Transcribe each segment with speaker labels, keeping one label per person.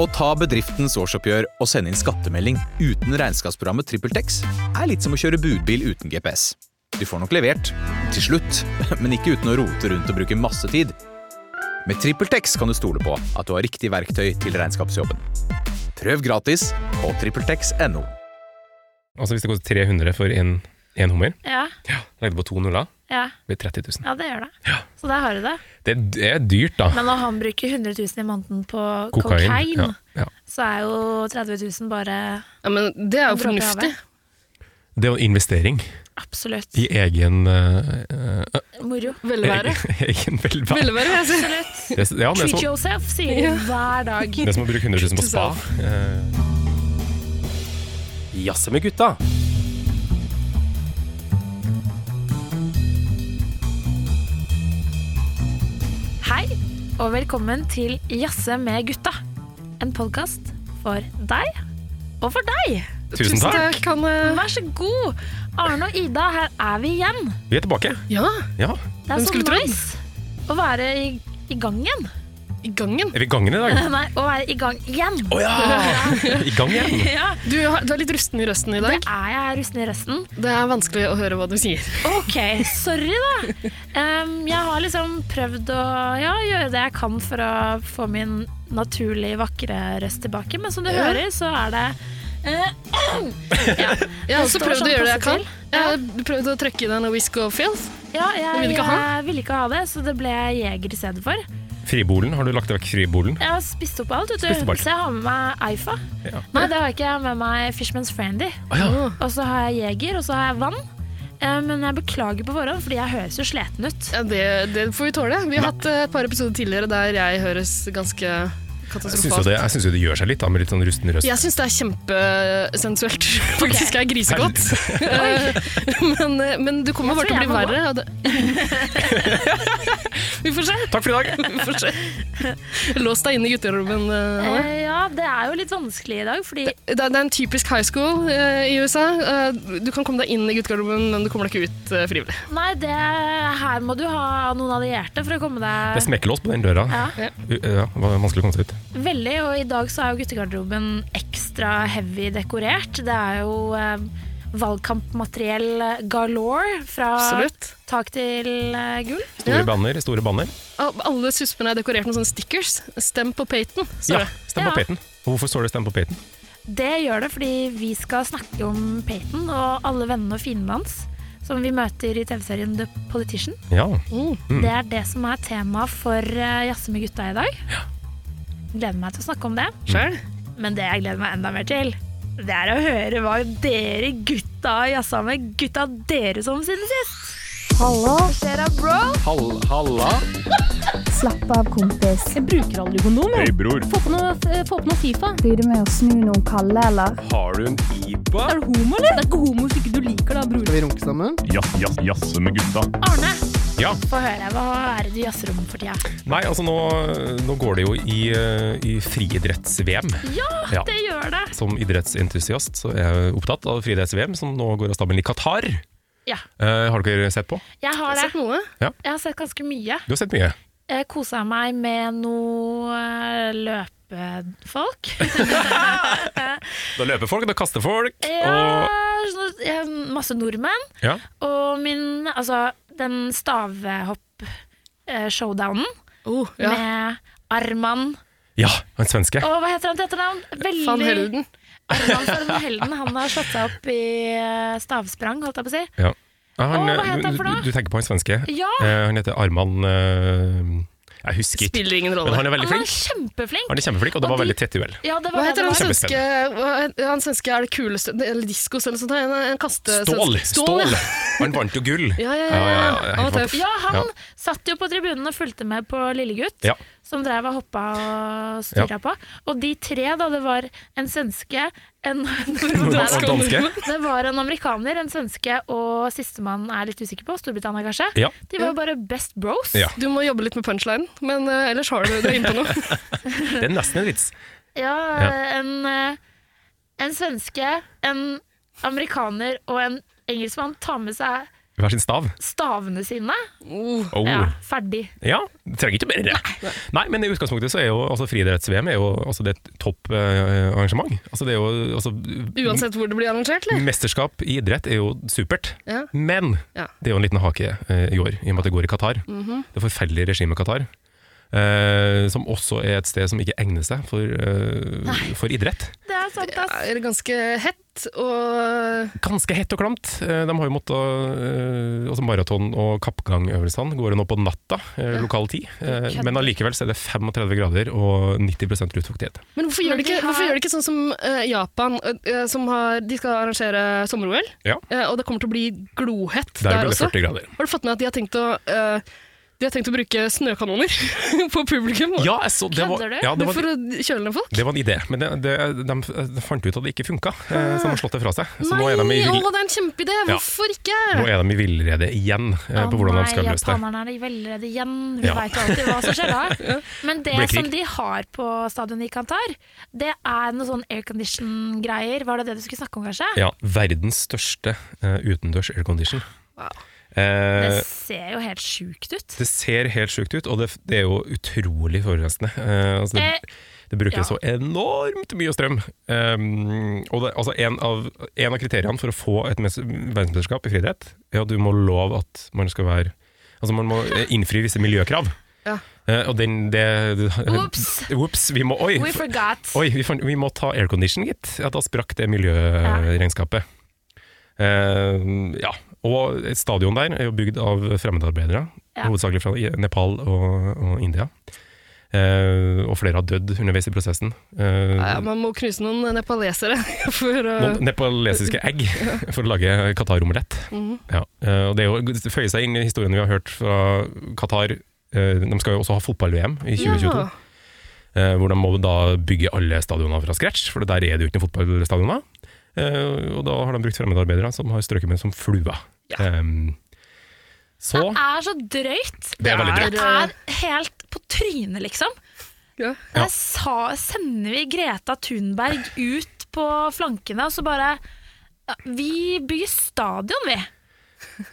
Speaker 1: Å ta bedriftens årsoppgjør og sende inn skattemelding uten regnskapsprogrammet TrippelTex er litt som å kjøre budbil uten GPS. Du får nok levert, til slutt, men ikke uten å rote rundt og bruke masse tid. Med TrippelTex kan du stole på at du har riktig verktøy til regnskapsjobben. Prøv gratis på TrippelTex.no.
Speaker 2: Altså Hvis det går 300 for en, en hummer,
Speaker 3: Ja,
Speaker 2: ja. legg det på to nuller,
Speaker 3: ja,
Speaker 2: blir 30 000.
Speaker 3: ja, det gjør det. Så der har du det.
Speaker 2: Det, det er dyrt, da.
Speaker 3: Men når han bruker 100 000 i måneden på
Speaker 2: Kokain.
Speaker 3: kokain,
Speaker 2: Ja, ja.
Speaker 3: så er jo 30 000 bare
Speaker 4: Ja, men det er jo
Speaker 3: Dråpe i
Speaker 4: fornuftig.
Speaker 2: Det er jo en investering
Speaker 3: absolutt
Speaker 2: i egen eh, eh,
Speaker 3: moro.
Speaker 4: Velvære.
Speaker 2: Egen velvære.
Speaker 4: Velvære, vil jeg si.
Speaker 3: Absolutt.
Speaker 2: Det, er- ja, det, er
Speaker 3: Treat
Speaker 2: som,
Speaker 3: yourself, sier de hver dag.
Speaker 2: det er som å bruke 100 000 på spa. Eh. Jazze med gutta.
Speaker 3: Hei, og velkommen til Jazze med gutta. En podkast for deg og for deg.
Speaker 2: Tusen takk.
Speaker 4: Hanne.
Speaker 3: Vær så god! Arne og Ida, her er vi igjen.
Speaker 2: Vi er tilbake.
Speaker 4: Ja,
Speaker 2: Ja.
Speaker 3: Det
Speaker 4: Hvem
Speaker 3: er
Speaker 4: skulle
Speaker 3: så
Speaker 4: trodd?
Speaker 3: nice å være i, i gang igjen.
Speaker 4: i gangen.
Speaker 2: Er vi i gangen i dag?
Speaker 3: Nei, å være i gang igjen.
Speaker 2: Å ja! I gang igjen.
Speaker 3: Ja,
Speaker 4: Du, har- du er litt rusten i røsten i
Speaker 3: det
Speaker 4: dag.
Speaker 3: er jeg rusten i resten.
Speaker 4: Det er vanskelig å høre hva du sier.
Speaker 3: Ok, sorry da. Em, jeg har liksom prøvd å ja, gjøre det jeg kan for å få min naturlig vakre røst tilbake, men som du
Speaker 4: Ja.
Speaker 3: hører, så er det eh,
Speaker 4: Jeg har
Speaker 3: Det
Speaker 4: også
Speaker 3: står
Speaker 4: prøvd å
Speaker 3: sånn
Speaker 4: gjøre det jeg kan.
Speaker 3: positivt.
Speaker 4: Jeg har prøvd å trekke i deg noe whisk og filth.
Speaker 3: Ja, jeg,
Speaker 4: vil du ikke ha?
Speaker 3: jeg ville ikke ha det, så det ble jeger i stedet for.
Speaker 2: Fribolen. Har du lagt vekk fribolen?
Speaker 3: Jeg har spist opp alt, vet
Speaker 2: Spist opp
Speaker 3: du.
Speaker 2: alt.
Speaker 3: Så jeg har med meg Eifa.
Speaker 2: Ja.
Speaker 3: Nei, det har jeg ikke. Jeg har med meg Fishman's Friendly.
Speaker 2: Å ja.
Speaker 3: Og så har jeg jeger, og så har jeg vann. Eh, Men jeg beklager på forhånd, fordi jeg høres jo sliten ut.
Speaker 4: Ja, det, det får vi tåle. Vi har hatt eh, et par episoder tidligere der jeg høres ganske
Speaker 2: Jeg syns jo
Speaker 4: katastrofalt
Speaker 2: det, jeg syns jo det gjør seg litt da, med litt sånn rusten røst.
Speaker 4: Jeg syns det er kjempesensuelt. Faktisk er jeg grisegodt. Eh, men, men du kommer
Speaker 3: Jeg
Speaker 4: bare til å
Speaker 3: tror jeg
Speaker 4: bli
Speaker 3: må
Speaker 4: verre. og det- Vi får se.
Speaker 2: Takk for i dag.
Speaker 4: Vi får se. Lås deg inn i gutterommen. eh, Hanne.
Speaker 3: Eh, Ja, det er jo litt vanskelig i dag, fordi
Speaker 4: Det er, det er en typisk high school eh, i USA. Eh, du kan komme deg inn i guttegarderoben, men du kommer deg ikke ut eh, frivillig.
Speaker 3: Nei, det her må du ha noen allierte for å komme
Speaker 2: Det er
Speaker 3: deg
Speaker 2: smekkelås på den døra.
Speaker 3: ja,
Speaker 2: U- Ja, det var vanskelig å komme seg ut.
Speaker 3: Veldig, og i dag så er jo guttegarderoben ekstra heavy dekorert. Det er jo eh, valgkampmateriell galore fra
Speaker 4: Absolutt.
Speaker 3: tak til eh, gulv.
Speaker 2: Store
Speaker 4: Ja.
Speaker 2: banner, store banner.
Speaker 4: Al- Alle suspene er dekorert med sånne stickers. Stem på Peyton. står
Speaker 2: Ja,
Speaker 4: det.
Speaker 2: stem på
Speaker 3: Ja.
Speaker 2: Peyton. Og Hvorfor står det stem på Peyton?
Speaker 3: Det gjør det fordi vi skal snakke om Peyton og alle vennene og fiendene hans. Som vi møter i TV-serien The Politician.
Speaker 2: Ja.
Speaker 4: Mm.
Speaker 3: Det er det som er temaet for eh, Jazze med gutta i dag. Gleder meg til å snakke om det.
Speaker 4: Sjøl.
Speaker 3: Men det jeg gleder meg enda mer til, det er å høre hva dere gutta har jazza med gutta deres om siden sist.
Speaker 5: Hallo,
Speaker 1: Hall, halla.
Speaker 5: slapp av kompis.
Speaker 6: Jeg bruker aldri kondom. jeg.
Speaker 7: Hei, bror.
Speaker 6: Få på noe, eh, få på noe Fifa.
Speaker 5: Blir du med å snu noen kalde, eller?
Speaker 7: Har du en IPA?
Speaker 6: Er du homo, eller? Det er ikke homo hvis ikke du liker det, bror.
Speaker 8: Skal vi runke sammen?
Speaker 7: Ja, ja, jasse med gutta.
Speaker 3: Arne,
Speaker 2: ja.
Speaker 3: få høre. Hva er det du jazzer om for tida?
Speaker 2: Nei, altså nå, nå går det jo i, eh, i friidretts-VM.
Speaker 3: Ja,
Speaker 2: Ja.
Speaker 3: det gjør det.
Speaker 2: Som idrettsentusiast så er jeg opptatt av friidretts-VM, som nå går av stabelen i Qatar.
Speaker 3: Ja.
Speaker 2: Eh, har dere sett på?
Speaker 3: Jeg har det.
Speaker 4: Sett noe?
Speaker 3: Jeg har sett ganske mye.
Speaker 2: Du har sett mye.
Speaker 3: Jeg kosa meg med noe eh, løpefolk.
Speaker 2: Da løper folk, da kaster folk.
Speaker 3: Ja, sånn- eh, masse nordmenn.
Speaker 2: Og, ja.
Speaker 3: Og min Altså, den stavehopp-showdownen
Speaker 4: Oh, ja.
Speaker 3: med Arman
Speaker 2: ja, en svenske.
Speaker 3: Og hva heter han til etternavn? Veldig
Speaker 4: Van Helden.
Speaker 3: Arman van Helden. Han har slått seg opp i eh, stavsprang, holdt jeg på å si.
Speaker 2: Ja. Ja, han, eh,
Speaker 3: Å, hva heter han for noe?
Speaker 2: du, du tenker på en svenske?
Speaker 3: Ja,
Speaker 2: Eh, han heter Arman eh, Jeg husker ikke.
Speaker 4: Spiller ingen
Speaker 2: Men
Speaker 4: rolle.
Speaker 2: han er veldig
Speaker 3: han er
Speaker 2: flink.
Speaker 3: kjempeflink.
Speaker 2: Han er kjempeflink, og det
Speaker 3: Og
Speaker 2: var
Speaker 3: de-
Speaker 2: veldig tett duell.
Speaker 3: Ja, det
Speaker 4: Hva
Speaker 3: var
Speaker 4: heter
Speaker 3: det det var.
Speaker 4: han svenske hva er- Han svenske er det kuleste Eller diskos eller sånt. En, en kaste...
Speaker 2: Stål!
Speaker 4: Stål,
Speaker 2: Stål!
Speaker 4: ja.
Speaker 2: Han vant jo gull.
Speaker 4: Ja, ja, ja,
Speaker 2: Ja, ja, ja,
Speaker 4: ja. Han
Speaker 2: helt
Speaker 4: var tøff.
Speaker 3: Ja, han
Speaker 2: Ja.
Speaker 3: satt jo på tribunen og fulgte med på Lillegutt,
Speaker 2: Ja.
Speaker 3: som drev og hoppa og styra på. Og de tre, da, det var en svenske, en
Speaker 2: Og og danske.
Speaker 3: Det var en amerikaner, en svenske og sistemann er litt usikker på, Storbritannia kanskje.
Speaker 2: Ja.
Speaker 3: De var jo bare best bros.
Speaker 2: Ja.
Speaker 4: Du må jobbe litt med punchline, men eh, ellers har du det inne på noe.
Speaker 2: Det er nesten en vits.
Speaker 3: Ja,
Speaker 2: Ja.
Speaker 3: En, eh, en svenske, en amerikaner og en engelskmann tar med seg
Speaker 2: hver sin stav.
Speaker 3: Stavene sine.
Speaker 4: Oh,
Speaker 2: Oh.
Speaker 3: Ja,
Speaker 2: Ja.
Speaker 3: ferdig.
Speaker 2: trenger ikke mer. Nei. men i utgangspunktet så er jo altså, friidretts-VM er jo altså, det er et topp eh, arrangement. Altså, det er jo altså,
Speaker 4: uansett hvor det blir arrangert, eller?
Speaker 2: Mesterskap i idrett er jo supert,
Speaker 4: Ja.
Speaker 2: men
Speaker 4: Ja. Mhm.
Speaker 2: det er jo en liten hake eh, i år, i og med at det går i Qatar. Det forferdelige regimet Qatar, eh, som også er et sted som ikke egner seg for, eh, for idrett.
Speaker 3: Det er sant, ass.
Speaker 4: Det er ganske hett, og
Speaker 2: Ganske hett og klamt. Eh, De har jo måttet eh, altså Maraton- og kappgangøvelsene går jo nå på natta, eh, lokal tid. Eh, Men allikevel så er det 35 grader og 90 luftfuktighet.
Speaker 4: Men hvorfor gjør,
Speaker 3: Men
Speaker 4: de
Speaker 3: de
Speaker 4: ikke,
Speaker 3: har-
Speaker 4: hvorfor gjør de ikke sånn som eh, Japan, eh, som har, de skal arrangere sommer-OL?
Speaker 2: Ja.
Speaker 4: eh, og det kommer til å bli glohett der,
Speaker 2: Der ble det
Speaker 4: også.
Speaker 2: 40 grader.
Speaker 4: Har du fått med at de har tenkt å, eh, de har tenkt å bruke snøkanoner på publikum?
Speaker 2: Ja, jeg så, det, var,
Speaker 3: Kødder du?
Speaker 2: ja, det, var,
Speaker 4: for å kjøle ned folk?
Speaker 2: det var en idé, men det, det, de, de fant ut at det ikke funka, eh, så de har slått det fra seg. Så nå
Speaker 4: Nei,
Speaker 2: er de i
Speaker 4: å,
Speaker 2: vill-
Speaker 4: det er en kjempeidé!
Speaker 2: Ja.
Speaker 4: Hvorfor ikke?
Speaker 2: Nå er de i villrede igjen eh, på
Speaker 3: Å
Speaker 2: hvordan
Speaker 3: nei,
Speaker 2: de skal løse det.
Speaker 3: Japanerne er velredde igjen. Vi
Speaker 2: Ja.
Speaker 3: vet jo alltid hva som skjer da. Men det
Speaker 2: Blir krig.
Speaker 3: som de har på stadionet i Qatar, det er noe sånn aircondition-greier. Var det det du skulle snakke om, kanskje?
Speaker 2: Ja, verdens største eh, utendørs aircondition.
Speaker 4: Wow.
Speaker 2: Eh,
Speaker 3: Det ser jo helt sjukt ut.
Speaker 2: det ser helt sjukt ut, og det, det er jo utrolig forurensende. Eh, altså det,
Speaker 3: Eh,
Speaker 2: det bruker
Speaker 3: ja.
Speaker 2: så enormt mye strøm. Um, og det, altså en, av, en av kriteriene for å få et mes- verdensmesterskap i friidrett, er at du må love at man skal være Altså man må eh, innfri visse miljøkrav.
Speaker 4: Ja.
Speaker 2: Eh, og den det, det,
Speaker 3: Whoops.
Speaker 2: Whoops, Vi må Oi!
Speaker 3: We forgot.
Speaker 2: Oi, vi, fant, vi må ta aircondition, gitt. Ja, da sprakk det miljøregnskapet. Eh, ja. Og et stadion der er jo bygd av fremmedarbeidere,
Speaker 3: Ja.
Speaker 2: hovedsakelig fra I- Nepal og, og India. Eh, og flere har dødd underveis i prosessen. Eh,
Speaker 4: Ja, man må knuse noen nepalesere for å
Speaker 2: noen nepalesiske egg for å lage Qatar-omelett.
Speaker 4: Mhm.
Speaker 2: Ja. eh, og det, er jo, det føyer seg inn i historien vi har hørt fra Qatar. Eh, de skal jo også ha fotball-VM i 2022.
Speaker 4: Ja.
Speaker 2: Eh, hvor de må da bygge alle stadioner fra scratch, for der er det jo ikke noen fotballstadioner. Eh, og da har de brukt fremmedarbeidere som har strøket med som flua.
Speaker 4: Ja.
Speaker 2: Ehm, så
Speaker 3: Det er så drøyt.
Speaker 2: Det er veldig
Speaker 4: drøyt.
Speaker 3: Det er helt på trynet, liksom.
Speaker 4: Ja.
Speaker 2: Ja.
Speaker 3: Der sa, sender vi Greta Thunberg ut på flankene, og så bare ja, Vi bygger stadion, vi.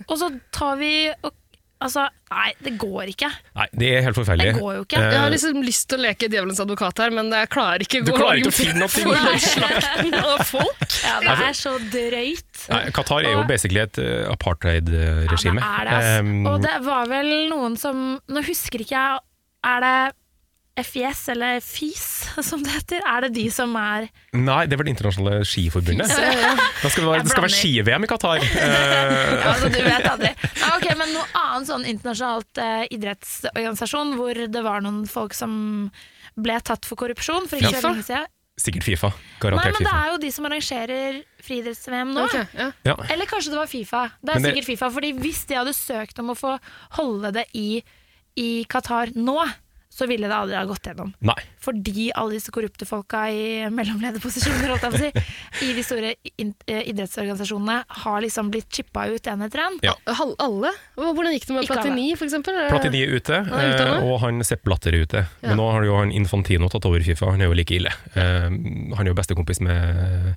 Speaker 3: Og så tar vi og Altså, nei, det går ikke.
Speaker 2: Nei, det er helt forferdelig.
Speaker 3: Det går jo ikke.
Speaker 2: Eh,
Speaker 4: Jeg har liksom lyst til å leke djevelens advokat her, men jeg klarer ikke
Speaker 2: Du
Speaker 4: gå
Speaker 2: klarer ikke å finne
Speaker 4: argumentere
Speaker 2: noe ting.
Speaker 4: for den slakten av folk.
Speaker 3: Ja, det er så drøyt.
Speaker 2: Altså, Nei, Qatar er jo basically et eh, apartheid-regime.
Speaker 3: Ja, det er det, ass.
Speaker 2: Ehm,
Speaker 3: og det var vel noen som Nå husker ikke jeg Er det FIS eller FIS som det heter? Er det de som er
Speaker 2: Nei, det er vel Det internasjonale skiforbundet. Da skal det, være, det skal være ski-VM i Qatar. Eh,
Speaker 3: Altså, du vet aldri. Ja, ok, men noe annet sånn internasjonalt eh, idrettsorganisasjon hvor det var noen folk som ble tatt for korrupsjon for ikke så
Speaker 4: FIFA?
Speaker 3: lenge siden.
Speaker 2: sikkert Fifa.
Speaker 3: Nei,
Speaker 2: Garantert
Speaker 3: men det
Speaker 2: Fifa.
Speaker 3: er jo de som arrangerer friidretts-VM nå.
Speaker 4: Ok, ja.
Speaker 2: Ja.
Speaker 3: Eller kanskje det var Fifa. Det er
Speaker 2: Men det-
Speaker 3: sikkert Fifa, fordi Hvis de hadde søkt om å få holde det i, i Qatar nå, så ville det aldri ha gått gjennom.
Speaker 2: Nei.
Speaker 3: Fordi alle disse korrupte folka i mellomlederposisjoner holdt jeg på å si, i de store in- eh, idrettsorganisasjonene har liksom blitt chippa ut en etter en.
Speaker 2: Ja.
Speaker 4: Hal- Alle? Hva- Hvordan gikk det med
Speaker 3: Ikke alle.
Speaker 4: Platini, for eksempel?
Speaker 2: Platini er ute,
Speaker 4: Han er ute
Speaker 2: eh,
Speaker 4: nå?
Speaker 2: og han Sepp Blatter er ute.
Speaker 4: Ja.
Speaker 2: Men nå har jo han Infantino tatt over Fifa, han er jo like ille. Eh, han er jo bestekompis med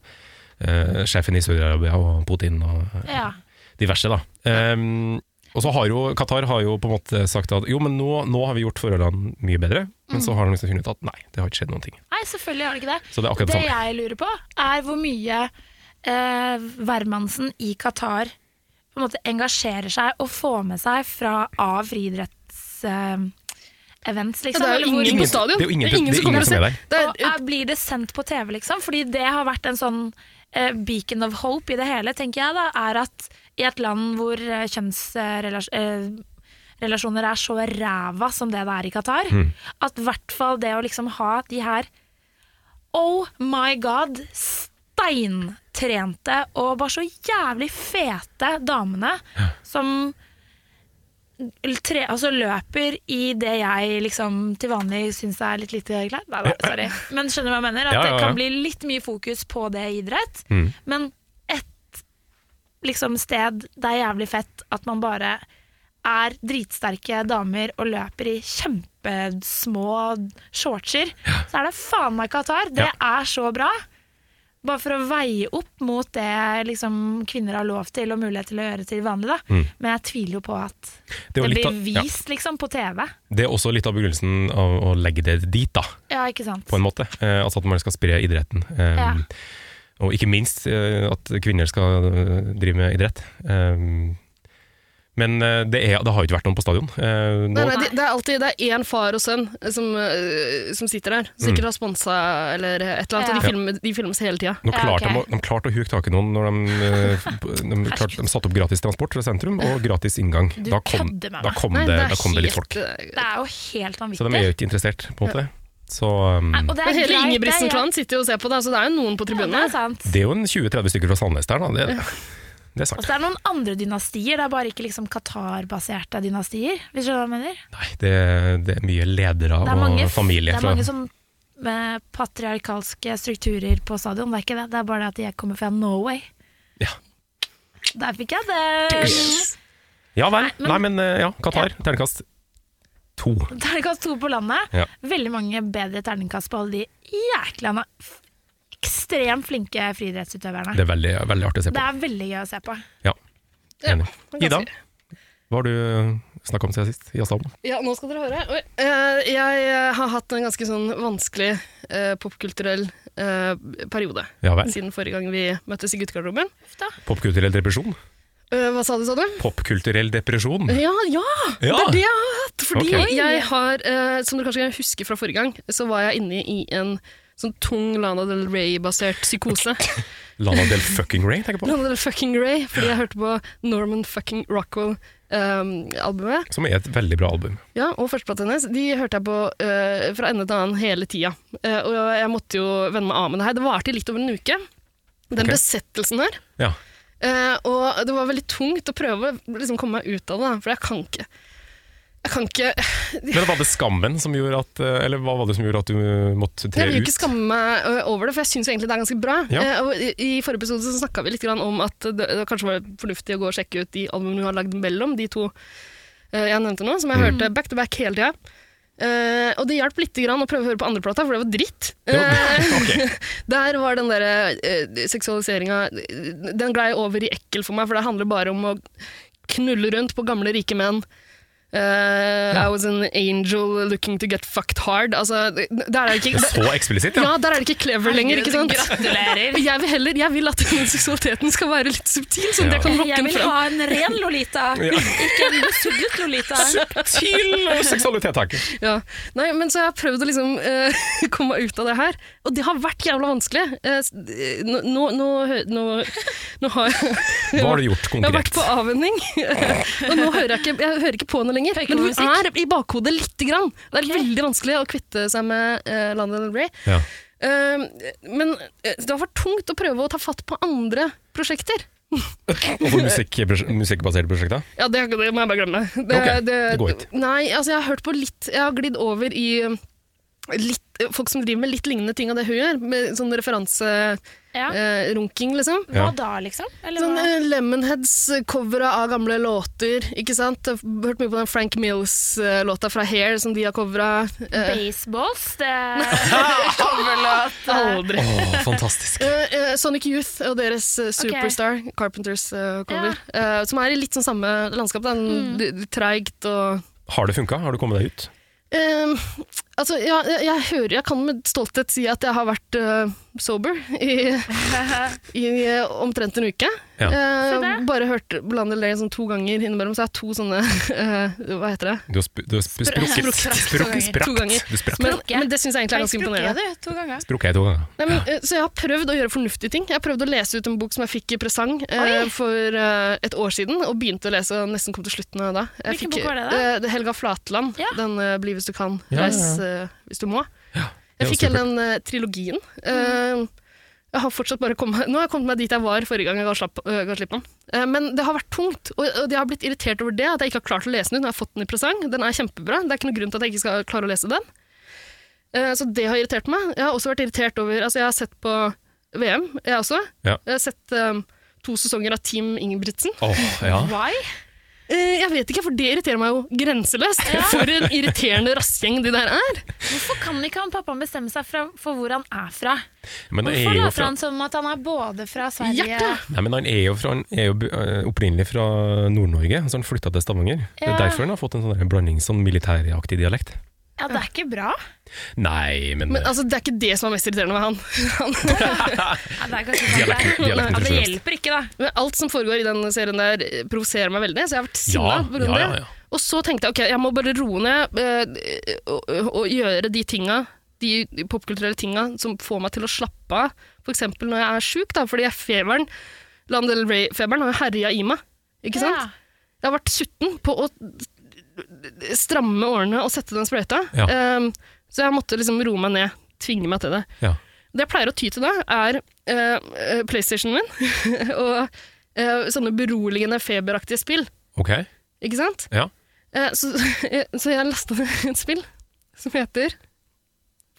Speaker 2: eh, sjefen i Saudi-Arabia og Putin og eh,
Speaker 3: Ja.
Speaker 2: diverse, da. Eh, og så har jo Qatar har jo på en måte sagt at jo, men nå, nå har vi gjort forholdene mye bedre. Men så har de liksom funnet ut at nei, det har ikke skjedd noen ting.
Speaker 3: Nei, selvfølgelig har det ikke det.
Speaker 2: Så det er akkurat det
Speaker 3: Det
Speaker 2: samme.
Speaker 3: jeg lurer på, er hvor mye eh, hvermannsen i Qatar på en måte engasjerer seg og får med seg fra av friidretts eh, events,
Speaker 4: Ja,
Speaker 3: liksom.
Speaker 4: det er
Speaker 3: eller
Speaker 4: jo
Speaker 3: hvor-
Speaker 4: ingen
Speaker 2: Ingen-
Speaker 4: på stadion.
Speaker 2: det er jo ingen- det er
Speaker 4: som kommer
Speaker 2: ingen som
Speaker 4: og
Speaker 2: er
Speaker 4: ser. Det
Speaker 3: Og
Speaker 4: er-
Speaker 3: er, blir det sendt på TV, liksom? Fordi det har vært en sånn eh, beacon of hope i det hele, tenker jeg da, er at i et land hvor eh, kjønnsrelasjoner er så ræva som det det er i Qatar, at i hvert fall det å liksom ha de her Oh my god! Steintrente og bare så jævlig fete damene som tre, altså løper i det jeg liksom til vanlig syns er litt lite klær. Nei da, sorry. Men skjønner du hva jeg mener? At
Speaker 2: Ja, ja,
Speaker 3: det
Speaker 2: ja. Mm.
Speaker 3: kan bli litt mye fokus på det i idrett. Men et liksom sted det er jævlig fett at man bare er dritsterke damer og løper i kjempesmå shortser, så er det faen meg Qatar. Det
Speaker 2: Ja.
Speaker 3: er så bra. Bare for å veie opp mot det liksom, kvinner har lov til og mulighet til å gjøre til vanlig. Da.
Speaker 2: Mm.
Speaker 3: Men jeg tviler jo på at
Speaker 2: var
Speaker 3: det,
Speaker 2: litt
Speaker 3: blir
Speaker 2: av- ja.
Speaker 3: vist liksom, på TV.
Speaker 2: Det er også litt av begrunnelsen av å legge det dit, da,
Speaker 3: Ja, ikke sant?
Speaker 2: på en måte. Eh, altså at man skal spre idretten. Eh,
Speaker 3: Ja.
Speaker 2: Og ikke minst eh, at kvinner skal eh, drive med idrett. Eh, men eh, det, er, det har jo ikke vært noen på stadion. Eh, nå,
Speaker 4: Nei, nei, det, det er alltid det er én far og sønn eh, som, eh, som sitter der.
Speaker 2: Mm.
Speaker 4: Som sikkert har sponsa eller et eller
Speaker 3: Ja.
Speaker 4: annet. Og de, filmer, de filmes hele tida.
Speaker 2: nå
Speaker 3: Ja,
Speaker 2: klarte
Speaker 3: ok.
Speaker 2: de, å- de klarte å huke tak i noen når de, eh, f- de, klarte, de satte opp gratis transport fra sentrum og gratis inngang.
Speaker 3: Du
Speaker 2: Da kom,
Speaker 3: kødder med
Speaker 2: da
Speaker 3: meg.
Speaker 2: kom,
Speaker 4: Nei,
Speaker 2: det,
Speaker 4: er
Speaker 2: da kom det litt
Speaker 4: helt,
Speaker 2: folk.
Speaker 4: eh,
Speaker 3: Det er jo helt
Speaker 2: Så
Speaker 3: vanvittig.
Speaker 2: de er jo ikke interessert, på en måte. Så um,
Speaker 3: Nei, og det er
Speaker 4: Men hele
Speaker 3: greit, det er
Speaker 4: Ingebrigtsen-klanen sitter jo og ser på det, så det er jo noen på
Speaker 3: greit. Ja, det
Speaker 4: tribunene.
Speaker 3: er sant.
Speaker 2: det er jo en 20-30 stykker fra Sandnes der, da. Det, det er sant.
Speaker 3: Og så er Altså, det noen andre dynastier, det er bare ikke liksom Qatar-baserte dynastier. Hvis du skjønner hva jeg mener?
Speaker 2: Nei, det, det er mye ledere
Speaker 3: Det er mange,
Speaker 2: og familie
Speaker 3: det er
Speaker 2: fra
Speaker 3: mange sånn med patriarkalske strukturer på stadion, det er ikke det. Det er bare det at jeg kommer fra Norway.
Speaker 2: Ja.
Speaker 3: Der fikk jeg det!
Speaker 2: Ja vel.
Speaker 3: Nei, men-
Speaker 2: Nei, men eh, ja, Qatar. Terningkast to.
Speaker 3: Terningkast to på landet.
Speaker 2: Ja.
Speaker 3: Veldig mange bedre terningkast på alle de jækla na- f- ekstremt flinke friidrettsutøverne.
Speaker 2: Det er veldig, veldig artig å se
Speaker 3: Det
Speaker 2: på.
Speaker 3: er veldig gøy å se på.
Speaker 2: Ja, enig.
Speaker 4: man kan
Speaker 2: Ida,
Speaker 4: si-
Speaker 2: hva har du snakka om siden sist? Jazzdagen?
Speaker 4: Ja, nå skal dere høre. Oi. Eh, jeg eh, har hatt en ganske sånn vanskelig eh, popkulturell eh, periode
Speaker 2: Ja vel.
Speaker 4: siden forrige gang vi møttes i guttegarderoben.
Speaker 2: Popkulturell depresjon?
Speaker 4: Eh, hva sa du, sa du?
Speaker 2: Popkulturell depresjon?
Speaker 4: Ja, ja,
Speaker 2: Ja.
Speaker 4: Det er det jeg har hatt! Fordi
Speaker 2: Ah. Ok.
Speaker 4: jeg har, eh, som dere kanskje kan huske fra forrige gang, så var jeg inne i en sånn tung Lana Del Rey-basert psykose.
Speaker 2: Lana Del fucking Ray, tenker jeg på.
Speaker 4: Lana Del fucking Rey, fordi jeg hørte på Norman fucking eh, Rockwell-albumet.
Speaker 2: Som er et veldig bra album.
Speaker 4: Ja, og førsteplaten hennes de hørte jeg på eh, fra ende til annen hele tida. Eh, og jeg måtte jo venne meg av med det her. Det varte i litt over en uke, den
Speaker 2: Ok.
Speaker 4: besettelsen her.
Speaker 2: Ja.
Speaker 4: Eh, og det var veldig tungt å prøve å liksom, komme meg ut av det, for jeg kan ikke. Jeg kan ikke
Speaker 2: Men var det skammen som gjorde at eh, Eller hva var det som gjorde at du eh, måtte tre ut?
Speaker 4: Jeg vil jo ikke skamme meg ø, over det, for jeg syns egentlig det er ganske bra.
Speaker 2: Ja.
Speaker 4: Eh, og I i forrige episode så snakka vi litt grann om at det, det kanskje var fornuftig å gå og sjekke ut de albumene hun har lagd mellom de to eh, jeg nevnte nå, som jeg hørte back to back hele tida. Eh, og det hjalp litt grann å prøve å høre på andreplata, for det var dritt. Eh,
Speaker 2: Ok.
Speaker 4: der var den der uh, seksualiseringa Den glei over i ekkel for meg, for det handler bare om å knulle rundt på gamle, rike menn. Eh, I was an angel looking to get fucked hard. Altså, det- der er det ikke
Speaker 2: Så eksplisitt, ja.
Speaker 4: ja, der er det ikke clever lenger, ikke sant?
Speaker 3: Gratulerer.
Speaker 4: Og jeg vil heller, jeg vil at den seksualiteten skal være litt subtil, sånn at jeg kan lokke
Speaker 3: Jeg
Speaker 4: den
Speaker 3: vil
Speaker 4: frem.
Speaker 3: ha en ren Lolita, ikke en besudlet Lolita.
Speaker 2: Subtil seksualitet, takk.
Speaker 4: Ja. Nei, men så jeg har prøvd å liksom eh, komme meg ut av det her, og det har vært jævla vanskelig. Eh, s- eh, nå, nå, nå, hø- nå, nå har jeg
Speaker 2: Hva har du gjort
Speaker 4: Jeg har vært
Speaker 2: konkret?
Speaker 4: på avvenning, og nå hører jeg ikke, jeg hører ikke på henne lenger. Men hun er i bakhodet lite grann. Det er veldig vanskelig å kvitte seg med uh, Lana Del Rey.
Speaker 2: Ja.
Speaker 4: Eh, men eh, det har vært tungt å prøve å ta fatt på andre prosjekter.
Speaker 2: Hvorfor musikk, musikkbaserte prosjekter?
Speaker 4: Ja, det, det må jeg bare glemme. Det,
Speaker 2: Ok, det går ikke.
Speaker 4: Nei, altså jeg har hørt på litt Jeg har glidd over i um, litt, eh, folk som driver med litt lignende ting av det hun gjør. Med sånn referanserunking,
Speaker 3: Ja.
Speaker 4: eh, runking, liksom.
Speaker 2: Ja.
Speaker 3: Hva da, liksom? Eller
Speaker 4: Sånn
Speaker 3: hva?
Speaker 4: eh, Lemonheads-covere av gamle låter, ikke sant? Jeg har hørt mye på den Frank Mills-låta fra Hair som de har covra. Eh,
Speaker 3: Baseballs? Det...
Speaker 4: aldri.
Speaker 2: Åh, fantastisk.
Speaker 4: Eh, eh, Sonic Youth og deres eh, Superstar, Carpenters eh, cover, eh, som er i litt sånn samme landskap. da.
Speaker 3: Mm.
Speaker 4: Det er Treigt og
Speaker 2: Har det funka? Har du kommet deg ut?
Speaker 4: Ehm, altså, ja, jeg, jeg hører Jeg kan med stolthet si at jeg har vært eh, sober i, i eh, omtrent en uke.
Speaker 2: Ja.
Speaker 4: Eh,
Speaker 3: Så det.
Speaker 4: bare hørt Blanda Lay sånn to ganger innimellom, så jeg har to sånne eh, Hva heter det?
Speaker 2: Du har, sp du har sp sprukket.
Speaker 3: Sprakt.
Speaker 2: Sprukket. Sprakt.
Speaker 4: To ganger.
Speaker 2: Du sprakk.
Speaker 4: Men,
Speaker 3: Språket.
Speaker 4: men det syns jeg egentlig er ganske imponerende.
Speaker 3: du to ganger.
Speaker 2: Sprukket jeg to ganger.
Speaker 4: Nei, men, eh, så jeg har prøvd å gjøre fornuftige ting. Jeg har prøvd å lese ut en bok som jeg fikk i presang eh, for eh, et år siden, og begynte å lese og nesten kom til slutten av da. Jeg
Speaker 3: Hvilken
Speaker 4: fikk,
Speaker 3: bok var det da?
Speaker 4: eh, det er Helga Flatland,
Speaker 3: Ja.
Speaker 4: den eh, 'Bli hvis du kan',
Speaker 2: Ja, ja, ja.
Speaker 4: reis eh, hvis du må.
Speaker 2: Det
Speaker 4: Jeg
Speaker 2: var
Speaker 4: fikk hele den eh, trilogien.
Speaker 3: Mm.
Speaker 4: Eh, jeg har fortsatt bare kommet, nå har jeg kommet meg dit jeg var forrige gang jeg ga, slapp, øh, ga slipp på den. Eh, men det har vært tungt, og, og jeg har blitt irritert over det, at jeg ikke har klart å lese den ut. Nå har jeg fått den i presang, den er kjempebra. Det er ikke noen grunn til at jeg ikke skal klare å lese den. Eh, så det har irritert meg. Jeg har også vært irritert over Altså, jeg har sett på VM, jeg også.
Speaker 2: Ja.
Speaker 4: Jeg har sett eh, to sesonger av Team Ingebrigtsen.
Speaker 2: Åh, ja.
Speaker 3: Why?
Speaker 4: Eh, Jeg vet ikke, for det irriterer meg jo grenseløst. For en irriterende rassgjeng de der er.
Speaker 3: Hvorfor kan ikke han pappaen bestemme seg fra, for hvor han er fra?
Speaker 2: Men han
Speaker 3: Hvorfor
Speaker 2: er jo
Speaker 3: later
Speaker 2: fra,
Speaker 3: han som at han er både fra Sverige
Speaker 4: Hjertet!
Speaker 2: nei, men han er jo, fra, han er jo bu- eh, opprinnelig fra Nord-Norge, så han flytta til Stavanger. Det
Speaker 3: Ja.
Speaker 2: er derfor han har fått en sånn der blanding, sånn militæraktig dialekt.
Speaker 3: Ja, det er ikke bra.
Speaker 2: Nei, men,
Speaker 4: Men altså, det er ikke det som er mest irriterende med han. han.
Speaker 3: Ja, det, er kanskje sant,
Speaker 2: dialekten,
Speaker 3: det.
Speaker 2: dialekten
Speaker 3: ja,
Speaker 2: til
Speaker 3: det
Speaker 2: sjøs.
Speaker 3: hjelper ikke, da.
Speaker 4: Men alt som foregår i den serien der, eh, provoserer meg veldig, så jeg har vært sinna
Speaker 2: Ja,
Speaker 4: pga.
Speaker 2: ja, ja, ja.
Speaker 4: det. Og så tenkte jeg ok, jeg må bare roe ned eh, og, og gjøre de tinga, de popkulturelle tinga som får meg til å slappe av. F.eks. når jeg er sjuk, da, fordi jeg feberen, Lana Del Rey-feberen har jo herja i meg. Ikke sant? Jeg har vært sutten på å stramme årene og sette den sprøyta.
Speaker 2: Ja.
Speaker 4: Ehm, så jeg måtte liksom roe meg ned, tvinge meg til det.
Speaker 2: ja.
Speaker 4: Det jeg pleier å ty til da, er eh, eh, PlayStationen min og eh, sånne beroligende feberaktige spill.
Speaker 2: Ok,
Speaker 4: Ikke sant?
Speaker 2: ja.
Speaker 4: Eh, så, så jeg lasta ned et spill som heter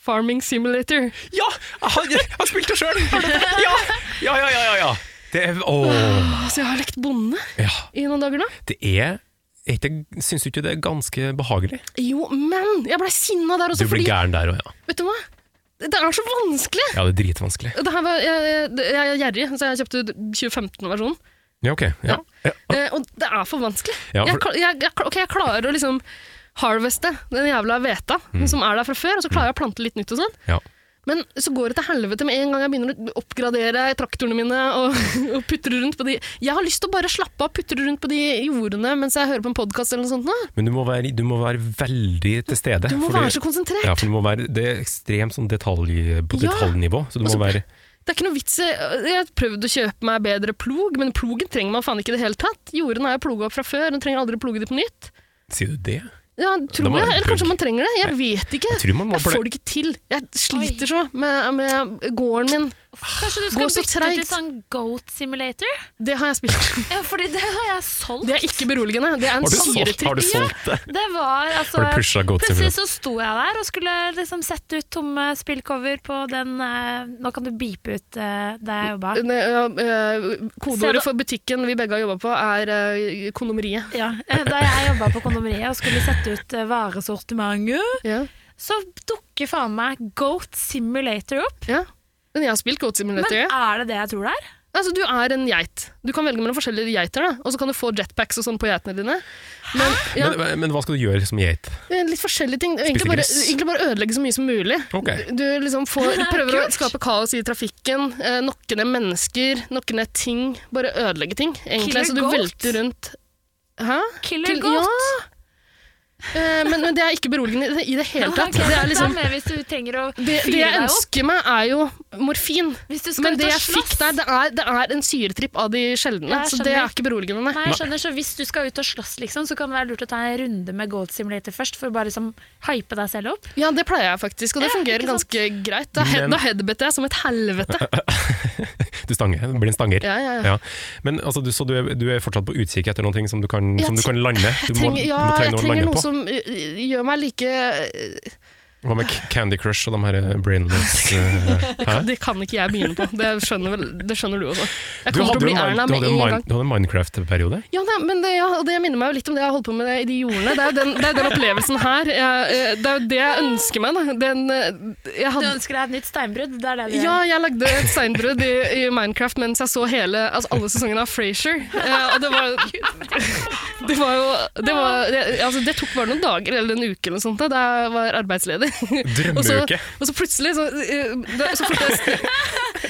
Speaker 4: Farming Simulator.
Speaker 2: Ja! Han, han spilte sjøl! Ja! Ja, ja, ja, ja, ja. Det er Åh.
Speaker 4: Så jeg har lekt bonde
Speaker 2: Ja.
Speaker 4: i noen dager nå.
Speaker 2: Det er er ikke det- Syns du ikke det er ganske behagelig?
Speaker 4: Jo, men jeg blei sinna der
Speaker 2: Du blir
Speaker 4: også, Altså, fordi
Speaker 2: gæren der òg, ja.
Speaker 4: Vet du hva? Det er så vanskelig!
Speaker 2: Ja, det er dritvanskelig.
Speaker 4: Det her var, jeg, jeg er gjerrig, så jeg kjøpte 2015-versjonen.
Speaker 2: Ja, ok. Ja. Ja.
Speaker 4: Eh, og det er for vanskelig.
Speaker 2: Ja, for-
Speaker 4: Jeg, kla- jeg, jeg, kla- ok, jeg klarer å liksom harveste den jævla hveta som er der fra før, og så klarer jeg å plante litt nytt og sånn.
Speaker 2: Mm. Ja.
Speaker 4: Men så går det til helvete med en gang jeg begynner å oppgradere traktorene mine og, og putre rundt på de Jeg har lyst til å bare slappe av og putre rundt på de jordene mens jeg hører på en podkast eller noe sånt. Nå.
Speaker 2: Men du må, være, du må være veldig til stede.
Speaker 4: Du må
Speaker 2: fordi-
Speaker 4: være så konsentrert.
Speaker 2: ja, for du må være, Det er ekstremt sånn detalj, på
Speaker 4: Ja.
Speaker 2: detaljnivå. Så du må
Speaker 4: Altså,
Speaker 2: være
Speaker 4: Det er ikke noe vits i Jeg har prøvd å kjøpe meg bedre plog, men plogen trenger man faen ikke i det hele tatt. Jordene er jo ploga opp fra før, den trenger aldri ploge det på nytt.
Speaker 2: Sier du det?
Speaker 4: Ja, tror
Speaker 2: må
Speaker 4: jeg.
Speaker 2: være en
Speaker 4: Eller kanskje
Speaker 2: plugg.
Speaker 4: man trenger det. Jeg vet ikke.
Speaker 2: Jeg tror man må
Speaker 4: Jeg får
Speaker 2: ble-
Speaker 4: det ikke til. Jeg sliter så med, med gården min.
Speaker 3: Kanskje du skal
Speaker 4: Gå så
Speaker 3: bytte ut til
Speaker 4: treigt.
Speaker 3: sånn goat simulator?
Speaker 4: Det har jeg spilt.
Speaker 3: Ja, fordi det har jeg solgt.
Speaker 4: Det er ikke beroligende. Det er en
Speaker 2: Har du solgt, har du
Speaker 4: syretripp.
Speaker 2: solgt det?
Speaker 3: Det var altså
Speaker 2: Har du pusha godt
Speaker 3: Plutselig
Speaker 2: til
Speaker 3: så sto jeg der og skulle liksom sette ut tomme spillcover på den eh, Nå kan du beepe ut eh, der jeg jobba.
Speaker 4: Ne- ja, eh,
Speaker 3: Se, da-
Speaker 4: Kodeordet for butikken vi begge har jobba på, er eh, kondomeriet.
Speaker 3: Ja, eh, da jeg jobba på kondomeriet og skulle sette ut eh, varesortimentet,
Speaker 4: Ja.
Speaker 3: så dukker faen meg Goat Simulator opp.
Speaker 4: ja. Men jeg har spilt Goat
Speaker 3: Men
Speaker 4: Simulator. ja.
Speaker 3: er det det jeg tror det er?
Speaker 4: Altså, du er en geit. Du kan velge mellom forskjellige geiter, da. og så kan du få jetpacks og sånn på geitene dine. Men, ja,
Speaker 2: Men, men, men hva skal du gjøre som geit?
Speaker 4: litt forskjellige ting. Egentlig bare,
Speaker 2: gress.
Speaker 4: egentlig bare ødelegge så mye som mulig.
Speaker 2: Ok.
Speaker 4: Du liksom får, prøver å
Speaker 3: Kult.
Speaker 4: skape kaos i trafikken, eh, nokke ned mennesker, nokke ned ting. Bare ødelegge ting, egentlig.
Speaker 3: Killer
Speaker 4: så du
Speaker 3: goat.
Speaker 4: velter rundt Hæ?
Speaker 3: Killer
Speaker 4: Til-
Speaker 3: Goat.
Speaker 4: Eh, men, men det er ikke beroligende i det- i det hele tatt.
Speaker 3: Ok,
Speaker 4: Det, er liksom,
Speaker 3: med hvis du trenger å
Speaker 4: det,
Speaker 3: fyre
Speaker 4: det jeg
Speaker 3: deg opp.
Speaker 4: ønsker meg, er jo morfin.
Speaker 3: Hvis du skal
Speaker 4: Men
Speaker 3: ut
Speaker 4: det
Speaker 3: og
Speaker 4: jeg fikk
Speaker 3: slåss.
Speaker 4: der, det er, det er en syretripp av de sjeldne.
Speaker 3: Jeg
Speaker 4: Så det er
Speaker 3: skjønner.
Speaker 4: ikke beroligende.
Speaker 3: Nei, jeg skjønner, så Hvis du skal ut og slåss, liksom, så kan det være lurt å ta en runde med Goat Simulator først. For å bare liksom, hype deg selv opp.
Speaker 4: Ja, det pleier jeg faktisk, og det
Speaker 3: Ja,
Speaker 4: fungerer
Speaker 3: ikke sant?
Speaker 4: ganske greit. Da, head,
Speaker 2: Men-
Speaker 4: da headbutter jeg som et helvete.
Speaker 2: Du stanger, du blir en stanger.
Speaker 4: Ja, ja, ja.
Speaker 2: Men altså, du, så du er, du er fortsatt på utkikk etter noe som du kan,
Speaker 4: Jeg
Speaker 2: som du
Speaker 4: tre-
Speaker 2: kan lande? Du
Speaker 4: Jeg trenger,
Speaker 2: du
Speaker 4: ja,
Speaker 2: må
Speaker 4: jeg
Speaker 2: trenge noe å
Speaker 4: trenger
Speaker 2: lande
Speaker 4: noe
Speaker 2: på.
Speaker 4: som ø, ø, gjør meg like ø,
Speaker 2: Hva med Candy Crush og de her eh, brainless eh, hæ?
Speaker 4: Det kan ikke jeg begynne på. Det skjønner, vel, det skjønner du også. Jeg
Speaker 2: Du
Speaker 4: kommer
Speaker 2: hadde jo
Speaker 4: til å bli
Speaker 2: en
Speaker 4: Erna
Speaker 2: Min- du hadde jo
Speaker 4: med
Speaker 2: en
Speaker 4: en gang.
Speaker 2: Min- du hadde en Minecraft-periode.
Speaker 4: Ja, nei, men det, ja, og det minner meg jo litt om det jeg har holdt på med det, i de jordene. Det er jo den, det er den opplevelsen her. Jeg, eh, det er jo det jeg ønsker meg. Da. Den, eh,
Speaker 3: Du
Speaker 4: jeg hadde,
Speaker 3: ønsker deg et nytt steinbrudd? Det er det du
Speaker 4: ja, jeg lagde et steinbrudd i, i Minecraft mens jeg så hele, altså alle sesongene av Frasier. Eh, og det var, det var jo det, var, det, altså, det tok bare noen dager eller en uke eller noe sånt da, da jeg var arbeidsledig. Og så,
Speaker 2: Drømmeuke.
Speaker 4: og så plutselig, så, eh, det, så fort det,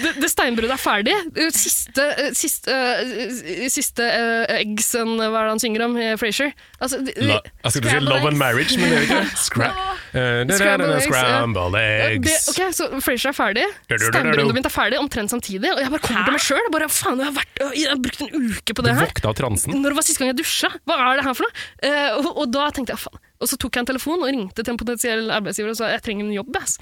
Speaker 4: det, det steinbruddet er ferdig, eh, siste, eh, siste, eh, siste eh, eggs and hva er det han synger om, eh, Frasier? Altså, det-
Speaker 2: La, jeg skulle si
Speaker 3: Scramble
Speaker 2: Love
Speaker 3: eggs.
Speaker 2: and Marriage, men det er jo ikke det. Scra Eh, da, da, da,
Speaker 4: Scramble
Speaker 2: da,
Speaker 4: eggs, ja.
Speaker 2: Scramble
Speaker 4: det,
Speaker 2: eggs.
Speaker 4: ok, så Frasier er ferdig,
Speaker 2: Du, du, du, du, du.
Speaker 4: steinbruddet mitt er ferdig omtrent samtidig, og jeg bare kommer til meg sjøl. Bare faen, jeg har, vært, øh, jeg har brukt en uke på
Speaker 2: Du
Speaker 4: det her.
Speaker 2: våkna av transen.
Speaker 4: Når var sist gang jeg dusja? Hva er det her for noe? Eh, og, og da tenkte jeg, faen. Og så tok jeg en telefon og ringte til en potensiell arbeidsgiver og sa jeg trenger en jobb. ass.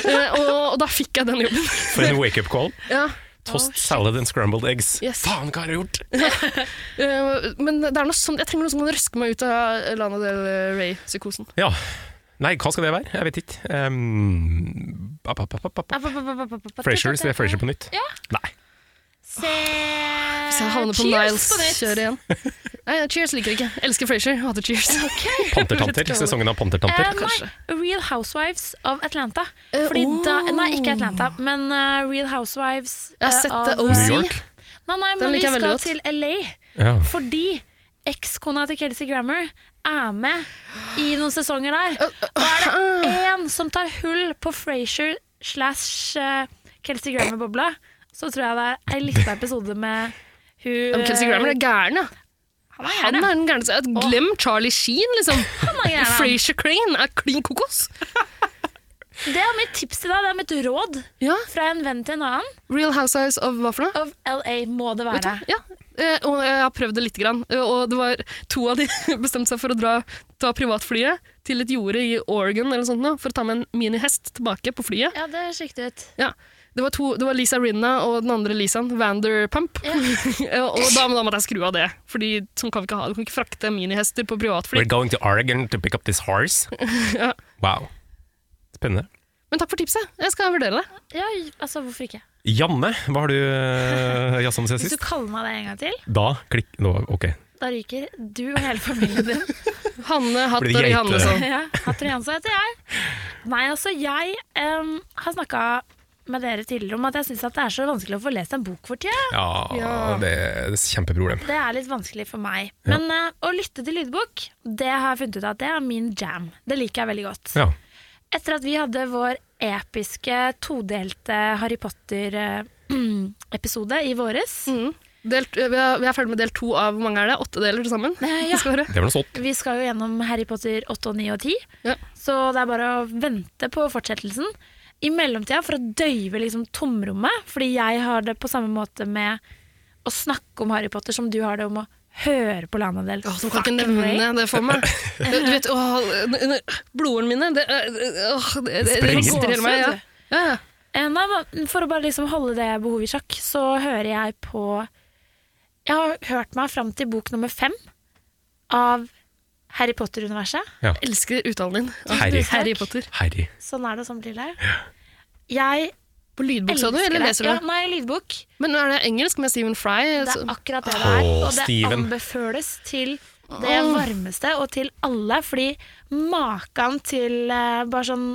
Speaker 4: Eh, og, og da fikk jeg den jobben.
Speaker 2: For en wake-up call.
Speaker 4: Ja.
Speaker 2: Toast salad and scrambled eggs.
Speaker 4: Yes.
Speaker 2: Faen, hva har jeg gjort?
Speaker 4: Eh, men det er noe sånn, jeg trenger noe som kan røske meg ut av Lana Del Rey-psykosen.
Speaker 2: Ja. Nei, hva skal det være? Jeg vet ikke. Um, app, app, app, app, app.
Speaker 3: er.
Speaker 2: Frasier, så det er Frasier på nytt.
Speaker 3: Ja.
Speaker 2: Nei.
Speaker 3: Se
Speaker 4: Niles. Jeg havner på Niles-kjøret igjen. Nei, Cheers liker jeg ikke. Elsker Frasier. Hater Cheers.
Speaker 2: Pantertanter. Sesongen av Pantertanter.
Speaker 3: Eh,
Speaker 4: kanskje.
Speaker 3: nei, Real Housewives of Atlanta.
Speaker 4: Eh,
Speaker 3: Fordi da,
Speaker 4: oh.
Speaker 3: nei, ikke Atlanta, men eh, Real Housewives
Speaker 4: Jeg har
Speaker 3: eh,
Speaker 4: sett
Speaker 3: av
Speaker 4: det
Speaker 2: New
Speaker 4: OC.
Speaker 2: York.
Speaker 3: Nei, nei, men
Speaker 4: Den
Speaker 3: vi
Speaker 4: liker jeg
Speaker 3: skal
Speaker 4: veldig godt.
Speaker 3: til LA.
Speaker 2: Ja.
Speaker 3: Fordi ekskona til Kelsey Grammer er med i noen sesonger
Speaker 4: Eh,
Speaker 3: der. Og er det én som tar hull på Frasier slash eh, Kelsey Grammer-bobla, så tror jeg det er ei lita episode med hun
Speaker 4: Ja, men Kelsey Grammer er gæren, ja.
Speaker 3: Han er
Speaker 4: Han
Speaker 3: gjerne.
Speaker 4: er den gærneste. Glem Charlie Sheen, liksom.
Speaker 3: Han er gjerne.
Speaker 4: Frasier Crane er klin kokos.
Speaker 3: Det er mitt tips til deg, det er mitt råd
Speaker 4: Ja.
Speaker 3: fra en venn til en annen.
Speaker 4: Real Housewives of hva for noe?
Speaker 3: Of LA må det
Speaker 4: Vet du
Speaker 3: være.
Speaker 4: hva? Ja. Eh, Og jeg har prøvd det lite grann. Eh, Og det var to av de bestemte seg for å dra, ta privatflyet til et jorde i Oregon eller noe sånt, nå, for å ta med en minihest tilbake på flyet.
Speaker 3: Ja, det er riktig ut.
Speaker 4: Ja. Det var, to, det var Lisa Rinna og den andre Lisaen, Vanderpump. og da, da måtte jeg skru av det, Fordi sånn kan vi ikke ha. Du kan ikke frakte minihester på privatfly.
Speaker 2: We're going to Oregon to pick up this horse.
Speaker 4: Ja.
Speaker 2: Wow. Spennende.
Speaker 4: Men takk for tipset. Jeg skal vurdere det.
Speaker 3: Ja, altså, hvorfor ikke?
Speaker 2: Janne, hva har du eh, jazza med siden
Speaker 3: Hvis du
Speaker 2: sist?
Speaker 3: kaller meg det en gang til,
Speaker 2: Da klikk Nå, ok.
Speaker 3: da ryker du og hele familien din.
Speaker 4: Hanne Hatt
Speaker 2: Blir det geite?
Speaker 4: og sånn. Johannesson.
Speaker 3: ja, Hatton Jansson heter jeg. Nei, altså, jeg em, har snakka med dere tidligere om at jeg syns det er så vanskelig å få lest en bok for tida.
Speaker 2: Ja,
Speaker 4: Ja.
Speaker 2: Det, det er et kjempeproblem.
Speaker 3: Det er litt vanskelig for meg. Men eh, å lytte til lydbok, det har jeg funnet ut at det er min jam. Det liker jeg veldig godt.
Speaker 2: Ja.
Speaker 3: Etter at vi hadde vår episke todelte Harry Potter-episode i våres,
Speaker 2: Mm.
Speaker 4: Mm. Del- Vi er, vi er ferdig med del to av hvor mange er det? Åtte deler til sammen?
Speaker 3: Eh, ja.
Speaker 4: Skal vi høre.
Speaker 2: Det var noe sånt.
Speaker 3: Vi skal jo gjennom Harry Potter 8, og 9 og 10,
Speaker 4: Ja.
Speaker 3: så det er bare å vente på fortsettelsen. I mellomtida, for å døyve liksom tomrommet, fordi jeg har det på samme måte med å snakke om Harry Potter som du har det om å høre på Lana Del.
Speaker 4: Åh, du kan ikke
Speaker 3: fucking Rey.
Speaker 4: nevne det for meg. Du vet, åh, n- n- Blodårene mine det, er- åh, det, det, det
Speaker 2: Sprenger.
Speaker 4: rister i hele meg. Ja. Ja. ja.
Speaker 3: Eh, Nei, men for å bare liksom holde det behovet i sjakk, så hører jeg på Jeg har hørt meg fram til bok nummer fem av Harry Potter-universet.
Speaker 4: Elsker uttalen din. Åh,
Speaker 2: Harry.
Speaker 4: Harry Potter.
Speaker 2: Harry.
Speaker 3: Sånn er det som blir det. Jeg
Speaker 4: På lydbok, sa
Speaker 3: elsker
Speaker 4: du? Eller
Speaker 3: det.
Speaker 4: leser du?
Speaker 3: Ja, nei, lydbok.
Speaker 4: Men er det engelsk med Stephen Fry?
Speaker 3: Det
Speaker 4: Så-
Speaker 3: er akkurat det det er.
Speaker 2: Åh,
Speaker 3: Og det
Speaker 2: Steven.
Speaker 3: anbefales til det varmeste og til alle, fordi maken til eh, bare sånn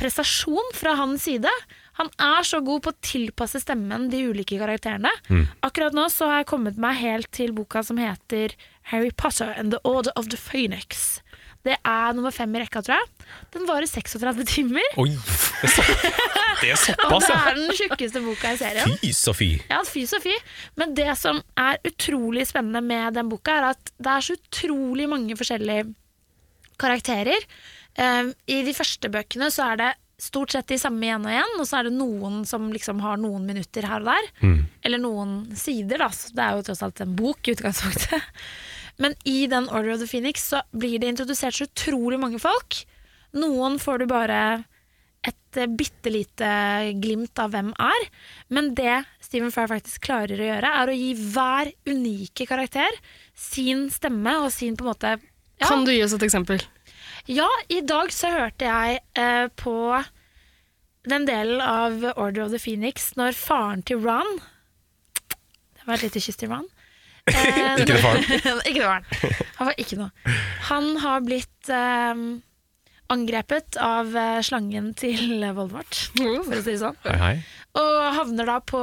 Speaker 3: prestasjon fra hans side Han er så god på å tilpasse stemmen de ulike karakterene.
Speaker 2: Mm.
Speaker 3: Akkurat nå så har jeg kommet meg helt til boka som heter Harry Potter and the Order of the Phoenix. Det er nummer fem i rekka, tror jeg. Den varer 36 timer.
Speaker 2: Oi! Det er, så, det er
Speaker 3: Og
Speaker 2: såpass,
Speaker 3: det
Speaker 2: ja!
Speaker 3: er den tjukkeste boka i serien.
Speaker 2: Fy, så fy.
Speaker 3: Ja, fy så fy. Men det som er utrolig spennende med den boka, er at det er så utrolig mange forskjellige karakterer. Eh, I de første bøkene så er det stort sett de samme igjen og igjen, og så er det noen som liksom har noen minutter her og der. Eller noen sider, da. Så det er jo tross alt en bok i utgangspunktet. Men i den Order of the Phoenix så blir det introdusert så utrolig mange folk. Noen får du bare et eh, bitte lite glimt av hvem er. Men det Stephen Fry faktisk klarer å gjøre, er å gi hver unike karakter sin stemme og sin på en måte ja,
Speaker 4: Kan du gi oss et eksempel?
Speaker 3: ja, i dag så hørte jeg eh, på den delen av Order of the Phoenix når faren til Ron Det var et lite kyss til Ron. Eh,
Speaker 2: Ikke det faren.
Speaker 3: ikke det faren. Han var ikke noe. Han har blitt eh, angrepet av eh, slangen til Voldemort, for å si det sånn.
Speaker 2: Hei, hei.
Speaker 3: Og havner da på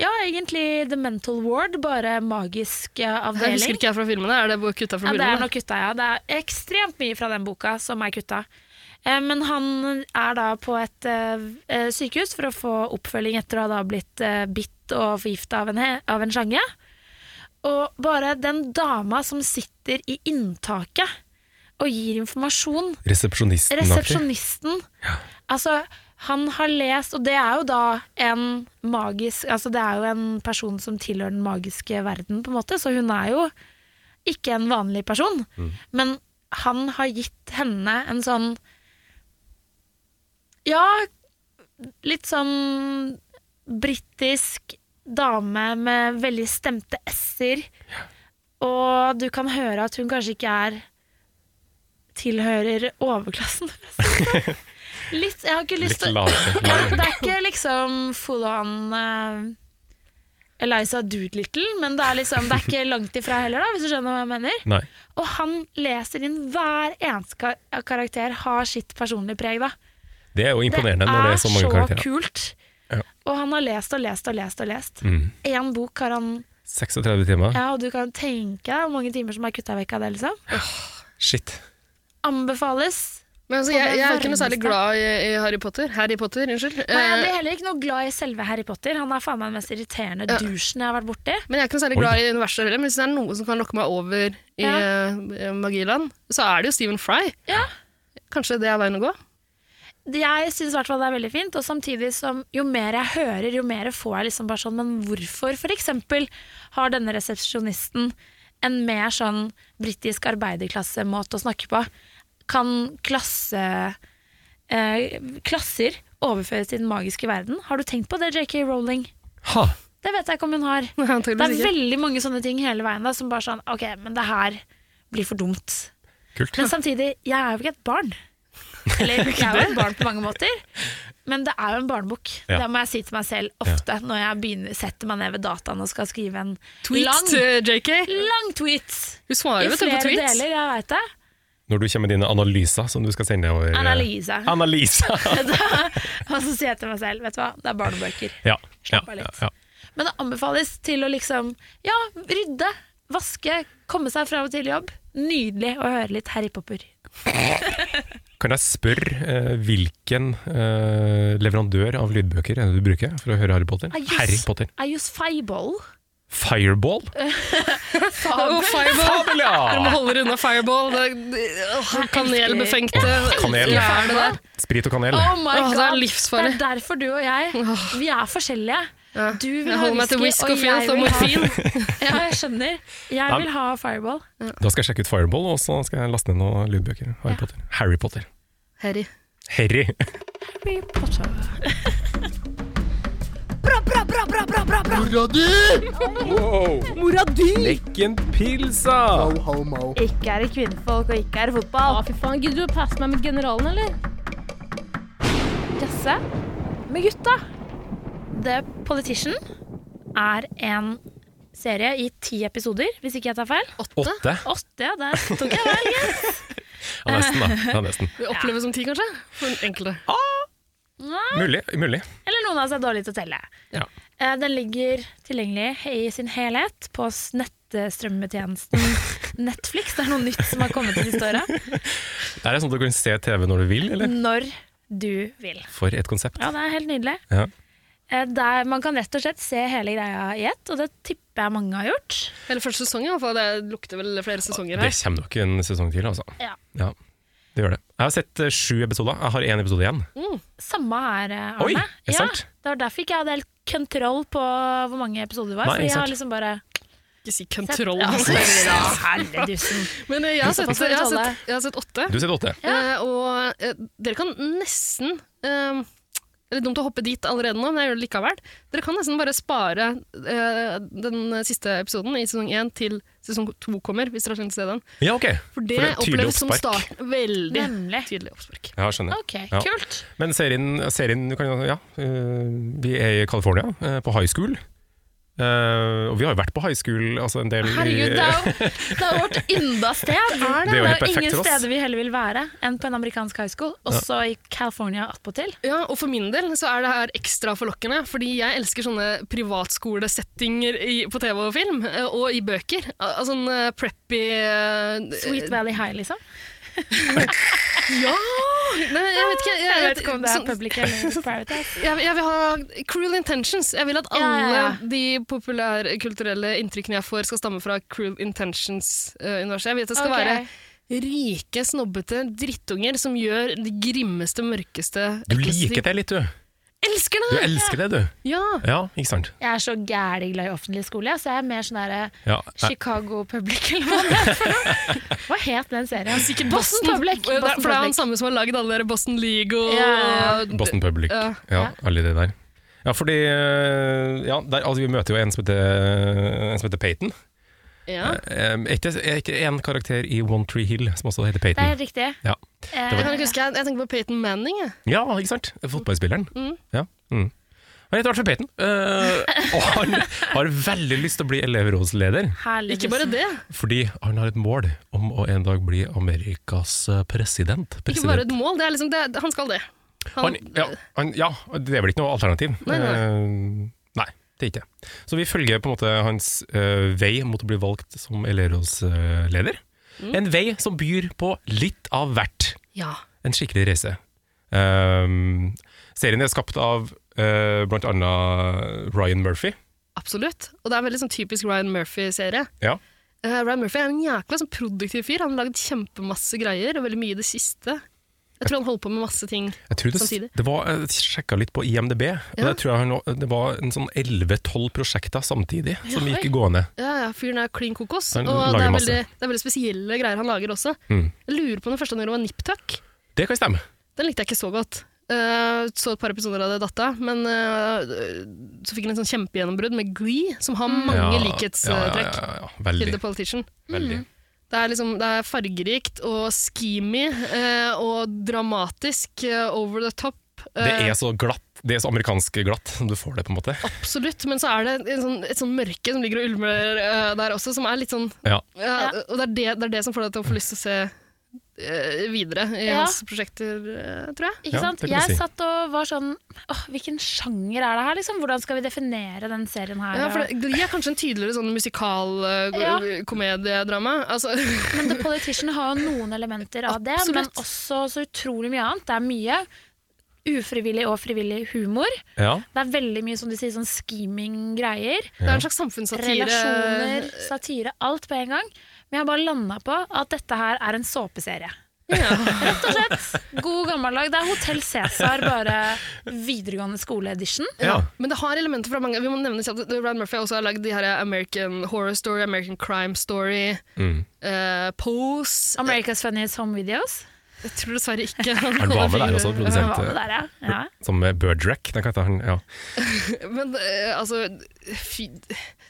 Speaker 3: ja, egentlig The Mental Ward, bare magisk eh,
Speaker 4: Det
Speaker 3: avdeling.
Speaker 4: husker ikke jeg fra filmene. Er det bare kutta fra
Speaker 3: Ja, det er
Speaker 4: filmene?
Speaker 3: nok kutta, ja. Det er ekstremt mye fra den boka som er kutta. Eh, Men han er da på et eh, eh, sykehus for å få oppfølging etter å ha da blitt eh, bitt og forgifta av en, he- av en slange. Og bare den dama som sitter i inntaket og gir informasjon
Speaker 2: Resepsjonisten. aktig.
Speaker 3: Resepsjonisten. Altså, han har lest Og det er jo da en magisk Altså, det er jo en person som tilhører den magiske verden, på en måte, så hun er jo ikke en vanlig person. Men han har gitt henne en sånn Ja, litt sånn britisk dame med veldig stemte s-er. Og du kan høre at hun kanskje ikke er tilhører overklassen. for å si det sånn. Litt, jeg har ikke lyst
Speaker 2: Litt
Speaker 3: til å
Speaker 2: lavere.
Speaker 3: ja, Det er ikke liksom full on eh, Eliza Doolittle, men det er, liksom, det er ikke langt ifra heller, da, hvis du skjønner hva jeg mener.
Speaker 2: Nei.
Speaker 3: Og han leser inn hver eneste ka- karakter har sitt personlige preg, da.
Speaker 2: Det er jo imponerende når det er så mange karakterer.
Speaker 3: kult.
Speaker 2: Ja.
Speaker 3: Og han har lest og lest og lest og lest.
Speaker 2: Mm.
Speaker 3: Én bok har han
Speaker 2: 36 timer.
Speaker 3: Ja, og du kan tenke deg hvor mange timer som er kutta vekk av det, liksom.
Speaker 2: Shit.
Speaker 3: Anbefales.
Speaker 4: Men altså,
Speaker 3: Og
Speaker 4: jeg,
Speaker 3: den
Speaker 4: jeg er ikke noe
Speaker 3: varmeste.
Speaker 4: særlig glad i, i Harry Potter. Harry Potter, unnskyld.
Speaker 3: Nei, jeg blir
Speaker 4: Eh,
Speaker 3: heller ikke noe glad i selve Harry Potter. Han er faen meg den mest irriterende
Speaker 4: Ja.
Speaker 3: douchen jeg har vært borti.
Speaker 4: men jeg er ikke noe særlig
Speaker 2: Oi.
Speaker 4: glad i universet heller, men hvis det er noe som kan lokke meg over i
Speaker 3: Ja.
Speaker 4: eh, magiland, så er det jo Stephen Fry.
Speaker 3: Ja.
Speaker 4: Kanskje det er veien å gå?
Speaker 3: Jeg syns i hvert fall det er veldig fint, og samtidig som jo mer jeg hører, jo mer får jeg liksom bare sånn Men hvorfor f.eks. har denne resepsjonisten en mer sånn britisk arbeiderklassemåte å snakke på? Kan klasse eh, klasser overføres til den magiske verden? Har du tenkt på det, JK Rowling?
Speaker 2: Ha.
Speaker 3: Det vet jeg ikke om hun har. Det er
Speaker 4: Antageligvis ikke.
Speaker 3: veldig mange sånne ting hele veien da, som bare sånn Ok, men det her blir for dumt.
Speaker 2: Kult.
Speaker 3: Men samtidig, jeg er jo ikke et barn. Eller jeg er jo et barn på mange måter, men det er jo en barnebok.
Speaker 2: Ja.
Speaker 3: Det må jeg si til meg selv ofte når jeg begynner, setter meg ned ved dataen og skal skrive en
Speaker 4: Tweet eh,
Speaker 3: lang,
Speaker 4: til JK.
Speaker 3: lang tweet.
Speaker 4: Hun
Speaker 3: I
Speaker 4: svarer jo
Speaker 3: flere
Speaker 4: på tweets.
Speaker 3: deler, jeg veit det.
Speaker 2: Når du kommer med dine analyser som du skal sende over eh,
Speaker 3: Analyse.
Speaker 2: Analyse.
Speaker 3: og så sier jeg til meg selv, vet du hva, det er barnebøker.
Speaker 2: ja. Ja,
Speaker 3: Slapp av
Speaker 2: ja,
Speaker 3: litt.
Speaker 2: ja.
Speaker 3: Men det anbefales til å liksom Ja, rydde, vaske, komme seg fra og til jobb. Nydelig å høre litt Harry Popper.
Speaker 2: Kan jeg spørre eh, hvilken eh, leverandør av lydbøker er det du bruker for å høre Harry Potter?
Speaker 3: Ah, yes.
Speaker 2: Harry Potter.
Speaker 3: I use fireball.
Speaker 2: Fireball?
Speaker 4: Og Fireball.
Speaker 2: Fabel,
Speaker 4: Dere må
Speaker 2: ja!
Speaker 4: holde unna Fireball. Det, det, åh, kanelbefengte
Speaker 2: Kanel.
Speaker 4: Hva er det der?
Speaker 2: Sprit og kanel.
Speaker 3: Oh my
Speaker 4: Åh, altså,
Speaker 3: god.
Speaker 4: det er
Speaker 3: Det
Speaker 4: livsfarlig.
Speaker 3: er derfor du og jeg Vi er forskjellige.
Speaker 4: Ja.
Speaker 3: Du vil
Speaker 4: Jeg
Speaker 3: ha
Speaker 4: holder meg til
Speaker 3: whisky, og
Speaker 4: whisk og
Speaker 3: jeg
Speaker 4: filth og
Speaker 3: vil ha-
Speaker 4: morfin.
Speaker 3: Ja, jeg skjønner. Jeg vil ha fireball.
Speaker 2: Da skal jeg sjekke ut Fireball, og så skal jeg laste ned noen lydbøker. Harry Potter. Harry Potter.
Speaker 4: Harry.
Speaker 2: Harry.
Speaker 3: Harry Potter.
Speaker 6: Mora di!
Speaker 2: Lekken pilsa!
Speaker 5: Ikke er det kvinnfolk, og ikke er det fotball.
Speaker 6: Å, fy faen. Gidder du å passe meg med generalen, eller?
Speaker 3: Jazze med gutta. The Politician er en serie i ti episoder, hvis ikke jeg tar feil.
Speaker 2: Åtte?
Speaker 3: Åtte, ja, der tok jeg feil. gitt.
Speaker 2: Ja, nesten, da. Ja, nesten.
Speaker 4: Vi opplever som ti, kanskje? For enkelte.
Speaker 2: Mulig. mulig.
Speaker 3: Eller noen av oss er dårlige til å telle.
Speaker 2: Ja.
Speaker 3: Eh, Den ligger tilgjengelig i sin helhet på s- nettstrømmetjenesten Netflix. Det er noe nytt som har kommet det siste året.
Speaker 2: Er det sånn at du kan se TV når du vil, eller?
Speaker 3: Når du vil.
Speaker 2: For et konsept.
Speaker 3: Ja, det er helt nydelig.
Speaker 2: Ja.
Speaker 3: Eh, Der man kan rett og slett se hele greia i ett, og det tipper jeg mange har gjort.
Speaker 4: Eller første sesong, i hvert fall. Det lukter vel flere sesonger
Speaker 2: Det
Speaker 4: her.
Speaker 2: kommer nok en sesong til, altså.
Speaker 3: Ja.
Speaker 2: Ja, det gjør det. Jeg har sett eh, sju episoder. Jeg har én episode igjen.
Speaker 3: Samme her, eh, Arne.
Speaker 2: Oi, er det
Speaker 3: ja,
Speaker 2: sant?
Speaker 3: det var derfor ikke jeg hadde helt kontroll på hvor mange episoder det var.
Speaker 2: Nei,
Speaker 3: for jeg
Speaker 2: sant.
Speaker 3: har liksom bare
Speaker 4: Ikke si kontroll.
Speaker 3: Ja,
Speaker 4: altså.
Speaker 3: sorry da, helledussen.
Speaker 4: Men eh, jeg har sett,
Speaker 3: Såpass får
Speaker 4: jeg
Speaker 3: du
Speaker 4: har
Speaker 3: tåle.
Speaker 4: sett, jeg har sett åtte.
Speaker 2: Du sier åtte.
Speaker 4: Eh, Og eh, dere kan nesten eh, Det er litt dumt å hoppe dit allerede nå, men jeg gjør det likevel. Dere kan nesten bare spare eh, den siste episoden i sesong én til sesong to kommer, hvis dere har tenkt å se den.
Speaker 2: Ja, ok.
Speaker 4: For det,
Speaker 2: For et tydelig
Speaker 4: oppleves som
Speaker 2: oppspark.
Speaker 4: start. Veldig
Speaker 3: Nemlig.
Speaker 4: tydelig oppspark.
Speaker 2: Ja, skjønner.
Speaker 3: Ok,
Speaker 2: Ja.
Speaker 3: kult.
Speaker 2: Men serien, serien du kan, jo- ja, eh, vi er i California, eh, på high school. Eh, og vi har jo vært på high school altså en del i-
Speaker 3: Herregud, det er jo det er jo vårt ynda sted. Er
Speaker 2: Det
Speaker 3: det?
Speaker 2: er jo
Speaker 3: det
Speaker 2: helt
Speaker 3: er jo
Speaker 2: perfekt for
Speaker 3: ingen
Speaker 2: oss.
Speaker 3: steder vi heller vil være enn på en amerikansk high school, også i California attpåtil.
Speaker 4: Ja, og for min del så er det her ekstra forlokkende, fordi jeg elsker sånne privatskolesettinger i, på TV og film, eh, og i bøker. Al altså en eh, preppy eh,
Speaker 3: Sweet Valley High, liksom.
Speaker 4: Ja! Nei, jeg vet ikke. Jeg,
Speaker 3: Jeg vet ikke om det er
Speaker 4: sånn-
Speaker 3: public eller private. altså.
Speaker 4: jeg, jeg vil ha cruel intentions. Jeg vil at alle
Speaker 3: Ja, ja, ja.
Speaker 4: de populærkulturelle inntrykkene jeg får, skal stamme fra cruel intentions-universet. jeg vil at det skal
Speaker 3: Ok.
Speaker 4: være rike, snobbete drittunger som gjør de grimmeste, mørkeste
Speaker 2: Du
Speaker 4: ekleste
Speaker 2: liker det litt, du.
Speaker 4: ting. Elsker
Speaker 2: Du
Speaker 4: det!
Speaker 2: elsker det, du.
Speaker 4: Ja!
Speaker 2: Ja, ikke sant?
Speaker 3: Jeg er så gæli glad i offentlig skole, ja, så jeg er mer sånn derre
Speaker 2: Ja, jeg,
Speaker 3: Chicago Public, eller hva det er for noe. Hva het den serien?
Speaker 4: Sikkert
Speaker 3: Boston Public.
Speaker 4: For det
Speaker 3: Boston
Speaker 4: er han
Speaker 3: Public.
Speaker 4: samme som har lagd alle dere Boston League og
Speaker 3: Ja,
Speaker 2: Boston Public.
Speaker 4: Ja.
Speaker 2: Ja, alle de der. Ja, fordi eh, ja, der, altså, Vi møter jo en som heter, en som heter Peyton.
Speaker 4: Ja.
Speaker 2: Eh, Er ikke er ikke en karakter i One Tree Hill som også heter
Speaker 3: Det er
Speaker 2: Peyton?
Speaker 3: helt riktig.
Speaker 2: Ja.
Speaker 3: Eh,
Speaker 4: Jeg kan ikke huske, jeg, jeg tenker på Peyton Manning. Jeg.
Speaker 2: ja, ikke sant? Fotballspilleren. Ja. Mm. Han heter i hvert fall Peyton, eh, og han har veldig lyst til å bli elevrådsleder.
Speaker 3: Herlig.
Speaker 4: Ikke bare det.
Speaker 2: Fordi han har et mål om å en dag bli Amerikas eh, president.
Speaker 4: Ikke bare et mål. Det er liksom, det, er- han skal det.
Speaker 2: Han, ja, han, ja, det er vel ikke noe alternativ.
Speaker 4: Nei, nei,
Speaker 2: Eh, nei, det er ikke det. Så vi følger på en måte hans eh, vei mot å bli valgt som elevrådsleder.
Speaker 4: Mm.
Speaker 2: En vei som byr på litt av hvert.
Speaker 4: Ja.
Speaker 2: En skikkelig reise. Ehm, serien er skapt av eh, blant annet Ryan Murphy.
Speaker 4: Absolutt. Og det er en veldig sånn typisk Ryan Murphy-serie.
Speaker 2: Ja.
Speaker 4: Eh, Ryan Murphy er en jækla sånn produktiv fyr. Han har laget kjempemasse greier, og veldig mye i det siste. Jeg tror han holder på med masse ting.
Speaker 2: Jeg tror det,
Speaker 4: Samtidig.
Speaker 2: det var, jeg sjekka litt på IMDb, og
Speaker 4: Ja.
Speaker 2: jeg tror jeg har nå- det var en sånn 11-12 prosjekter samtidig som gikk gående.
Speaker 4: Ja, ja, Fyren er klin kokos,
Speaker 2: Han
Speaker 4: og det
Speaker 2: lager
Speaker 4: er,
Speaker 2: masse.
Speaker 4: veldig, det er veldig spesielle greier han lager også.
Speaker 2: Mm.
Speaker 4: Jeg lurer på om den første han gjorde var nip-tuck.
Speaker 2: Det kan stemme.
Speaker 4: Den likte jeg ikke så godt. Eh, så et par episoder av det datt av, men eh, så fikk han en sånn kjempegjennombrudd med Glee, som har
Speaker 2: Mm.
Speaker 4: mange likhetstrekk.
Speaker 2: Ja, ja, ja, ja.
Speaker 4: Kill the
Speaker 2: Veldig.
Speaker 4: Politician.
Speaker 2: veldig.
Speaker 4: Det er, liksom, det er fargerikt og schemy eh, og dramatisk, eh, over the top.
Speaker 2: Det
Speaker 4: eh,
Speaker 2: er så glatt. Det er så amerikansk glatt som du får det, på en måte.
Speaker 4: Absolutt, men så er det en sånn, et sånn mørke som ligger og ulmer eh, der også, som er litt sånn
Speaker 2: Ja.
Speaker 4: ja, Og det er det, det er det som får deg til å få lyst til å se eh, videre i
Speaker 3: Ja.
Speaker 4: hans prosjekter, eh, tror jeg.
Speaker 3: Ikke
Speaker 2: Ja,
Speaker 3: sant?
Speaker 2: det kan du
Speaker 3: Jeg
Speaker 2: si.
Speaker 3: satt og var sånn åh, Hvilken sjanger er det her? liksom? Hvordan skal vi definere den serien her?
Speaker 4: Ja, for
Speaker 3: Og-
Speaker 4: det, Glee er kanskje en tydeligere sånn
Speaker 3: Ja.
Speaker 4: musikalkomediedrama. altså,
Speaker 3: Men The Politician har jo noen elementer av det, men
Speaker 4: Absolutt.
Speaker 3: også så utrolig mye annet. Det er mye ufrivillig og frivillig humor.
Speaker 2: ja.
Speaker 3: Det er veldig mye som de sier, sånn scheming-greier.
Speaker 4: det er en slags samfunnssatire.
Speaker 3: Relasjoner, satire, alt på en gang. Men jeg har bare landa på at dette her er en såpeserie. Rett og slett. God gammeldag. Det er Hotell Cæsar, bare videregående skole-edition.
Speaker 2: ja.
Speaker 4: Men det har elementer fra mange Vi må nevne at Ryan Murphy har også har lagd de her American Horror Story, American Crime Story,
Speaker 2: Mm.
Speaker 4: eh, Pose
Speaker 3: America's Funniest Home Videos.
Speaker 4: Jeg tror dessverre ikke
Speaker 2: Han var med der også,
Speaker 3: Hva
Speaker 2: produsent.
Speaker 3: var det der, ja? ja.
Speaker 2: Som Birdrack. Den kan hete han. Ja.
Speaker 4: Men eh, altså fy,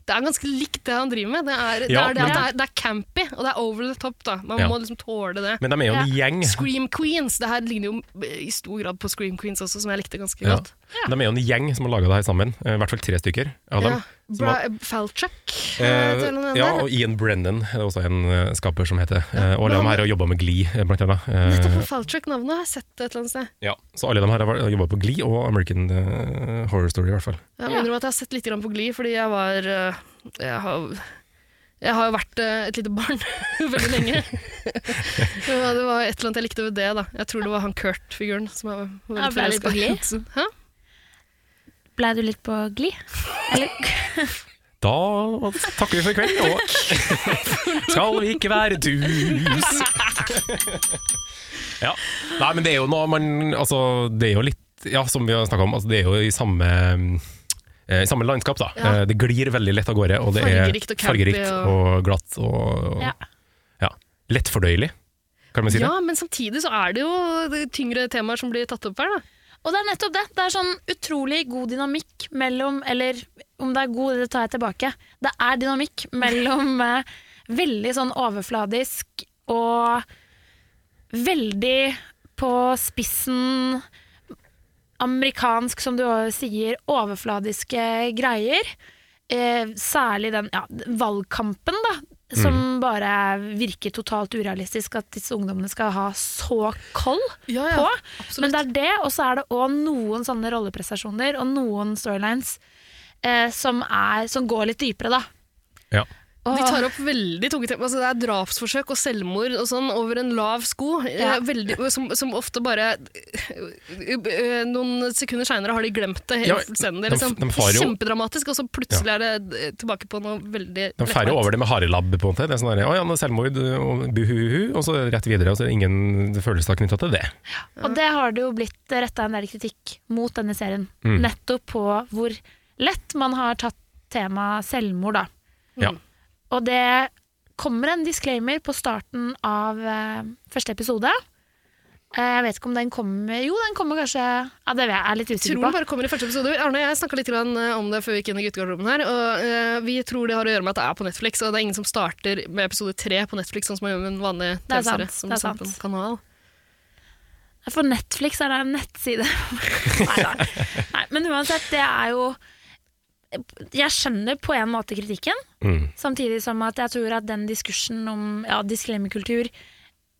Speaker 4: Det er ganske likt det han driver med. Det er, det,
Speaker 2: Ja,
Speaker 4: er det,
Speaker 2: men-
Speaker 4: at det, er, det er campy, og det er over the top. da Man
Speaker 2: Ja.
Speaker 4: må liksom tåle det.
Speaker 2: Men de er jo en gjeng.
Speaker 4: Scream Queens. Det her ligner jo i stor grad på Scream Queens også, som jeg likte ganske
Speaker 2: Ja.
Speaker 4: godt.
Speaker 2: De er jo en gjeng som har laga det her sammen. Eh, I hvert fall tre stykker av dem.
Speaker 4: Ja.
Speaker 2: Som
Speaker 4: Bra,
Speaker 2: har-
Speaker 4: Falchuk.
Speaker 2: Eh, ja, og Ian Brennan er det også en eh, skaper som heter. Eh, og alle de her har jobba med Glee, eh, blant annet.
Speaker 4: Nettopp
Speaker 2: Eh,
Speaker 4: på Falchuk-navnet har jeg sett det et eller annet sted.
Speaker 2: ja. Så alle de her har jobba på Glee og American eh, Horror Story, i hvert fall.
Speaker 4: Jeg må innrømme at jeg har sett litt grann på Gli, fordi jeg var eh, Jeg har, jeg har jo vært eh, et lite barn veldig lenge. det, var, det var et eller annet jeg likte ved det. da Jeg tror det var han Kurt-figuren som jeg var
Speaker 3: Ja,
Speaker 4: veldig
Speaker 3: ble litt på
Speaker 4: forelska i.
Speaker 3: Glee?
Speaker 4: Så- Hæ?
Speaker 3: Blei du litt på glid? Eller
Speaker 2: Da takker vi for i kveld, og skal vi ikke være dus? ja. Nei, men det er jo noe man Altså, det er jo litt Ja, som vi har snakka om, altså, det er jo i samme eh, i samme landskap, da.
Speaker 4: Ja.
Speaker 2: Eh, Det glir veldig lett av gårde, og det
Speaker 4: Fargerikt
Speaker 2: er
Speaker 4: og campy
Speaker 2: fargerikt og,
Speaker 4: og-
Speaker 2: glatt og, og
Speaker 3: Ja.
Speaker 2: ja. Lettfordøyelig, kan man si
Speaker 4: Ja, men samtidig så er det jo det tyngre temaer som blir tatt opp her. da
Speaker 3: Og det er nettopp det. Det er sånn utrolig god dynamikk mellom Eller om det er god, det tar jeg tilbake. Det er dynamikk mellom eh, veldig sånn overfladisk og veldig på spissen amerikansk, som du også sier, overfladiske greier. Eh, særlig den ja, valgkampen, da. Som
Speaker 4: Mm.
Speaker 3: bare virker totalt urealistisk at disse ungdommene skal ha så koll
Speaker 4: Ja, ja,
Speaker 3: på.
Speaker 4: absolutt.
Speaker 3: Men det er det, og så er det òg noen sånne rolleprestasjoner og noen storylines eh, som, er, som går litt dypere, da.
Speaker 2: det? Ja.
Speaker 3: Og,
Speaker 4: De tar opp veldig tunge temaer. Altså, det er drapsforsøk og selvmord og sånn over en lav sko. Eh,
Speaker 3: Ja.
Speaker 4: Veldig, som, som ofte bare eh, Noen sekunder seinere har de glemt det
Speaker 2: Ja,
Speaker 4: helt fullstendig.
Speaker 2: de-
Speaker 4: Liksom.
Speaker 2: de farer jo-
Speaker 4: Kjempedramatisk, og så plutselig er det eh, tilbake på noe veldig
Speaker 2: De feirer over det med harelabb, på en måte. Det er sånn der, å ja, nå er det selvmord, og buhuhu, og så rett videre, og så er det ingen følelser knytta til det.
Speaker 3: og det har det jo blitt retta en del kritikk mot denne serien. Nettopp på hvor lett man har tatt temaet selvmord, da.
Speaker 2: Ja.
Speaker 3: Og det kommer en disclaimer på starten av eh, første episode. Eh, Jeg vet ikke om den kommer Jo, den kommer kanskje Ja, det er jeg litt
Speaker 4: Tror
Speaker 3: usikker
Speaker 4: den
Speaker 3: på.
Speaker 4: bare kommer i første episode. Arne og jeg snakka litt grann eh, om det før vi gikk inn i guttegarderoben her. Og eh, vi tror det har å gjøre med at det er på Netflix, og det er ingen som starter med episode tre på Netflix, sånn som man gjør med en vanlig
Speaker 3: Det er sant,
Speaker 4: TV-serie. som
Speaker 3: det er
Speaker 4: liksom på
Speaker 3: sant.
Speaker 4: en kanal.
Speaker 3: For Netflix er det en nettside. Nei da. Nei, Men uansett, det er jo Jeg skjønner på en måte kritikken,
Speaker 2: Mm.
Speaker 3: samtidig som at jeg tror at den diskursen om ja, disklimikultur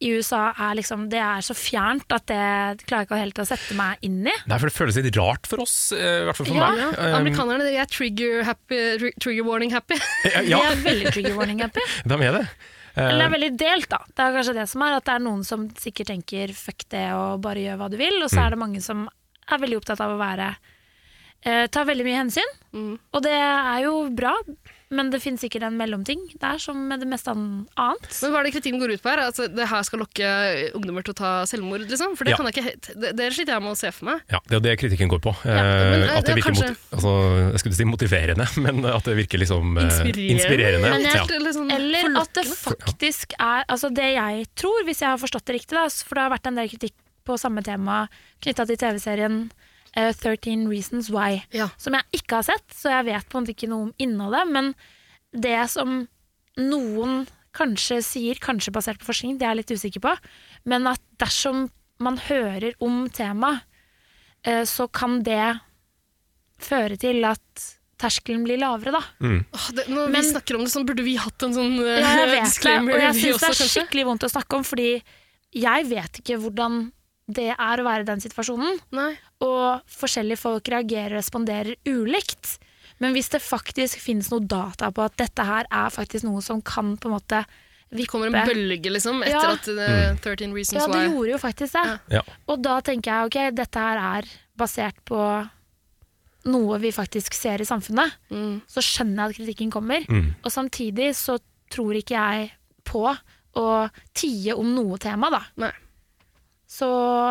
Speaker 3: i USA er liksom Det er så fjernt at det klarer jeg ikke helt å sette meg inn i.
Speaker 2: Nei, for det føles litt rart for oss, eh, i hvert fall for
Speaker 3: Ja,
Speaker 2: meg.
Speaker 4: Ja,
Speaker 2: Eh,
Speaker 4: Amerikanerne de er trigger, happy, tri- trigger warning happy.
Speaker 2: eh,
Speaker 3: Vi
Speaker 2: ja,
Speaker 3: er veldig trigger warning happy.
Speaker 2: de er det. Eh,
Speaker 3: Eller det er veldig delt, da. Det er kanskje det som er, at det er noen som sikkert tenker fuck det og bare gjør hva du vil, og så er det mange som er veldig opptatt av å være eh, Ta veldig mye hensyn, og det er jo bra, men det finnes sikkert en mellomting der som med det meste an- annet.
Speaker 4: Men hva er det kritikken går ut på her? Altså, det her skal lokke eh, ungdommer til å ta selvmord, liksom? For det,
Speaker 2: Ja.
Speaker 4: kan jeg ikke, helt- det, det sliter jeg med å se for meg.
Speaker 2: ja, det er jo det kritikken går på. Eh,
Speaker 4: men, eh,
Speaker 2: at det
Speaker 4: det er
Speaker 2: virker mot, altså, jeg skulle si motiverende, men at det virker liksom eh,
Speaker 4: Inspirerende.
Speaker 2: inspirerende.
Speaker 3: Men jeg-
Speaker 2: ja.
Speaker 4: Helt, eller sånn
Speaker 3: Eller at det
Speaker 4: forlokkende.
Speaker 3: faktisk er Altså det jeg tror, hvis jeg har forstått det riktig, da, s- for det har vært en del kritikk på samme tema knytta til TV-serien eh, 13 Reasons Why.
Speaker 4: Ja.
Speaker 3: som jeg ikke har sett, så jeg vet på en måte ikke noe om innholdet. Men det som noen kanskje sier, kanskje basert på forskning, det er jeg litt usikker på, men at dersom man hører om temaet, eh, så kan det føre til at terskelen blir lavere, da.
Speaker 4: Åh, det, når
Speaker 3: Men-
Speaker 4: vi snakker om det, sånn, burde vi hatt en sånn eh,
Speaker 3: Ja, jeg vet det,
Speaker 4: disclaimer,
Speaker 3: og jeg
Speaker 4: vi
Speaker 3: syns det
Speaker 4: også,
Speaker 3: er
Speaker 4: kanskje?
Speaker 3: skikkelig vondt å snakke om, fordi jeg vet ikke hvordan det er å være i den situasjonen.
Speaker 4: Nei.
Speaker 3: og forskjellige folk reagerer og responderer ulikt. Men hvis det faktisk finnes noe data på at dette her er faktisk noe som kan på en måte
Speaker 4: Det
Speaker 3: vippe
Speaker 4: kommer en bølge, liksom, etter
Speaker 3: Ja.
Speaker 4: at eh,
Speaker 2: Mm.
Speaker 4: 13 Reasons
Speaker 3: Ja, det
Speaker 4: Why
Speaker 3: gjorde jo faktisk det.
Speaker 2: Ja.
Speaker 3: Og da tenker jeg ok, dette her er basert på noe vi faktisk ser i samfunnet.
Speaker 4: Mm.
Speaker 3: Så skjønner jeg at kritikken kommer.
Speaker 2: Mm.
Speaker 3: Og samtidig så tror ikke jeg på å tie om noe tema, da.
Speaker 4: Nei.
Speaker 3: Så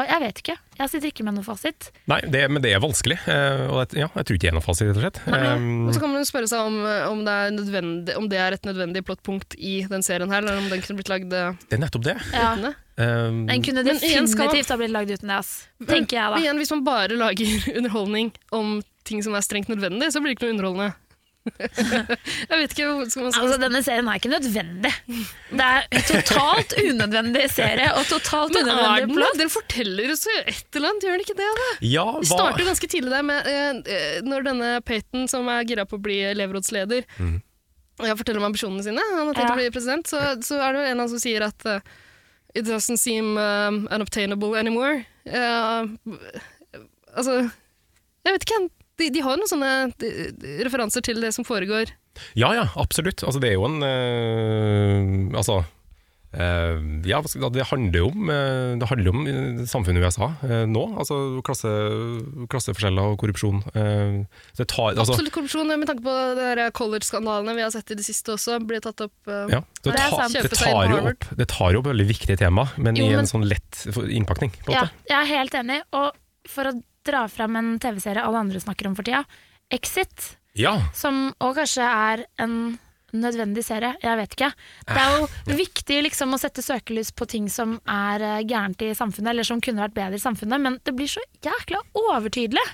Speaker 3: jeg vet ikke. Jeg sitter ikke med noe fasit.
Speaker 2: Nei, det, men det er vanskelig. eh, og det, ja, jeg tror ikke jeg er noen fasit, rett og slett.
Speaker 4: Og så
Speaker 2: Eh,
Speaker 4: kan man jo spørre seg om, om, det er nødvendig, om det er et nødvendig plottpunkt i den serien her, eller om den kunne blitt lagd eh,
Speaker 2: det er nettopp det.
Speaker 3: Ja.
Speaker 4: uten det.
Speaker 2: Eh,
Speaker 3: Den kunne
Speaker 4: Men igjen skal man-
Speaker 3: definitivt ha blitt lagd uten det, ass. tenker jeg da.
Speaker 4: Men igjen, hvis man bare lager underholdning om ting som er strengt nødvendig, så blir det ikke noe underholdende. jeg vet ikke hvor skal man
Speaker 3: Altså, Denne serien er ikke nødvendig. Det er en totalt unødvendig serie og totalt
Speaker 4: Men er
Speaker 3: unødvendig
Speaker 4: den det?
Speaker 3: plott.
Speaker 4: Den forteller oss jo et eller annet, gjør den ikke det? da?
Speaker 2: ja,
Speaker 4: Vi
Speaker 2: hva,
Speaker 4: starter ganske tidlig der med eh, eh, når denne Peyton, som er gira på å bli elevrådsleder,
Speaker 2: Mm.
Speaker 4: ja, forteller om ambisjonene sine, han har tenkt
Speaker 3: Ja.
Speaker 4: å bli president, så, så er det jo en av dem som sier at eh, it doesn't seem um, unobtainable anymore. Eh, altså, jeg vet ikke, de, de har jo noen sånne de, de, referanser til det som foregår.
Speaker 2: ja, ja, absolutt. Altså, det er jo en eh, Altså eh, ja, hva skal- det handler jo om, eh, det handler om eh, samfunnet i USA eh, nå. Altså klasse, klasseforskjeller og korrupsjon. Eh, så det tar, altså,
Speaker 4: Absolutt korrupsjon, med tanke på de der college-skandalene vi har sett i det siste også, blir tatt opp. eh,
Speaker 2: ja, så det,
Speaker 3: Det er
Speaker 2: tar-
Speaker 3: sant.
Speaker 2: det,
Speaker 4: Kjøpe seg
Speaker 2: tar
Speaker 4: inn på
Speaker 2: jo
Speaker 4: Harvard.
Speaker 2: opp, det tar jo opp veldig viktige tema, men
Speaker 3: Jo,
Speaker 2: i
Speaker 3: men-
Speaker 2: en sånn lett innpakning. På en
Speaker 3: Ja,
Speaker 2: måte.
Speaker 3: jeg er helt enig. Og for å dra fram en TV-serie alle andre snakker om for tida, Exit,
Speaker 2: Ja.
Speaker 3: som òg kanskje er en nødvendig serie, jeg vet ikke. Det er jo viktig liksom å sette søkelys på ting som er eh, gærent i samfunnet, eller som kunne vært bedre i samfunnet, men det blir så jækla overtydelig.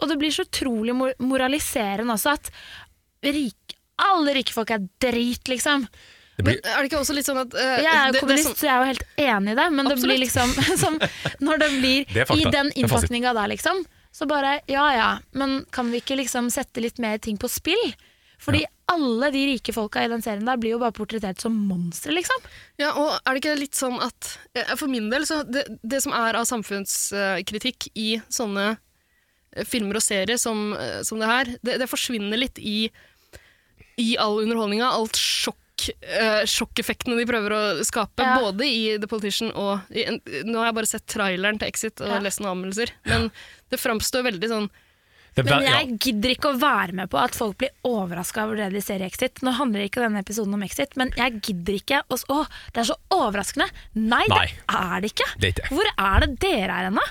Speaker 3: Og det blir så utrolig mor- moraliserende også at rik, alle rike folk er drit, liksom.
Speaker 2: Det
Speaker 4: Men
Speaker 2: blir,
Speaker 4: er det ikke også litt sånn at eh,
Speaker 3: Jeg er jo
Speaker 4: det- det
Speaker 3: kommunist,
Speaker 4: som-
Speaker 3: så jeg er jo helt enig i det, men det blir liksom som, Når det blir
Speaker 2: Det er fakta.
Speaker 3: i den
Speaker 2: Det er fasit.
Speaker 3: innpakninga der, liksom, så bare ja ja, men kan vi ikke liksom sette litt mer ting på spill? Fordi alle de rike folka i den serien der blir jo bare portrettert som monstre, liksom.
Speaker 4: Ja, og er det ikke litt sånn at eh, For min del, så det, det som er av samfunnskritikk i sånne eh, filmer og serier som, eh, som det her, det, det forsvinner litt i, i all underholdninga. Alt sjokk, eh, sjokkeffektene de prøver å skape,
Speaker 3: Ja.
Speaker 4: både i The Politician og i, en- Nå har jeg bare sett traileren til Exit og
Speaker 3: Ja.
Speaker 4: lest noen anmeldelser, men det framstår veldig sånn
Speaker 2: det,
Speaker 3: Men
Speaker 2: ja.
Speaker 3: jeg gidder ikke å være med på at folk blir overraska over det de ser i Exit. Nå handler ikke denne episoden om Exit, men jeg gidder ikke å s- Å, det er så overraskende! Nei,
Speaker 2: Nei.
Speaker 3: det er det ikke!
Speaker 2: Det er ikke.
Speaker 3: Hvor er det dere er hen, da?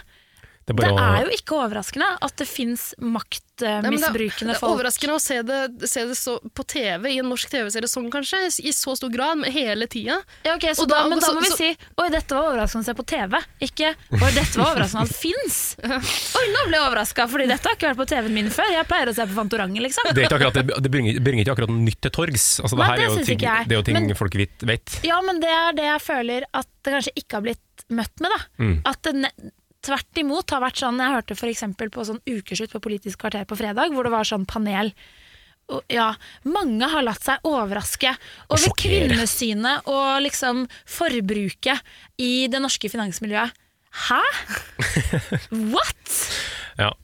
Speaker 2: Det er
Speaker 3: Det
Speaker 2: bare å-
Speaker 3: er jo ikke overraskende at det fins
Speaker 4: Nei, men det er-
Speaker 3: maktmisbrukende
Speaker 4: Det er
Speaker 3: folk.
Speaker 4: overraskende å se det, se det så, på TV, i en norsk TV-serie sånn kanskje, i så stor grad, men hele tida.
Speaker 3: Ja, ok, så
Speaker 4: Og
Speaker 3: da,
Speaker 4: da-
Speaker 3: men da
Speaker 4: så-
Speaker 3: må vi
Speaker 4: så-
Speaker 3: si Oi, dette var overraskende å se på TV. Ikke Oi, dette var overraskende at det fins. Oi, nå ble jeg overraska, Fordi dette har ikke vært på TV-en min før. Jeg pleier å se på Fantorangen, liksom.
Speaker 2: det, er ikke akkurat, det- det bringer, bringer ikke akkurat nytt til torgs. Altså, det,
Speaker 3: Nei,
Speaker 2: her
Speaker 3: det
Speaker 2: er jo
Speaker 3: synes
Speaker 2: ting,
Speaker 3: ikke jeg.
Speaker 2: det er jo ting
Speaker 3: Men-
Speaker 2: folk vet. vet.
Speaker 3: Ja, men det er det jeg føler at det kanskje ikke har blitt møtt med, da. At det, ne- tvert imot har vært sånn Jeg hørte f.eks. på sånn ukeslutt på Politisk kvarter på fredag, hvor det var sånn panel. Og, ja, mange har latt seg overraske over
Speaker 2: sjokkere.
Speaker 3: kvinnesynet og liksom forbruket i det norske finansmiljøet. Hæ?! What?!
Speaker 2: Ja.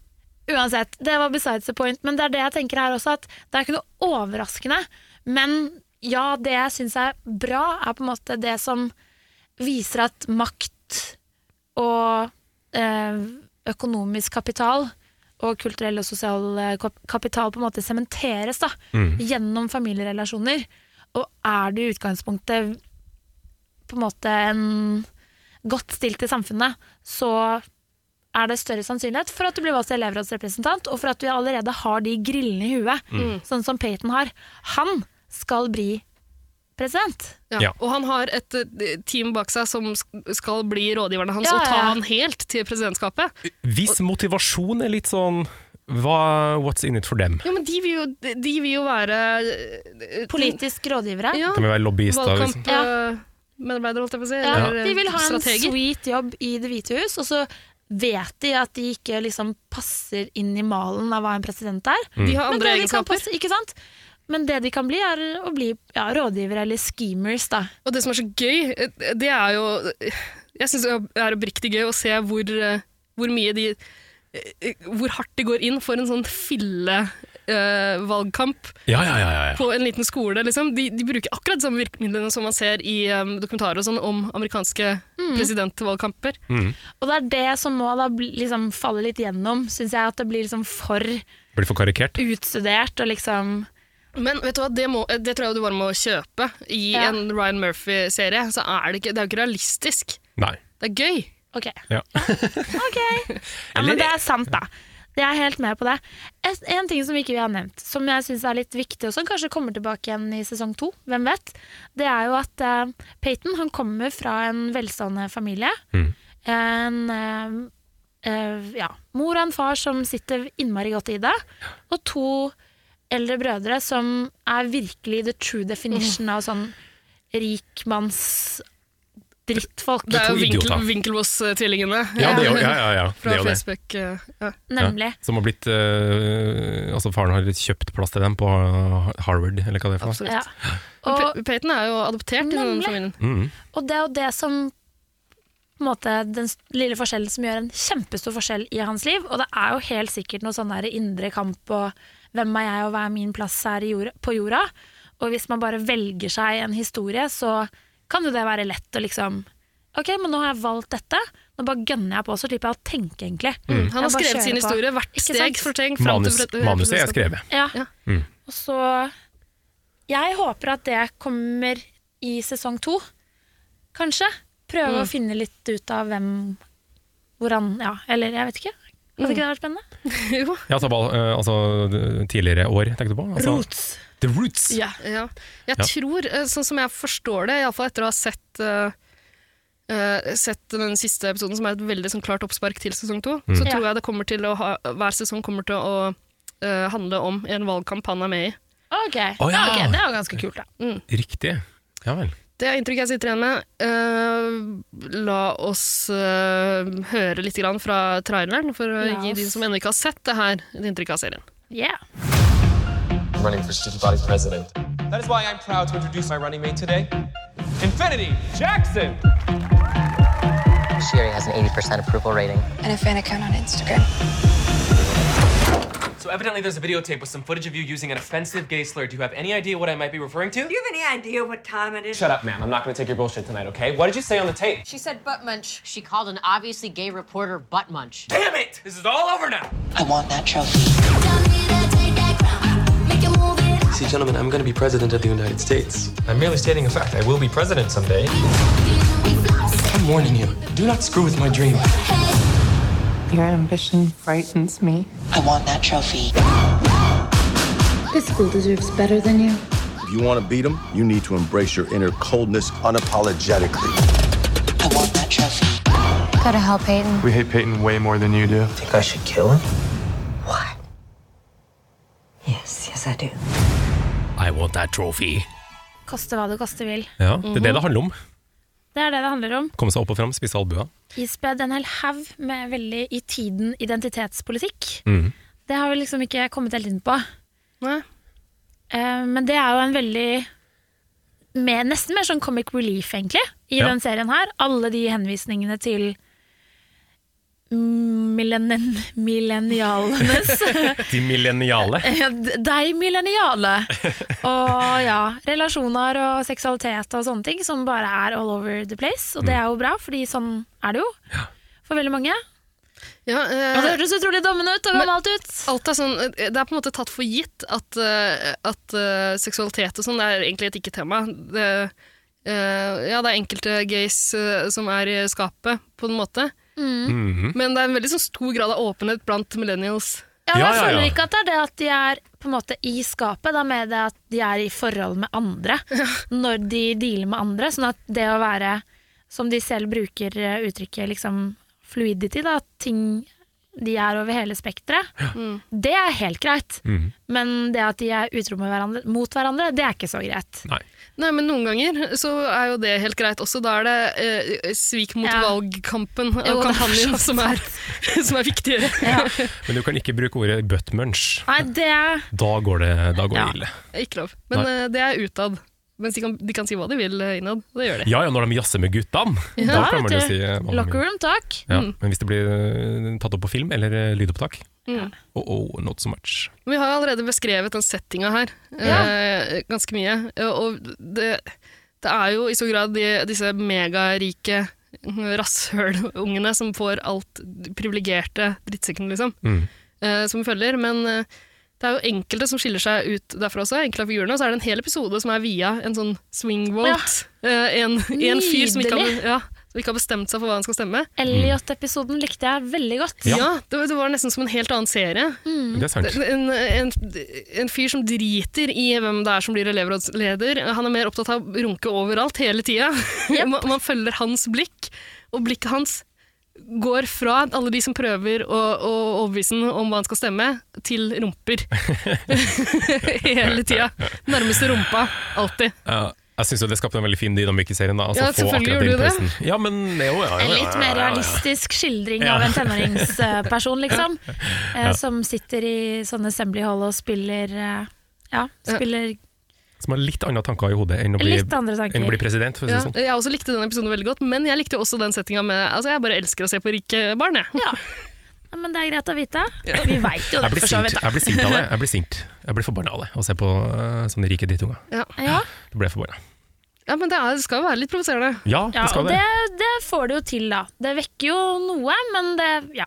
Speaker 3: Uansett, det var besides the point, men det er det jeg tenker her også, at det er ikke noe overraskende. Men ja, det jeg syns er bra, er på en måte det som viser at makt og eh, økonomisk kapital og kulturell og sosial eh, kap- kapital på en måte sementeres da, gjennom familierelasjoner. Og er du i utgangspunktet på en måte en godt stilt i samfunnet, så er det større sannsynlighet for at du blir valgt til elevrådsrepresentant, og for at du allerede har de grillene i huet,
Speaker 4: Mm.
Speaker 3: sånn som Peyton har. Han skal bli president.
Speaker 4: Ja.
Speaker 2: Ja.
Speaker 4: Og han har et eh, team bak seg som sk- skal bli rådgiverne hans
Speaker 3: Ja,
Speaker 4: og ta
Speaker 3: ja.
Speaker 4: han helt til presidentskapet.
Speaker 2: Hvis motivasjon er litt sånn hva, What's in it for dem?
Speaker 4: Ja, men de vil jo, de vil jo være eh,
Speaker 3: Politisk rådgivere.
Speaker 4: Ja,
Speaker 2: De må være lobbyister. Liksom.
Speaker 4: valgkamp eh, medarbeidere, holdt jeg på å si.
Speaker 3: Ja,
Speaker 4: eller, eh,
Speaker 3: de vil ha en
Speaker 4: strateger.
Speaker 3: sweet jobb i Det hvite hus, og så vet de at de ikke liksom passer inn i malen av hva en president er.
Speaker 4: De har
Speaker 3: Men
Speaker 4: andre
Speaker 3: det de kan
Speaker 4: egenskaper.
Speaker 3: passe- ikke sant? Men det de kan bli, er å bli ja, rådgivere eller schemers, da.
Speaker 4: Og det som er så gøy, eh, det er jo Jeg syns det er oppriktig gøy å se hvor, eh, hvor mye de eh, Hvor hardt de går inn for en sånn eh, fillevalgkamp
Speaker 2: Ja, ja, ja, ja, ja.
Speaker 4: på en liten skole. Liksom. De, de bruker akkurat de samme virkemidlene som man ser i eh, dokumentarer og sånn om amerikanske
Speaker 3: Mm.
Speaker 4: presidentvalgkamper.
Speaker 3: Og det er det som må da bli, liksom, falle litt gjennom, syns jeg. At det blir liksom for
Speaker 2: Blir for karikert.
Speaker 3: utstudert og liksom
Speaker 4: Men vet du hva, det, må, det tror jeg du bare må kjøpe. I
Speaker 3: Ja.
Speaker 4: en Ryan Murphy-serie så er det, ikke, det er jo ikke realistisk.
Speaker 2: Nei.
Speaker 4: Det er gøy.
Speaker 3: Ok.
Speaker 2: Ja.
Speaker 3: ok. Ja, men det er sant, da. Det er helt med på det. Et, en ting som ikke vi har nevnt, som jeg syns er litt viktig, og som kanskje kommer tilbake igjen i sesong to, hvem vet, det er jo at eh, Peyton han kommer fra en velstående familie. En eh, eh, ja, mor og en far som sitter innmari godt i det, og to eldre brødre som er virkelig the true definition av sånn rikmanns drittfolk.
Speaker 4: Det er jo
Speaker 2: to
Speaker 4: vinkel,
Speaker 2: idioter.
Speaker 4: Winkelvoss-tvillingene
Speaker 2: Ja, det er jo, ja, ja, ja. Det
Speaker 4: fra
Speaker 2: er jo det.
Speaker 4: Facebook. eh, Ja.
Speaker 3: Nemlig.
Speaker 2: Ja. Som har blitt eh, Altså, faren har kjøpt plass til dem på Harvard, eller hva det er for noe.
Speaker 4: Absolutt.
Speaker 3: Ja.
Speaker 4: Men
Speaker 3: Og,
Speaker 4: Pe- Peyton er jo adoptert i den
Speaker 3: Nemlig.
Speaker 4: familien.
Speaker 2: Mm.
Speaker 3: og det er jo det som på en måte, den s- lille forskjellen som gjør en kjempestor forskjell i hans liv. Og det er jo helt sikkert noe sånn der indre kamp og hvem er jeg og hva er min plass her i jorda, på jorda. Og hvis man bare velger seg en historie, så kan jo det være lett å liksom Ok, men nå har jeg valgt dette. Nå bare gønner jeg på, så slipper jeg å tenke, egentlig.
Speaker 4: Han har
Speaker 3: Jeg bare
Speaker 4: skrevet sin
Speaker 3: kjører på.
Speaker 4: historie, hvert
Speaker 3: Ikke
Speaker 4: steg
Speaker 3: sant?
Speaker 4: for liksom. steg. fram til
Speaker 2: Manus,
Speaker 4: pres-
Speaker 2: manuset er
Speaker 4: presidentskapet.
Speaker 2: skrevet.
Speaker 3: Ja.
Speaker 4: Ja.
Speaker 2: Mm.
Speaker 3: Og så Jeg håper at det kommer i sesong to, kanskje. Prøve å finne litt ut av hvem Hvor han Ja, eller jeg vet ikke. Hadde ikke det vært spennende?
Speaker 4: Jo.
Speaker 2: Ja, altså, bal- eh, altså tidligere år, tenkte du på? Altså, The Roots!
Speaker 4: Ja. Jeg
Speaker 2: Ja.
Speaker 4: tror, eh, sånn som jeg forstår det, iallfall etter å ha sett eh, eh, sett den siste episoden, som er et veldig sånn, klart oppspark til sesong to, så
Speaker 3: Ja.
Speaker 4: tror jeg det kommer til å ha, hver sesong kommer til å eh, handle om en valgkamp han er med i.
Speaker 3: Ok,
Speaker 2: Å, ja.
Speaker 3: Ja, ok, det er jo ganske kult, da.
Speaker 2: Riktig. Ja vel.
Speaker 4: Det er inntrykket jeg sitter igjen med. Eh, la oss eh, høre litt grann fra traileren, for å
Speaker 3: La
Speaker 4: gi
Speaker 3: oss.
Speaker 4: de som ennå ikke har sett det her, et inntrykk av serien.
Speaker 3: Yeah.
Speaker 8: running for student body president. That is why I'm proud to introduce my running mate today, Infinity Jackson.
Speaker 9: She already has an 80% approval rating.
Speaker 10: and a fan account on Instagram.
Speaker 8: So evidently there's a videotape with some footage of you using an offensive gay slur. Do you have any idea what I might be referring to?
Speaker 11: you have any idea what time it is?
Speaker 8: Shut up, ma'am. I'm not going to take your bullshit tonight, okay? What did you say on the tape?
Speaker 10: She said butt munch.
Speaker 11: She called an obviously gay reporter butt munch.
Speaker 8: Damn it! This is all over now.
Speaker 9: I want that trophy.
Speaker 8: See, gentlemen, I'm going to be president of the United States. I'm merely stating a fact. I will be president someday. I'm warning you. Do not screw with my dream.
Speaker 10: Your ambition frightens me.
Speaker 9: I want that trophy.
Speaker 11: This school deserves better than you.
Speaker 7: If you want to beat them, you need to embrace your inner coldness unapologetically.
Speaker 9: I want that trophy.
Speaker 10: Gotta help Peyton.
Speaker 8: We hate Peyton way more than you do.
Speaker 9: Think I should kill him?
Speaker 10: What? Yes, yes, I do.
Speaker 2: I want that trophy.
Speaker 3: Koste hva det koste vil.
Speaker 8: Mhm.
Speaker 2: Ja, Det er det det handler om.
Speaker 3: Det er det det handler om.
Speaker 2: Komme seg opp og fram, spise albua.
Speaker 3: ispedd en hel haug med veldig i tiden identitetspolitikk.
Speaker 2: Mhm.
Speaker 3: Det har vi liksom ikke kommet helt inn på.
Speaker 4: Nei.
Speaker 3: Eh, men det er jo en veldig mer- Nesten mer sånn comic relief, egentlig, i
Speaker 2: Ja.
Speaker 3: den serien her. Alle de henvisningene til millenn- millennialenes
Speaker 2: De millenniale.
Speaker 3: Ja, d- Deg, millenniale! Og ja, relasjoner og seksualitet og sånne ting som bare er all over the place.
Speaker 4: Mm.
Speaker 3: Og det er jo bra, fordi sånn er det jo for veldig mange.
Speaker 4: Ja, eh,
Speaker 3: Og det hørtes utrolig dommende ut og
Speaker 4: Men-
Speaker 3: gammelt ut.
Speaker 4: Alt er sånn, eh, det er på en måte tatt for gitt at, eh, at eh, seksualitet og sånn er egentlig et ikke-tema. Det, eh, ja, det er enkelte gays eh, som er i skapet, på en måte.
Speaker 3: Mm.
Speaker 2: Mhm.
Speaker 4: Men det er en veldig sånn stor grad av åpenhet blant millennials.
Speaker 2: Ja,
Speaker 3: Ja, men jeg
Speaker 2: ja, ja.
Speaker 3: føler ikke at det er det at de er på en måte i skapet, da med det at de er i forhold med andre når de dealer med andre. Sånn at det å være, som de selv bruker eh, uttrykket liksom fluidity, da, at ting de er over hele spekteret, det er helt greit.
Speaker 2: Mhm.
Speaker 3: Men det at de er utro med hverandre, mot hverandre, det er ikke så greit.
Speaker 2: Nei.
Speaker 4: Nei, men noen ganger så er jo det helt greit også. Da er det eh, svik mot
Speaker 3: Ja.
Speaker 4: valgkampen
Speaker 3: Jo,
Speaker 4: og
Speaker 3: det er
Speaker 4: kampanjen
Speaker 3: så
Speaker 4: som er, som er viktigere.
Speaker 2: Men du kan ikke bruke ordet buttmunch.
Speaker 3: Nei, det er
Speaker 2: Da går det, da går
Speaker 3: Ja.
Speaker 2: det ille.
Speaker 4: Ikke lov. Men
Speaker 2: Nei.
Speaker 4: eh, det er utad. Mens de kan, de kan si hva de vil eh, innad. og Det gjør de.
Speaker 2: Ja ja, når de jazzer med guttene! da kan man jo
Speaker 3: vet
Speaker 2: si
Speaker 3: du.
Speaker 2: eh, mamma mia.
Speaker 3: Locker room talk.
Speaker 2: Ja,
Speaker 8: Mm.
Speaker 2: Men hvis det blir eh, tatt opp på film eller eh, lydopptak
Speaker 4: Mm.
Speaker 2: Oh, oh, not so much.
Speaker 4: Vi har jo allerede beskrevet den settinga her eh, ganske mye. Eh, Og det, det er jo i så grad de, disse megarike eh, rasshølungene som får alt privilegerte drittsekken, liksom,
Speaker 2: Mm.
Speaker 4: eh, som følger. Men eh, det er jo enkelte som skiller seg ut derfra også. enkelte av figurene, Og så er det en hel episode som er via en sånn swing vote. Eh, en, en fyr som ikke,
Speaker 3: Nydelig.
Speaker 4: har, ja, som ikke har bestemt seg for hva han skal stemme.
Speaker 3: Elliot-episoden likte jeg veldig godt.
Speaker 4: Ja, det, var- det var nesten som en helt annen serie.
Speaker 8: Mm.
Speaker 2: Det er sant.
Speaker 4: En, en, en fyr som driter i hvem det er som blir elevrådsleder. Han er mer opptatt av å runke overalt hele tida. Man, man følger hans blikk, og blikket hans går fra alle de som prøver å, å overbevise ham om hva han skal stemme, til rumper. hele tida. Nærmeste rumpa. Alltid.
Speaker 2: Ja, jeg syns det skapte en veldig fin dynamikk i serien. Da. Altså,
Speaker 4: Ja,
Speaker 2: få
Speaker 4: selvfølgelig
Speaker 2: akkurat den
Speaker 4: gjorde du det.
Speaker 2: pressen. Ja, men det er jo, ja, ja,
Speaker 3: En
Speaker 2: ja,
Speaker 3: litt
Speaker 2: ja, ja,
Speaker 3: mer
Speaker 2: ja.
Speaker 3: realistisk skildring
Speaker 2: Ja.
Speaker 3: av en tenåringsperson, liksom. eh,
Speaker 2: Ja.
Speaker 3: Som sitter i sånne assembly hall og spiller eh, Ja, spiller
Speaker 2: Som har litt andre tanker i hodet enn å bli,
Speaker 3: Litt andre tanker.
Speaker 2: enn å bli president. For å si
Speaker 4: Ja,
Speaker 2: det sånn.
Speaker 4: jeg også likte den episoden veldig godt, men jeg likte jo også den settinga med altså Jeg bare elsker å se på rike barn, jeg.
Speaker 3: Ja. ja, men det er greit å vite. Vi veit jo det,
Speaker 2: Jeg blir
Speaker 3: for så vidt.
Speaker 2: sint, jeg blir sint av det. Jeg blir sint. Jeg blir forbanna av det, å se på eh, sånne rike drittunger.
Speaker 4: Ja.
Speaker 3: Ja,
Speaker 2: Da blir jeg forbanna.
Speaker 4: Ja, men det, er, det skal jo være litt provoserende.
Speaker 2: Ja,
Speaker 3: ja
Speaker 2: det skal
Speaker 3: og
Speaker 2: det.
Speaker 3: det, det får det jo til, da. Det vekker jo noe, men det Ja.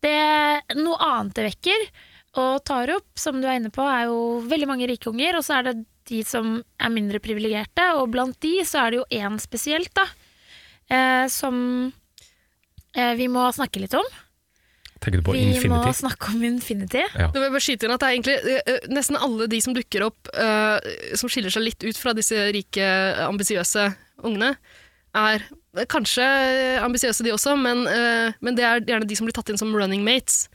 Speaker 3: Det, noe annet det vekker og tar opp, som du er inne på, er jo veldig mange rike unger, og så er det de som er mindre privilegerte, og blant de så er det jo én spesielt, da, eh, som eh, vi må snakke litt om.
Speaker 2: Tenker du på
Speaker 3: Vi må
Speaker 2: Infinity?
Speaker 3: snakke om Infinity.
Speaker 2: Ja.
Speaker 4: Det vil jeg bare skyte inn at det er egentlig eh, eh, Nesten alle de som dukker opp, eh, som skiller seg litt ut fra disse rike, eh, ambisiøse ungene, er eh, kanskje eh, ambisiøse de også, men, eh, men det er gjerne de som blir tatt inn som running mates,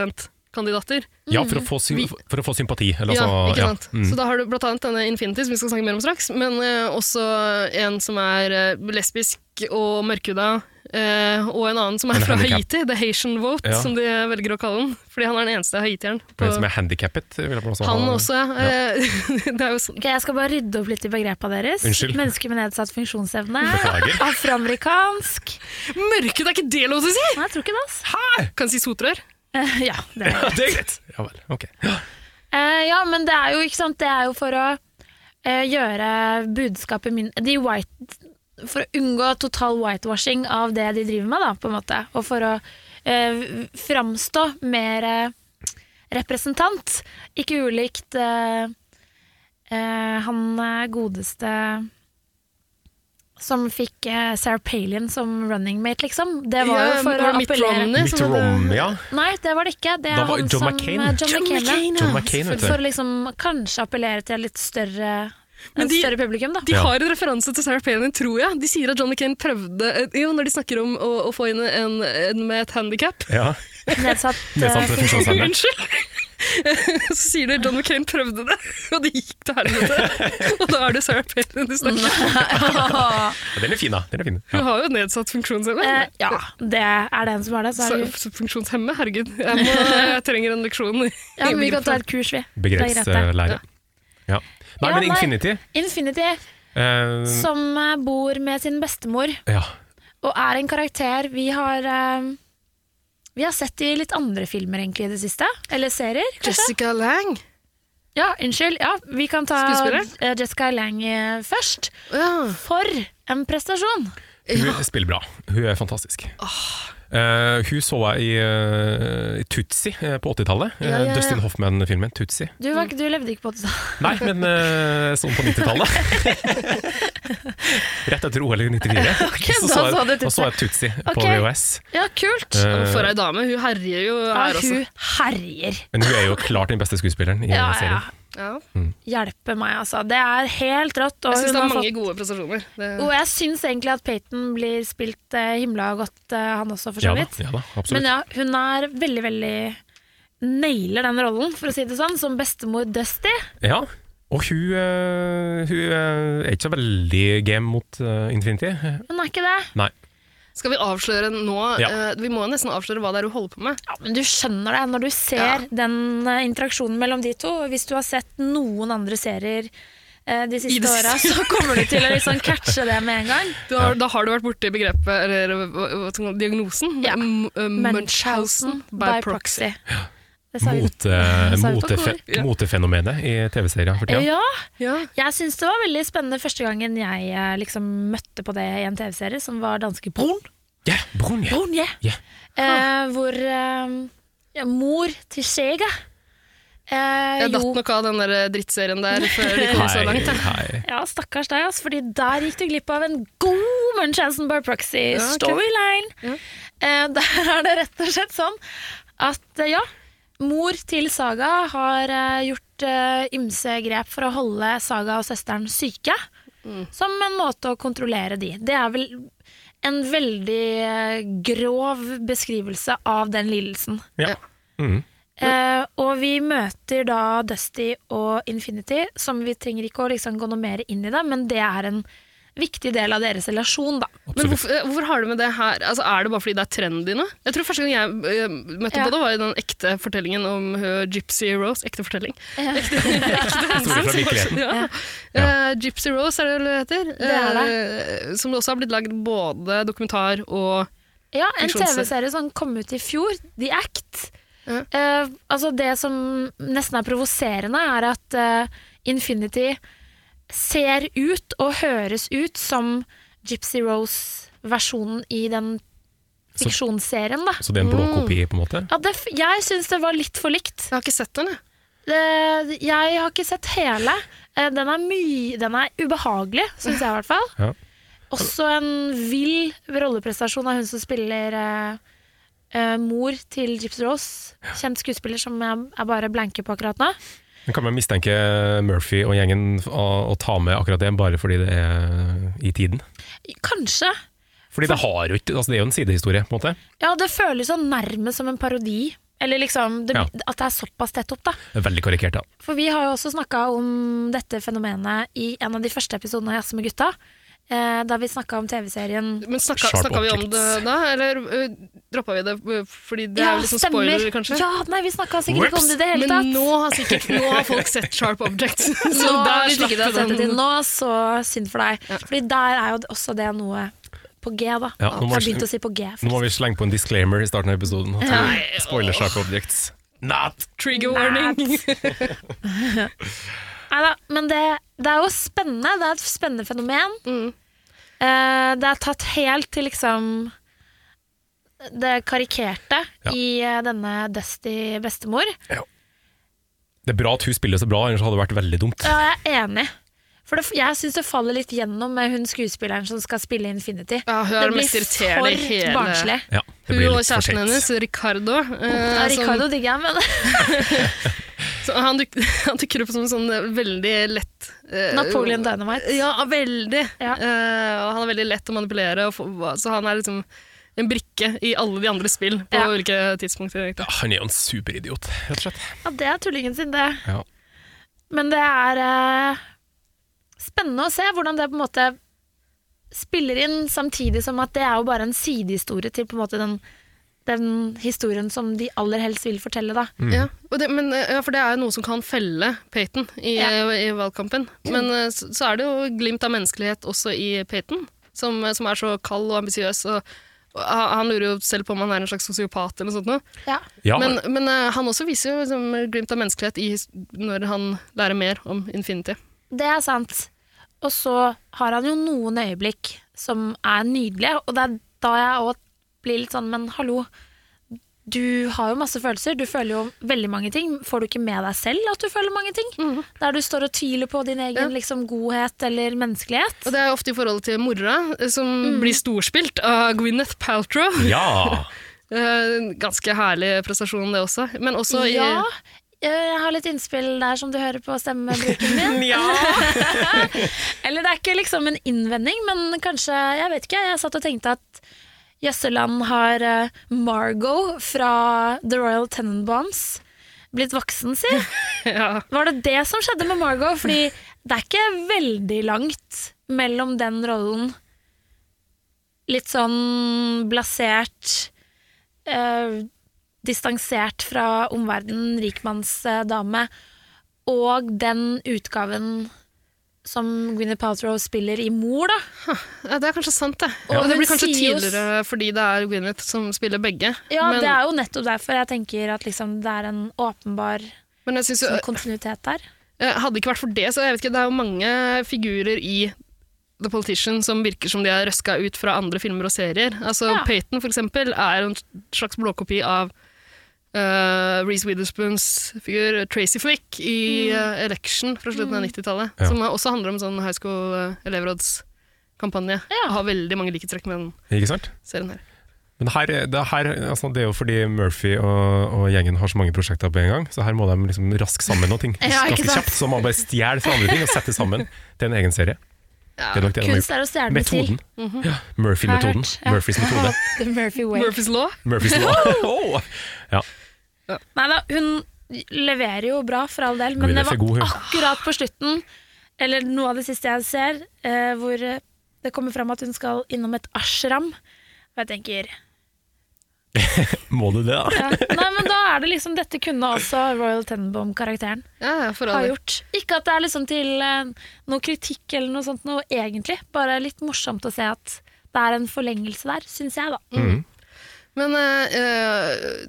Speaker 4: visepresidentkandidater.
Speaker 2: ja, for å få, sy
Speaker 4: Vi-
Speaker 2: for å få sympati. Eller,
Speaker 4: Ja,
Speaker 2: altså,
Speaker 4: ikke sant?
Speaker 2: Mm.
Speaker 4: Så da har du blant annet denne Infinity, som vi skal snakke mer om straks, men eh, også en som er eh, lesbisk og mørkhuda, eh, og en annen som er
Speaker 2: En
Speaker 4: fra
Speaker 2: handicap.
Speaker 4: Haiti, The Haitian Vote,
Speaker 2: Ja.
Speaker 4: som de velger å kalle den, fordi han er den eneste haitieren.
Speaker 2: For
Speaker 4: på-
Speaker 2: en som er handikappet, vil jeg bare også ha-
Speaker 4: Han også, ja. Eh, det er jo sånn.
Speaker 3: Ok, Jeg skal bare rydde opp litt i begrepa deres.
Speaker 2: Unnskyld.
Speaker 3: Mennesker med nedsatt funksjonsevne.
Speaker 2: Beklager.
Speaker 3: Afroamerikansk.
Speaker 4: Mørke, det er ikke det lov til å si!
Speaker 3: Nei, jeg tror ikke det. ass.
Speaker 4: Kan jeg si sotrør.
Speaker 3: Eh, ja, det er det.
Speaker 2: Ja, det er greit! Ja vel. Ok.
Speaker 3: Eh, ja, men det er jo, ikke sant, det er jo for å eh, gjøre budskapet min de white, For å unngå total whitewashing av det de driver med, da, på en måte. Og for å eh, framstå mer eh, representant. Ikke ulikt eh, eh, han eh, godeste som fikk eh, Sarah Palin som running mate, liksom. Det var
Speaker 4: Ja,
Speaker 3: jo for å
Speaker 4: var det Mitt
Speaker 3: appellere
Speaker 4: Romney
Speaker 2: Mitt
Speaker 4: som hadde-
Speaker 2: Romney, ja.
Speaker 3: Nei, det var det ikke. Det er
Speaker 2: Da var
Speaker 3: han
Speaker 2: John
Speaker 3: som
Speaker 2: McCain.
Speaker 3: eh, John,
Speaker 4: John
Speaker 3: McCain. ja.
Speaker 4: McCain,
Speaker 2: John
Speaker 4: ja.
Speaker 2: McCain, vet
Speaker 3: For å
Speaker 2: du.
Speaker 3: liksom kanskje appellere til et litt større,
Speaker 4: Men
Speaker 3: et
Speaker 4: de-
Speaker 3: større publikum, da.
Speaker 4: De
Speaker 2: Ja.
Speaker 4: har en referanse til Sarah Palin, tror jeg. De sier at John McCain prøvde eh, Jo, når de snakker om å, å få inn en, en med et handikap.
Speaker 2: Ja.
Speaker 3: Nedsatt,
Speaker 2: Nedsatt
Speaker 3: eh,
Speaker 2: funksjonsevne.
Speaker 4: Unnskyld! Så sier de John McCain prøvde det, og det gikk til helvete. Og da er det Sarah Palin du snakker om.
Speaker 2: Ja, Den er fin, da. Den er fin.
Speaker 4: Hun har jo nedsatt funksjonsevne.
Speaker 3: Eh, ja, det er det en som har det. Så er det
Speaker 4: Så- Funksjonshemme, herregud. Jeg, må, jeg trenger en leksjon. i-
Speaker 3: ja, men
Speaker 4: i
Speaker 3: vi kan ta
Speaker 4: bilfag.
Speaker 3: et kurs, vi. Det er greit, det.
Speaker 2: Begrepslære. Ja. Nei,
Speaker 3: Ja,
Speaker 2: men Infinity
Speaker 3: Infinity,
Speaker 2: eh,
Speaker 3: som eh, bor med sin bestemor,
Speaker 2: Ja.
Speaker 3: og er en karakter vi har eh, vi har sett i litt andre filmer egentlig i det siste, eller serier. kanskje?
Speaker 4: Jessica Lang.
Speaker 3: Ja, unnskyld. Ja, vi kan ta
Speaker 4: Skuespiller?
Speaker 3: eh, Jessica Lang eh, først. For en prestasjon!
Speaker 2: Hun spiller bra. Hun er fantastisk. Eh, hun så jeg i, eh, i Tutsi eh, på 80-tallet. Eh,
Speaker 3: Ja, ja, ja.
Speaker 2: Dustin Hoffman-filmen Tutsi.
Speaker 3: Du, var, ikke- du levde ikke på det. sa-
Speaker 2: Nei, men eh, sånn på 90-tallet. Rett etter OL i 94.
Speaker 3: Ok,
Speaker 2: så,
Speaker 3: da
Speaker 2: så
Speaker 3: så du
Speaker 2: jeg, da
Speaker 3: Tutsi.
Speaker 2: så jeg Tutsi på
Speaker 3: Ok.
Speaker 2: VHS.
Speaker 3: Ja, kult!
Speaker 2: Eh,
Speaker 4: For ei dame. Hun herjer jo her
Speaker 3: Ja,
Speaker 4: også.
Speaker 3: hun herjer.
Speaker 2: Men hun er jo klart den beste skuespilleren i
Speaker 3: Ja, ja.
Speaker 2: serien. Mm.
Speaker 3: Hjelpe meg, altså. Det er helt rått. Og
Speaker 4: Jeg syns
Speaker 3: hun
Speaker 4: det
Speaker 3: har
Speaker 4: er mange
Speaker 3: fått-
Speaker 4: gode prestasjoner. Det...
Speaker 3: Og jeg syns egentlig at Peyton blir spilt eh, himla godt, eh, han også, for
Speaker 2: Ja
Speaker 3: så
Speaker 2: da,
Speaker 3: vidt.
Speaker 2: ja da, absolutt.
Speaker 3: Men ja, hun er veldig, veldig Nailer den rollen, for å si det sånn, som bestemor Dusty.
Speaker 2: Ja, og hun, eh, hun eh, er ikke så veldig game mot eh, Infinity.
Speaker 3: Hun er ikke det.
Speaker 2: Nei.
Speaker 4: Skal vi avsløre nå?
Speaker 2: Ja.
Speaker 4: eh, Vi må jo nesten avsløre hva det er hun holder på med.
Speaker 3: Ja, men du skjønner det når du ser den eh, interaksjonen mellom de to. og Hvis du har sett noen andre serier eh, de
Speaker 4: I
Speaker 3: siste
Speaker 4: det
Speaker 3: åra,
Speaker 4: siste.
Speaker 3: så kommer du til å liksom catche det med en gang.
Speaker 4: Du har, Da har du vært borti begrepet, eller hva- hva skal man- diagnosen, ja. Munchhausen by, proxy.
Speaker 3: Det sa vi.
Speaker 2: Mote,
Speaker 3: Det sa vi på
Speaker 2: motefe,
Speaker 3: kor.
Speaker 2: motefenomenet i TV-serier for tida.
Speaker 3: eh, Ja. Jeg syns det var veldig spennende første gangen jeg eh, liksom møtte på det i en TV-serie som var danske Brun.
Speaker 2: Ja, Brun, ja.
Speaker 3: Brun, ja.
Speaker 2: Ja.
Speaker 4: Ah.
Speaker 3: Eh, hvor eh, ja, mor til Sjega eh,
Speaker 4: Jeg datt
Speaker 3: jo-
Speaker 4: nok av den der eh, drittserien der før vi kom så
Speaker 2: Hei,
Speaker 4: langt. da.
Speaker 2: hei.
Speaker 3: Ja, stakkars deg, ass, fordi der gikk du glipp av en god Munchausen by
Speaker 4: Ja, ok.
Speaker 3: proxy-storyline. Eh, der er det rett og slett sånn at eh, ja, mor til Saga har eh, gjort eh, ymse grep for å holde Saga og søsteren syke,
Speaker 4: Mm.
Speaker 3: som en måte å kontrollere de. Det er vel en veldig eh, grov beskrivelse av den lidelsen.
Speaker 2: Ja. Mhm.
Speaker 3: Eh, og vi møter da Dusty og Infinity, som vi trenger ikke å liksom gå noe mer inn i det, men det er en viktig del av deres relasjon, da.
Speaker 4: Men hvorfor, eh, hvorfor har du med det her? Altså, er det bare fordi det er trendy nå? Jeg tror Første gang jeg eh, møtte
Speaker 3: Ja.
Speaker 4: på det, var i den ekte fortellingen om eh, Gypsy Rose. Ekte fortelling.
Speaker 3: Ja.
Speaker 4: Ekte, ekte hendelse.
Speaker 2: fra virkeligheten.
Speaker 4: Ja. Eh, Gypsy Rose er det vel det heter?
Speaker 3: Det er
Speaker 4: Eh, som det også har blitt lagd både dokumentar og
Speaker 3: Ja, en
Speaker 4: Funksjonsserie.
Speaker 3: TV-serie som kom ut i fjor, The Act. Eh, altså det som nesten er provoserende, er at eh, Infinity ser ut og høres ut som Gypsy Rose-versjonen i den
Speaker 2: Så-
Speaker 3: fiksjonsserien, da.
Speaker 2: Så det er en blåkopi, på en måte?
Speaker 3: Ja, det, f- jeg syns det var litt for likt.
Speaker 4: Jeg har ikke sett den, jeg.
Speaker 3: Det, jeg har ikke sett hele. Eh, Den er, my, den er ubehagelig, syns jeg i hvert fall.
Speaker 2: Ja.
Speaker 3: Også en vill rolleprestasjon av hun som spiller eh, eh, mor til Gypsy Rose. Kjent skuespiller som jeg er bare blanke på akkurat nå.
Speaker 2: Men Kan man mistenke Murphy og gjengen å, å ta med akkurat det, bare fordi det er i tiden?
Speaker 3: Kanskje.
Speaker 2: Fordi det har jo ikke altså Det er jo en sidehistorie, på en måte.
Speaker 3: Ja, det føles så nærmest som en parodi. Eller liksom det,
Speaker 2: Ja.
Speaker 3: At det er såpass tett opp, da.
Speaker 2: Veldig karikert, da.
Speaker 3: For vi har jo også snakka om dette fenomenet i en av de første episodene av Jazze med gutta. Eh, da vi snakka om TV-serien
Speaker 4: Men snakka,
Speaker 2: Sharp
Speaker 4: snakka vi om det
Speaker 2: objects.
Speaker 4: da, eller uh, droppa vi det eh, fordi det er jo liksom
Speaker 3: stemmer.
Speaker 4: spoiler, kanskje?
Speaker 3: Ja, nei, vi snakka sikkert ikke om det i det hele
Speaker 4: Men
Speaker 3: tatt.
Speaker 4: nå har sikkert nå har folk sett Sharp Objects.
Speaker 3: Nå,
Speaker 4: Så der
Speaker 3: hvis
Speaker 4: slapp
Speaker 3: ikke du har sett det
Speaker 4: vi
Speaker 3: til
Speaker 4: den.
Speaker 3: nå, så synd for deg. Fordi der er jo også det noe på G, da.
Speaker 2: Ja, nå
Speaker 3: jeg
Speaker 2: må
Speaker 3: har
Speaker 2: vi-
Speaker 3: begynt å si på G.
Speaker 2: Nå må vi slenge på en disclaimer i starten av episoden. At
Speaker 3: Nei,
Speaker 2: vi spoiler sharp objects. Not!
Speaker 4: Trigger warning.
Speaker 3: Nei da, men det, det er jo spennende. Det er et spennende fenomen.
Speaker 4: Mm.
Speaker 3: Eh, det er tatt helt til liksom det karikerte
Speaker 2: Ja.
Speaker 3: i eh, denne Dusty bestemor.
Speaker 2: Det er bra at hun spiller så bra, ellers hadde det vært veldig dumt.
Speaker 3: Ja, jeg er enig. For det, jeg syns det faller litt gjennom med hun skuespilleren som skal spille Infinity.
Speaker 4: Ja, hun er
Speaker 3: det
Speaker 4: den mest irriterende i hele-
Speaker 3: for barnslig.
Speaker 2: Ja, det
Speaker 4: Hun
Speaker 2: blir litt
Speaker 4: og
Speaker 2: for
Speaker 4: kjæresten
Speaker 2: teit.
Speaker 4: hennes, Ricardo, eh,
Speaker 3: Ja, Ricardo
Speaker 4: som,
Speaker 3: digger jeg, men
Speaker 4: så han, duk, han dukker opp som en sånn eh, veldig lett eh,
Speaker 3: Napoleon Dynamite.
Speaker 4: Ja, veldig.
Speaker 3: Ja.
Speaker 4: Eh, og han er veldig lett å manipulere, og få, så han er liksom en brikke i alle de andre spill på
Speaker 3: Ja.
Speaker 4: ulike tidspunkter. egentlig.
Speaker 2: Han er jo en superidiot, rett og slett.
Speaker 3: Ja, det er tullingen sin, det.
Speaker 2: Ja.
Speaker 3: Men det er eh, spennende å se hvordan det på en måte spiller inn, samtidig som at det er jo bare en sidehistorie til på en måte den, den historien som de aller helst vil fortelle, da.
Speaker 4: Ja, og det, men, eh, ja, for det er jo noe som kan felle Peyton i, eh, i valgkampen. Men eh, så, så er det jo glimt av menneskelighet også i Peyton, som, eh, som er så kald og ambisiøs. Og, og han han lurer jo selv på om han er en slags sosiopat eller noe sånt. Nå.
Speaker 2: Ja.
Speaker 4: Men, men eh, han også viser jo liksom, glimt av menneskelighet i, his- når han lærer mer om Infinity.
Speaker 3: Det er sant. Og så har han jo noen øyeblikk som er nydelige, og det er da jeg òg blir litt sånn, men hallo. Du har jo masse følelser, du føler jo veldig mange ting. Får du ikke med deg selv at du føler mange ting? Der du står og tviler på din egen liksom, godhet eller menneskelighet.
Speaker 4: Og det er ofte i forholdet til mora, eh, som
Speaker 3: Mm.
Speaker 4: blir storspilt av Gwyneth Paltrow.
Speaker 2: Ja.
Speaker 4: Eh, Ganske herlig prestasjon, det også. Men også i
Speaker 3: ja, eh, jeg har litt innspill der som du hører på stemmebruken min. Eller det er ikke liksom en innvending, men kanskje, jeg vet ikke, jeg satt og tenkte at Jøsseland har eh, Margot fra The Royal Tenenbaums blitt voksen, si. Var det det som skjedde med Margot? Fordi det er ikke veldig langt mellom den rollen litt sånn blasert eh, distansert fra omverdenen, rikmannsdame, og den utgaven som Gwyneth Paltrow spiller i Mor, da.
Speaker 4: Ja, det er kanskje sant, det.
Speaker 3: Ja.
Speaker 4: Og det blir kanskje
Speaker 3: Hun sier jo s-
Speaker 4: tidligere fordi det er Gwyneth som spiller begge.
Speaker 3: Ja,
Speaker 4: men,
Speaker 3: Det er jo nettopp derfor jeg tenker at liksom, det er en åpenbar
Speaker 4: men jeg synes jo,
Speaker 3: sånn kontinuitet der.
Speaker 4: eh, Hadde det ikke vært for det, så jeg vet ikke, det er jo mange figurer i The Politician som virker som de er røska ut fra andre filmer og serier. Altså
Speaker 3: Ja.
Speaker 4: Peyton, for eksempel, er en slags blåkopi av eh, Reese Witherspoons figur Tracy Flick i eh, Election fra slutten av 90-tallet,
Speaker 2: Ja.
Speaker 4: som også handler om sånn high school eh, elevrådskampanje. Har veldig mange likhetstrekk med den
Speaker 2: Ikke sant?
Speaker 4: serien her.
Speaker 2: Men her, det, her, altså det er jo fordi Murphy og, og gjengen har så mange prosjekter på en gang, så her må de liksom raske sammen noe ting.
Speaker 3: Ja, ikke
Speaker 2: Ganske
Speaker 3: sant?
Speaker 2: kjapt, Så må man bare stjele fra andre ting og sette sammen til en egen serie. Det er nok det de har
Speaker 3: Kunst
Speaker 2: gjort.
Speaker 3: er å stjele med til. Mhm.
Speaker 2: Metoden. Ja, Murphy-metoden. Murphys metode.
Speaker 3: The Murphy way.
Speaker 4: Murphys law?
Speaker 2: Murphys law. Oh! Ja.
Speaker 3: Nei da, hun leverer jo bra for all del, men det
Speaker 2: Gwyneth
Speaker 3: var
Speaker 2: er god, hun.
Speaker 3: akkurat på slutten, eller noe av det siste jeg ser, eh, hvor eh, det kommer fram at hun skal innom et ashram. Og jeg tenker
Speaker 2: Må du det, da?
Speaker 3: ja. Nei, men da er det liksom Dette kunne også Royal Tenenbaum-karakteren
Speaker 4: Ja, for all
Speaker 3: ha
Speaker 4: del.
Speaker 3: gjort. Ikke at det er liksom til eh, noe kritikk eller noe sånt noe egentlig, bare litt morsomt å se at det er en forlengelse der, syns jeg, da.
Speaker 4: Men eh, eh,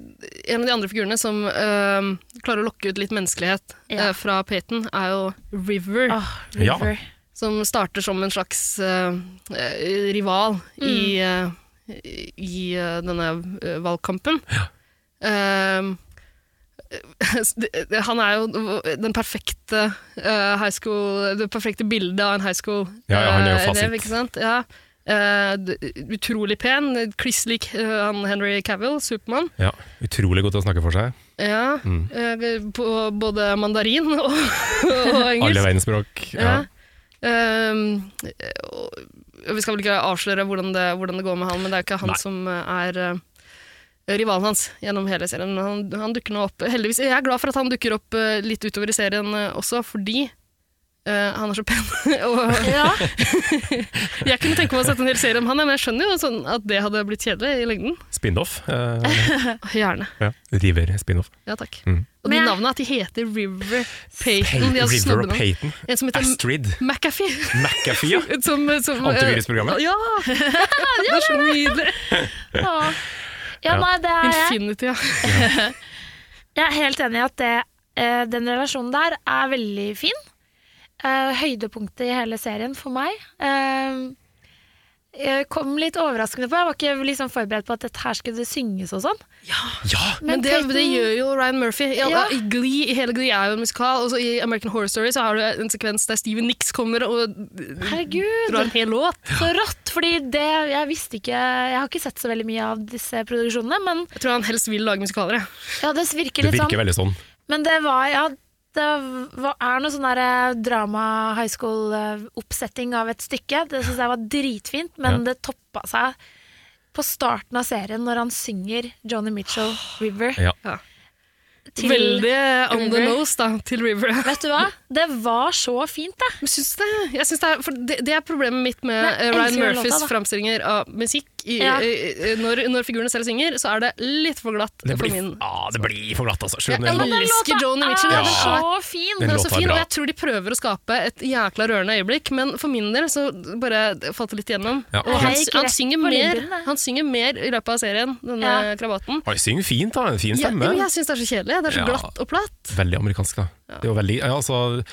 Speaker 4: en av de andre figurene som eh, klarer å lokke ut litt menneskelighet
Speaker 3: Ja.
Speaker 4: eh, fra Peyton, er jo River.
Speaker 2: River. Ja.
Speaker 4: Som starter som en slags eh, eh, rival i, eh, i eh, denne eh, valgkampen. Eh, han er jo den perfekte eh, high school Det perfekte bildet av en high school
Speaker 2: Ja, ja, han er jo
Speaker 4: eh,
Speaker 2: fasit.
Speaker 4: elev, ikke sant? Ja. Eh, d- utrolig pen, kliss lik eh, han Henry Cavill, Supermann.
Speaker 2: Ja, Utrolig godt å snakke for seg.
Speaker 4: Ja,
Speaker 2: Mm.
Speaker 4: eh, på både mandarin og, og
Speaker 2: Alle
Speaker 4: engelsk.
Speaker 2: verdens språk. Ja.
Speaker 4: Ja. Ehm, og- og vi skal vel ikke avsløre hvordan det, hvordan det går med han, men det er jo ikke han
Speaker 2: Nei.
Speaker 4: som er eh, rivalen hans gjennom hele serien. Men Han, han dukker nå opp, heldigvis. Jeg er glad for at han dukker opp eh, litt utover i serien eh, også, fordi eh, han er så pen. og
Speaker 3: Ja.
Speaker 4: jeg kunne tenke meg å sette en hel serie om han, ja, men jeg skjønner jo sånn at det hadde blitt kjedelig i lengden.
Speaker 2: Spin-off. Eh,
Speaker 4: Gjerne.
Speaker 2: ja. River-spin-off.
Speaker 4: Ja, takk.
Speaker 2: Mm.
Speaker 4: Og de navnene, at de heter River Payton. De
Speaker 2: River
Speaker 4: har
Speaker 2: og
Speaker 4: snobbenavn.
Speaker 2: Peyton.
Speaker 4: En som heter
Speaker 2: Astrid.
Speaker 4: McAfee.
Speaker 2: McAfee, ja.
Speaker 4: Som, som,
Speaker 2: Antivirusprogrammet.
Speaker 4: Ja! Det er så nydelig.
Speaker 3: Ja, ja
Speaker 2: Ja.
Speaker 3: nei, det er jeg.
Speaker 4: Infinity, ja.
Speaker 3: Jeg er helt enig i at det, eh, den relasjonen der er veldig fin. Eh, høydepunktet i hele serien for meg. Eh, jeg kom litt overraskende på. Jeg var ikke liksom forberedt på at dette her skulle synges og sånn.
Speaker 2: Ja!
Speaker 4: Men det, det gjør jo Ryan Murphy. I, alle-
Speaker 3: Ja.
Speaker 4: i Glee, i hele Glee er jo en musikal. Og så i American Horror Story så har du en sekvens der Steven Nix kommer og drar en
Speaker 3: Herregud,
Speaker 4: hel låt.
Speaker 3: så rått! Fordi det, jeg visste ikke Jeg har ikke sett så veldig mye av disse produksjonene, men
Speaker 4: Jeg tror han helst vil lage musikaler. jeg.
Speaker 3: ja, det virker
Speaker 2: Det
Speaker 3: litt sånn.
Speaker 2: virker veldig sånn.
Speaker 3: Men det var ja, det var, er noe sånn der eh, drama high eh, school-oppsetting av et stykke. Det syns jeg var dritfint, men
Speaker 2: Ja.
Speaker 3: det toppa seg på starten av serien når han synger Johnny Mitchell River.
Speaker 2: Ja.
Speaker 3: Til
Speaker 4: Veldig on the
Speaker 3: River.
Speaker 4: nose da, til River.
Speaker 3: Vet du hva? Det var så fint, det.
Speaker 4: Men syns du det? Jeg syns det, er, for det, det er problemet mitt med
Speaker 3: Men jeg
Speaker 4: eh, Ryan
Speaker 3: elsker den
Speaker 4: Murphys
Speaker 3: låta, da.
Speaker 4: framstillinger av musikk. I,
Speaker 3: Ja.
Speaker 4: i- i- når, når figurene selv synger, så er det litt for glatt
Speaker 2: Det
Speaker 4: for
Speaker 2: blir,
Speaker 4: min
Speaker 2: ah, det blir for glatt, altså.
Speaker 4: Jeg
Speaker 2: Selv om den lå-
Speaker 4: elsker Joni Mitchell.
Speaker 2: er
Speaker 4: Den er
Speaker 3: så fin!
Speaker 2: Den
Speaker 4: Den er
Speaker 2: Eh, låta
Speaker 4: så
Speaker 2: er
Speaker 4: fin,
Speaker 2: bra.
Speaker 4: og jeg tror de prøver å skape et jækla rørende øyeblikk, men for min del så bare falt det litt igjennom.
Speaker 2: Ja.
Speaker 4: Og han,
Speaker 3: Jeg gikk
Speaker 4: han,
Speaker 3: rett
Speaker 4: synger
Speaker 3: for
Speaker 4: mer,
Speaker 3: lyden, jeg.
Speaker 4: han synger mer i løpet av serien, denne
Speaker 3: Ja.
Speaker 4: krabaten.
Speaker 2: Ah, de synger fint, da. En fin
Speaker 4: Ja,
Speaker 2: stemme.
Speaker 4: men jeg syns det er så kjedelig. Det er så
Speaker 2: Ja.
Speaker 4: glatt og platt.
Speaker 2: Veldig amerikansk, da. Det, er jo veldig, ja, altså,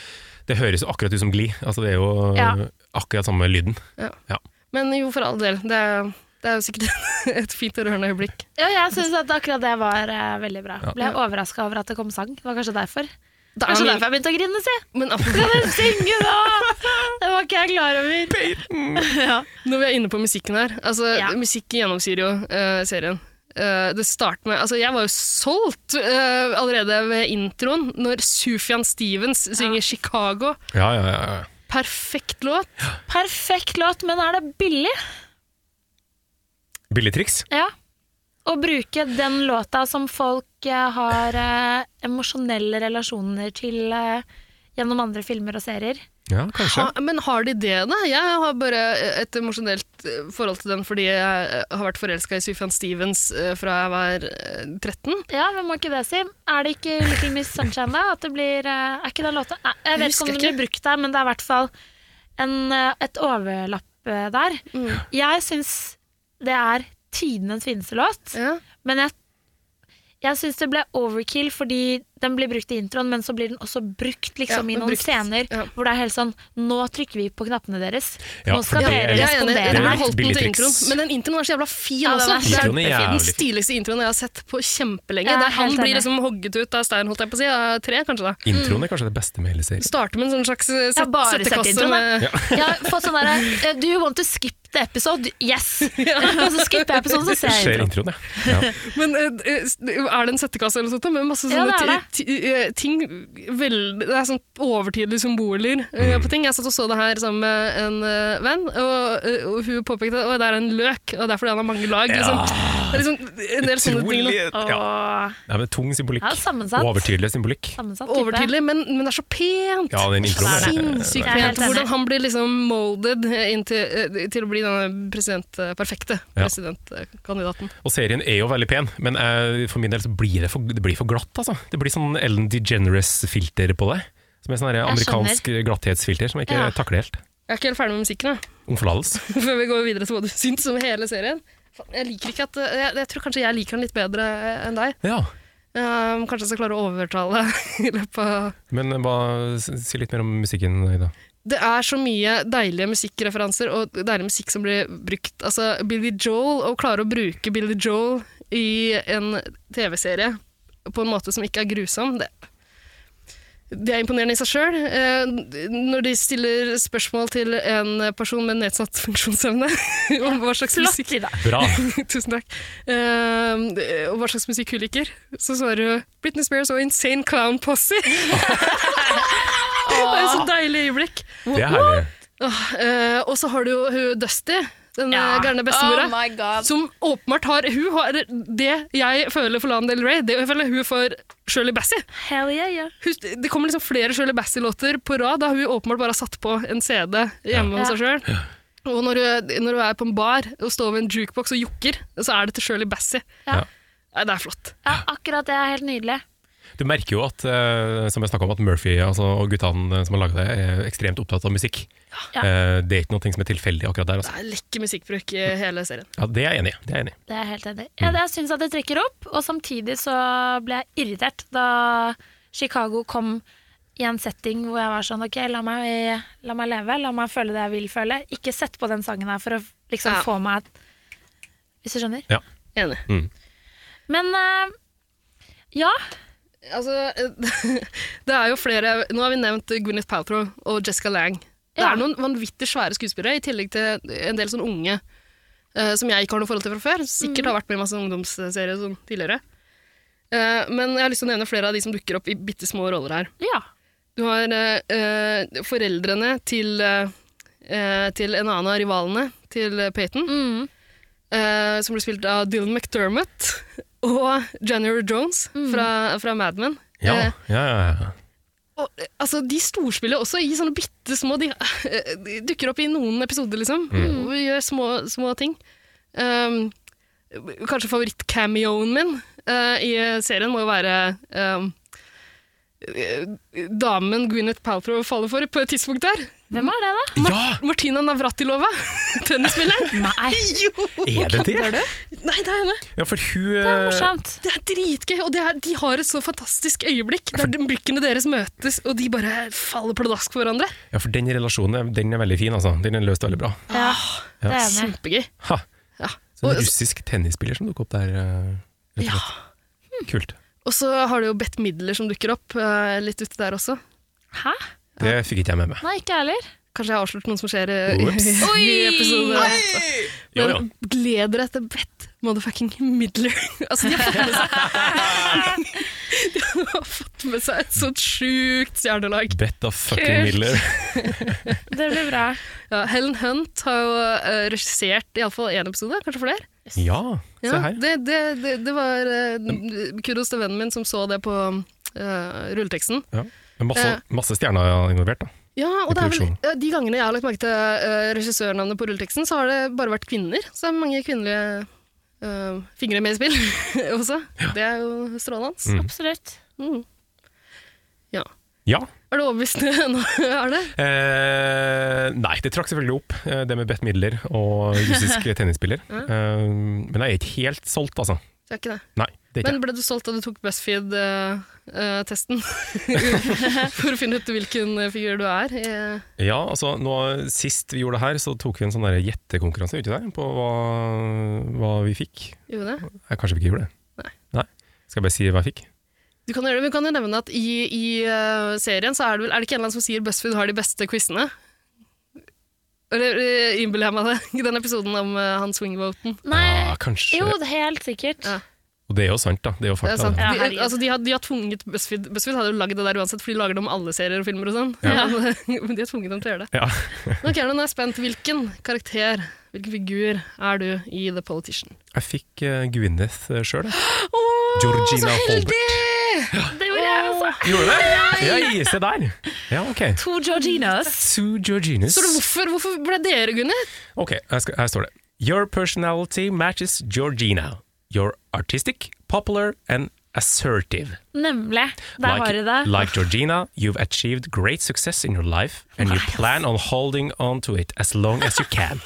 Speaker 2: det høres jo akkurat ut som Glee. Altså, det er jo
Speaker 4: Ja.
Speaker 2: akkurat samme lyden.
Speaker 4: Ja.
Speaker 2: Ja.
Speaker 4: Men jo, for all del. Det er, det er jo sikkert et fint og rørende øyeblikk.
Speaker 3: Ja, jeg syns at akkurat det var eh, veldig bra.
Speaker 2: Ja.
Speaker 3: Ble overraska over at det kom sang. Det var kanskje derfor.
Speaker 4: Det er
Speaker 3: kanskje
Speaker 4: min-
Speaker 3: derfor jeg begynte å grine, si!
Speaker 4: Men
Speaker 3: Kan
Speaker 4: apropos-
Speaker 3: du synge nå?! Det var ikke jeg klar over. Ja.
Speaker 4: når vi er inne på musikken her altså,
Speaker 3: Ja.
Speaker 4: Musikk gjennomsyrer jo eh, serien. Eh, det starter med altså, Jeg var jo solgt eh, allerede ved introen, når Sufjan Stevens synger 'Chicago'.
Speaker 2: Ja, ja, ja, ja.
Speaker 4: Perfekt låt.
Speaker 3: Perfekt låt, men er det billig?
Speaker 2: Billigtriks.
Speaker 3: Ja. Å bruke den låta som folk eh, har eh, emosjonelle relasjoner til eh, gjennom andre filmer og serier.
Speaker 2: Ja, kanskje.
Speaker 4: Ha, men har de det, da? Jeg har bare et emosjonelt eh, forhold til den fordi jeg eh, har vært forelska i Sufjan Stevens eh, fra jeg var eh, 13.
Speaker 3: Ja, hvem må ikke det si? Er det ikke Little Miss Sunshine, da? At det blir, eh, er ikke den låta Nei, Jeg vet ikke
Speaker 4: Husker
Speaker 3: om den
Speaker 4: ikke.
Speaker 3: blir brukt der, men det er i hvert fall en, eh, et overlapp eh, der. Jeg syns det er tidenes fineste låt,
Speaker 4: Ja.
Speaker 3: men jeg, jeg syns det ble overkill fordi den blir brukt i introen, men så blir den også brukt liksom,
Speaker 4: Ja,
Speaker 3: i noen
Speaker 4: brukt.
Speaker 3: scener
Speaker 4: Ja.
Speaker 3: hvor det er helt sånn Nå trykker vi på knappene deres.
Speaker 2: Ja,
Speaker 3: Nå
Speaker 2: for
Speaker 3: skal
Speaker 2: det
Speaker 3: dere
Speaker 2: er-
Speaker 4: Jeg er enig, jeg
Speaker 3: respondere
Speaker 4: ville
Speaker 2: er
Speaker 3: her.
Speaker 4: holdt den til
Speaker 2: billig
Speaker 4: introen.
Speaker 2: triks.
Speaker 4: Men den introen var så jævla fin
Speaker 3: Ja, den
Speaker 4: også.
Speaker 3: er
Speaker 4: Det er
Speaker 2: Introen er
Speaker 4: den
Speaker 2: jævlig fin.
Speaker 4: stiligste introen jeg har sett på kjempelenge.
Speaker 3: Jeg er
Speaker 4: Der han
Speaker 3: helt
Speaker 4: blir
Speaker 3: enig.
Speaker 4: liksom hogget ut av stein, holdt jeg på å si. Av tre, kanskje. da.
Speaker 2: Introen er kanskje det beste med hele serien.
Speaker 4: Starter med en sånn slags eh,
Speaker 3: Ja,
Speaker 4: sett,
Speaker 3: bare
Speaker 4: settekasse
Speaker 3: settintroen, da.
Speaker 4: med
Speaker 3: Jeg har fått sånn derre eh, Do you want to skip the episode? Yes! Og så skipper jeg episoden, så ser jeg
Speaker 2: Ser
Speaker 3: introen.
Speaker 2: introen, ja. ja.
Speaker 4: Men eh, eh, er det en settekasse eller noe sånt? da, Med masse
Speaker 3: Ja,
Speaker 4: sånne
Speaker 3: det er
Speaker 4: ti- ti- eh, ting vel- Det er sånn overtydelige symboler eh, på ting. Jeg satt og så det her sammen med en eh, venn, og, eh, og hun påpekte at det er en løk, og det er fordi han har mange lag. Liksom. Det er liksom en del sånne ting.
Speaker 2: Utrolig
Speaker 4: da.
Speaker 2: ja. Nei, men Tung symbolikk.
Speaker 3: Ja, sammensatt.
Speaker 2: Overtydelig symbolikk.
Speaker 3: Sammensatt type.
Speaker 4: Overtydelig, men, men det er så pent!
Speaker 2: Ja, den introen er
Speaker 4: Sinnssykt
Speaker 3: Jeg er
Speaker 4: pent.
Speaker 3: helt enig.
Speaker 4: Hvordan han blir liksom molded eh, inn til, eh, til å bli denne president, eh, perfekte eh,
Speaker 2: Ja.
Speaker 4: presidentkandidaten.
Speaker 2: Og serien er jo veldig pen, men eh, for min del så blir det for, det blir for glatt. Altså. Det blir sånn Ellen DeGeneres-filter på det. Som er sånn her
Speaker 3: Jeg
Speaker 2: amerikansk glatthetsfilter som jeg ikke
Speaker 3: Ja.
Speaker 2: takler helt.
Speaker 4: Jeg er ikke helt ferdig med musikken, jeg.
Speaker 2: Omforlatelse.
Speaker 4: før vi går videre til hva du syns om hele serien. Faen, Jeg, liker ikke at, jeg, jeg tror kanskje jeg liker den litt bedre enn deg.
Speaker 2: Ja.
Speaker 4: Um, kanskje jeg skal klare å overtale i løpet av
Speaker 2: Men eh, hva, si litt mer om musikken, Ida.
Speaker 4: Det er så mye deilige musikkreferanser og deilig musikk som blir brukt. Altså, Billy Joel, å klare å bruke Billy Joel i en TV-serie på en måte som ikke er grusom, det, det er imponerende i seg sjøl. Eh, når de stiller spørsmål til en person med nedsatt funksjonsevne om hva slags musikk
Speaker 3: Flott, Ida.
Speaker 2: Bra.
Speaker 4: Tusen takk. Eh, og hva slags musikk hun liker. Så svarer hun Britney Spears og Insane Clown Posse. det er et så deilig øyeblikk.
Speaker 2: Det er herlig.
Speaker 4: Åh, eh, og så har du jo hun Dusty, den
Speaker 3: Ja.
Speaker 4: eh, gærne bestemora.
Speaker 5: Oh my god.
Speaker 4: som åpenbart har Hun har det jeg føler for Lana Del Rey, det føler hun for Shirley Bassey.
Speaker 3: Hell yeah, yeah.
Speaker 4: Hun, det kommer liksom flere Shirley Bassey-låter på rad, da hun åpenbart bare har satt på en CD hjemme hos seg sjøl. Og når du, når du er på en bar og står ved en jukebox og jokker, så er det til Shirley Bassey.
Speaker 3: Ja.
Speaker 4: Nei, Det er flott.
Speaker 3: Ja, akkurat det er helt nydelig.
Speaker 2: Du merker jo at eh, som jeg snakket om, at Murphy altså, og guttene som har laga det, er ekstremt opptatt av musikk.
Speaker 3: Ja.
Speaker 2: Eh, det er ikke noe som er tilfeldig akkurat der.
Speaker 4: Det
Speaker 2: Altså.
Speaker 4: er lekker musikkbruk i hele serien.
Speaker 2: Ja, det er jeg enig i. Det er jeg enig i.
Speaker 3: Det er jeg helt enig. i. Ja, det- jeg syns at det trekker opp, og samtidig så ble jeg irritert da Chicago kom i en setting hvor jeg var sånn OK, la meg, la meg leve, la meg føle det jeg vil føle. Ikke sett på den sangen her for å liksom
Speaker 4: Ja.
Speaker 3: få meg Hvis du skjønner.
Speaker 2: Ja.
Speaker 4: Enig.
Speaker 3: Men eh, ja.
Speaker 4: Altså, det er jo flere Nå har vi nevnt Gwyneth Paltrow og Jessica Lang. Det
Speaker 3: Ja.
Speaker 4: er noen vanvittig svære skuespillere, i tillegg til en del sånne unge eh, som jeg ikke har noe forhold til fra før. Sikkert har vært med i masse ungdomsserier og sånn tidligere. Eh, men jeg har lyst til å nevne flere av de som dukker opp i bitte små roller her.
Speaker 3: ja.
Speaker 4: Du har eh, eh, foreldrene til, eh, eh, til en annen av rivalene til eh, Peyton. eh, som ble spilt av Dylan McDermott og Jennifer Jones fra, fra Mad Men.
Speaker 2: Ja,
Speaker 4: Eh,
Speaker 2: ja, ja.
Speaker 4: og, eh, altså, de storspiller også i sånne bitte små de, eh, de dukker opp i noen episoder, liksom.
Speaker 2: Mm.
Speaker 4: Og gjør små, små ting. Um, kanskje favorittcameoen min eh, i serien må jo være um, eh, damen Gwyneth Paltrow faller for på et tidspunkt der.
Speaker 3: Hvem er det, da?
Speaker 4: Mar Martina Navratilova. Tennisspilleren.
Speaker 3: Nei!
Speaker 4: Jo!
Speaker 2: Er det det?
Speaker 4: Nei, det er henne.
Speaker 2: Ja, for hun
Speaker 4: Det er dritgøy, og det er, de har et så fantastisk øyeblikk der de blikkene deres møtes, og de bare faller pladask for hverandre.
Speaker 2: eh, Ja, for den relasjonen den er veldig fin, altså. Den er løst veldig bra.
Speaker 4: Ja,
Speaker 3: Ah.
Speaker 2: det er jeg
Speaker 4: Kjempegøy.
Speaker 2: Ha.
Speaker 4: Ja.
Speaker 2: Så en
Speaker 4: Og,
Speaker 2: russisk tennisspiller som dukker opp der. eh, Rett og
Speaker 4: Ja.
Speaker 2: slett. Kult.
Speaker 4: og så har du jo Bett Midler som dukker opp eh, litt ute der også.
Speaker 3: Hæ?
Speaker 2: Det fikk ikke jeg med meg.
Speaker 3: Nei, ikke jeg heller.
Speaker 4: Kanskje jeg har avslørt noen som skjer eh, i,
Speaker 2: Ops.
Speaker 4: i, i episode
Speaker 3: Oi!
Speaker 2: Jo,
Speaker 4: Men
Speaker 2: jo.
Speaker 4: gled dere til Bett motherfucking Midler. altså, de har fått med seg De har fått med seg et sånt sjukt stjernelag.
Speaker 2: Betta fucking
Speaker 4: Kult.
Speaker 2: Miller.
Speaker 3: Det blir bra.
Speaker 4: Ja, Helen Hunt har jo eh, regissert iallfall én episode, kanskje flere.
Speaker 2: Ja, se
Speaker 4: Ja,
Speaker 2: her.
Speaker 4: det, det, det, det var eh, kudos til vennen min som så det på eh, rulleteksten.
Speaker 2: Ja. Men Masse, masse stjerner involvert, da.
Speaker 4: Ja,
Speaker 2: I
Speaker 4: og det er vel,
Speaker 2: produksjonen.
Speaker 4: ja, De gangene jeg har lagt merke til eh, regissørnavnet på rulleteksten, så har det bare vært kvinner. Så det er mange kvinnelige eh, fingre med i spill også. Det er jo strålende.
Speaker 2: Mm.
Speaker 3: Absolutt.
Speaker 4: Mm. Ja.
Speaker 2: Ja.
Speaker 4: Er du overbevist nå? er det?
Speaker 2: Eh, nei, det trakk selvfølgelig opp, eh, det med Bett Midler og russisk tennisspiller. Eh, men jeg er ikke helt solgt, altså.
Speaker 4: Det er ikke det.
Speaker 2: Nei, det er ikke
Speaker 4: Men ble du solgt da du tok BuzzFeed-testen for å finne ut hvilken figur du er? Eh,
Speaker 2: jeg. Ja, altså, nå, Sist vi gjorde det her, så tok vi en sånn der gjettekonkurranse ute der, på hva, hva vi fikk.
Speaker 4: Gjorde det?
Speaker 2: Jeg kanskje vi ikke gjorde det. Nei. Skal jeg bare si hva jeg fikk?
Speaker 4: Du kan gjøre det, men vi kan jo nevne at i, i eh, serien så er det vel Er det ikke en eller annen som sier BuzzFeed har de beste quizene? Eller eh, innbiller jeg meg det? I den episoden om eh, han swingvoten.
Speaker 3: Nei,
Speaker 2: Ja, Ah, kanskje.
Speaker 3: jo, det er helt sikkert.
Speaker 2: Og det er jo sant, da. Det er jo
Speaker 4: Det
Speaker 2: fakta.
Speaker 4: er sant.
Speaker 2: da.
Speaker 3: Ja,
Speaker 4: De,
Speaker 3: herregud.
Speaker 4: altså, de, har, de har tvunget BuzzFeed BuzzFeed hadde jo lagd det der uansett, for de lager det om alle serier og filmer og sånn.
Speaker 2: Ja.
Speaker 4: Men de har tvunget dem til å gjøre det.
Speaker 2: Ja.
Speaker 4: Ok, nå er jeg spent. Hvilken karakter, hvilken figur er du i The Politician?
Speaker 2: Jeg fikk eh, Gwyneth uh, sjøl, jeg. Georgina Holbert.
Speaker 3: Det gjorde jeg, altså.
Speaker 2: Gjorde du det? Ja, se der. Ja, ok.
Speaker 3: To Georginas.
Speaker 2: Sue Georginus.
Speaker 4: Så hvorfor, hvorfor ble dere, Gunnhild?
Speaker 2: Ok, her, skal, her står det. Your personality matches Georgina. You're artistic, popular and assertive.
Speaker 3: Nemlig. Der var det det.
Speaker 2: like Georgina, you've achieved great success in your life, and you plan on holding on to it as long as you can.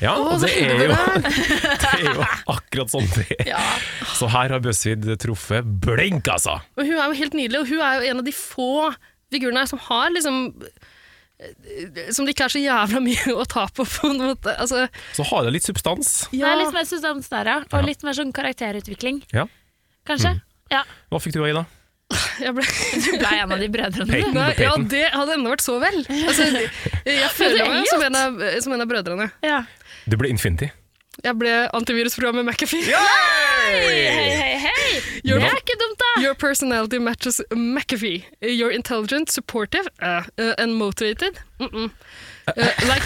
Speaker 2: Ja, og det er, jo, det er jo akkurat sånn det er. Så her har BuzzFeed truffet blink, altså!
Speaker 4: Og hun er jo helt nydelig, og hun er jo en av de få figurene som har liksom eh, Som det ikke er så jævla mye å ta på, på en måte. Altså, liksom,
Speaker 2: Så har det litt substans.
Speaker 3: Det er litt mer substans der, ja. Og litt mer sånn karakterutvikling,
Speaker 2: Ja. Mm.
Speaker 3: kanskje. Ja.
Speaker 2: Hva fikk du, Ida?
Speaker 4: jeg ble,
Speaker 3: Du ble en av de brødrene.
Speaker 2: Peyton,
Speaker 4: nei, ja,
Speaker 2: Peyton.
Speaker 4: det hadde ennå vært så vel. Altså, jeg føler meg som en, av, som en av brødrene.
Speaker 3: Ja.
Speaker 2: Du ble Infinity.
Speaker 4: Jeg ble antivirusprogrammet McAfee.
Speaker 3: Hei, hei, hei!
Speaker 4: Your,
Speaker 3: Det er ikke dumt, da!
Speaker 4: your personality matches McAfee. You're intelligent, supportive uh, uh, and motivated. Mm -mm. Uh, like,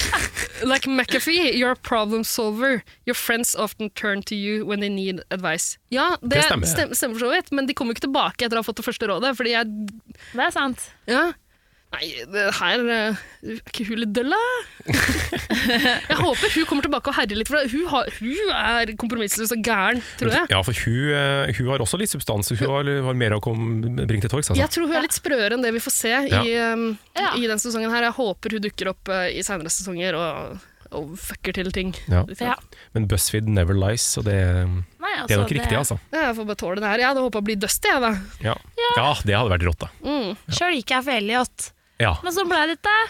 Speaker 4: like McAfee, you're a problem solver. Your friends often turn to you when they need advice. Ja, det,
Speaker 2: Det stemmer.
Speaker 4: stemmer. Stem, stemmer for så vidt, men de kommer jo ikke tilbake etter å ha fått det første rådet. Fordi jeg
Speaker 3: Det er sant.
Speaker 4: Ja. Nei, det her eh, Er ikke hun litt døll, da? jeg håper hun kommer tilbake og herjer litt, for hun, har, hun er kompromissløs og gæren, tror jeg.
Speaker 2: Ja, for hun, eh, hun har også litt substans. Hun har, har mer å komme, bringe til torgs. Altså.
Speaker 4: Jeg tror hun er litt sprøere enn det vi får se i, um,
Speaker 3: Ja.
Speaker 4: i den sesongen her. Jeg håper hun dukker opp uh, i senere sesonger og, og fucker til ting.
Speaker 2: Ja.
Speaker 4: Liksom.
Speaker 3: Ja.
Speaker 2: Men BuzzFeed never lies, så det,
Speaker 3: Nei, altså,
Speaker 2: det er nok riktig, altså.
Speaker 4: Jeg får bare tåle det her. Jeg hadde håpa å bli dusty, jeg, da.
Speaker 2: Ja. ja, det hadde vært rått, da.
Speaker 3: Sjøl gikk jeg for Elliot,
Speaker 2: Ja.
Speaker 3: men sånn ble det ikke.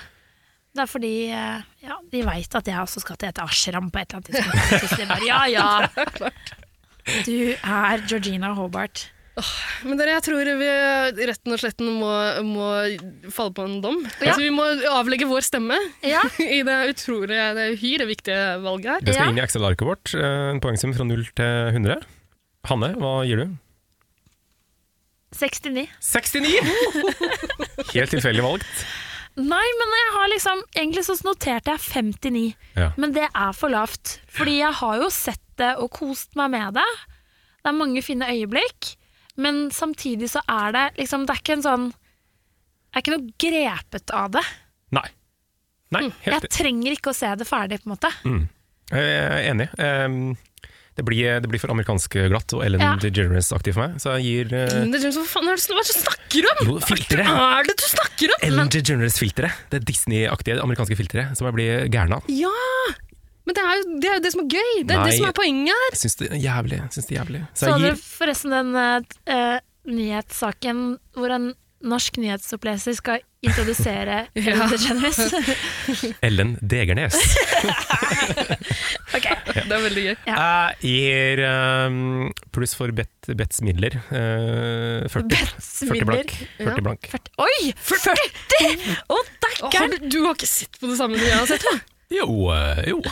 Speaker 3: Det er fordi eh, ja, de veit at jeg også skal til et ashram på et eller annet tidspunkt. Jeg synes det er bare, Ja, ja. Du er Georgina Hobart.
Speaker 4: Men dere, jeg tror vi retten og sletten må, må falle på en dom. Altså, vi må avlegge vår stemme
Speaker 3: Ja.
Speaker 4: i det utrolig, det uhyre viktige valget her.
Speaker 2: Det skal
Speaker 3: Ja.
Speaker 2: inn i Excel-arket vårt. eh, En poengsum fra 0 til 100. Hanne, hva gir du?
Speaker 3: 69.
Speaker 2: 69! Helt tilfeldig valgt.
Speaker 3: Nei, men jeg har liksom Egentlig så noterte jeg 59,
Speaker 2: Ja.
Speaker 3: men det er for lavt. Fordi jeg har jo sett det og kost meg med det. Det er mange fine øyeblikk, men samtidig så er det liksom Det er ikke en sånn Jeg er ikke noe grepet av det.
Speaker 2: Nei. Nei, helt
Speaker 3: Jeg trenger ikke å se det ferdig, på en måte.
Speaker 2: Mm. Jeg er enig. Ehm, det, blir, det blir for amerikansk glatt og Ellen
Speaker 4: Ja. Mm.
Speaker 2: DeGeneres-aktig for meg. Så jeg gir eh,
Speaker 4: Linda James, hva faen er det du hva er det du snakker om?!
Speaker 2: Jo, filteret.
Speaker 4: Hva er det du snakker om?!
Speaker 2: Ellen DeGeneres-filteret. Det Disney-aktige amerikanske filteret som jeg blir gæren av.
Speaker 4: Ja! Men det er, jo, det er jo det som er gøy! Det er
Speaker 2: Nei.
Speaker 4: det som er poenget her!
Speaker 2: Jeg syns det er jævlig. Jeg Syns det er jævlig. Så
Speaker 3: Så
Speaker 2: jeg
Speaker 3: dere
Speaker 2: gir
Speaker 3: forresten den eh, eh, nyhetssaken hvor en norsk nyhetsoppleser skal introdusere Ellen DeGeneres?
Speaker 2: Ellen Degernes.
Speaker 4: Det er veldig gøy.
Speaker 2: Jeg gir ehm, pluss for Bet, Bets midler. eh, 40,
Speaker 4: Midler.
Speaker 2: 40 blank. 40
Speaker 4: Ja.
Speaker 2: blank.
Speaker 3: Oi!
Speaker 4: 40!
Speaker 3: Å,
Speaker 4: Har du- Du har ikke sett på det samme som jeg har sett? da?
Speaker 2: Jo, eh, jo.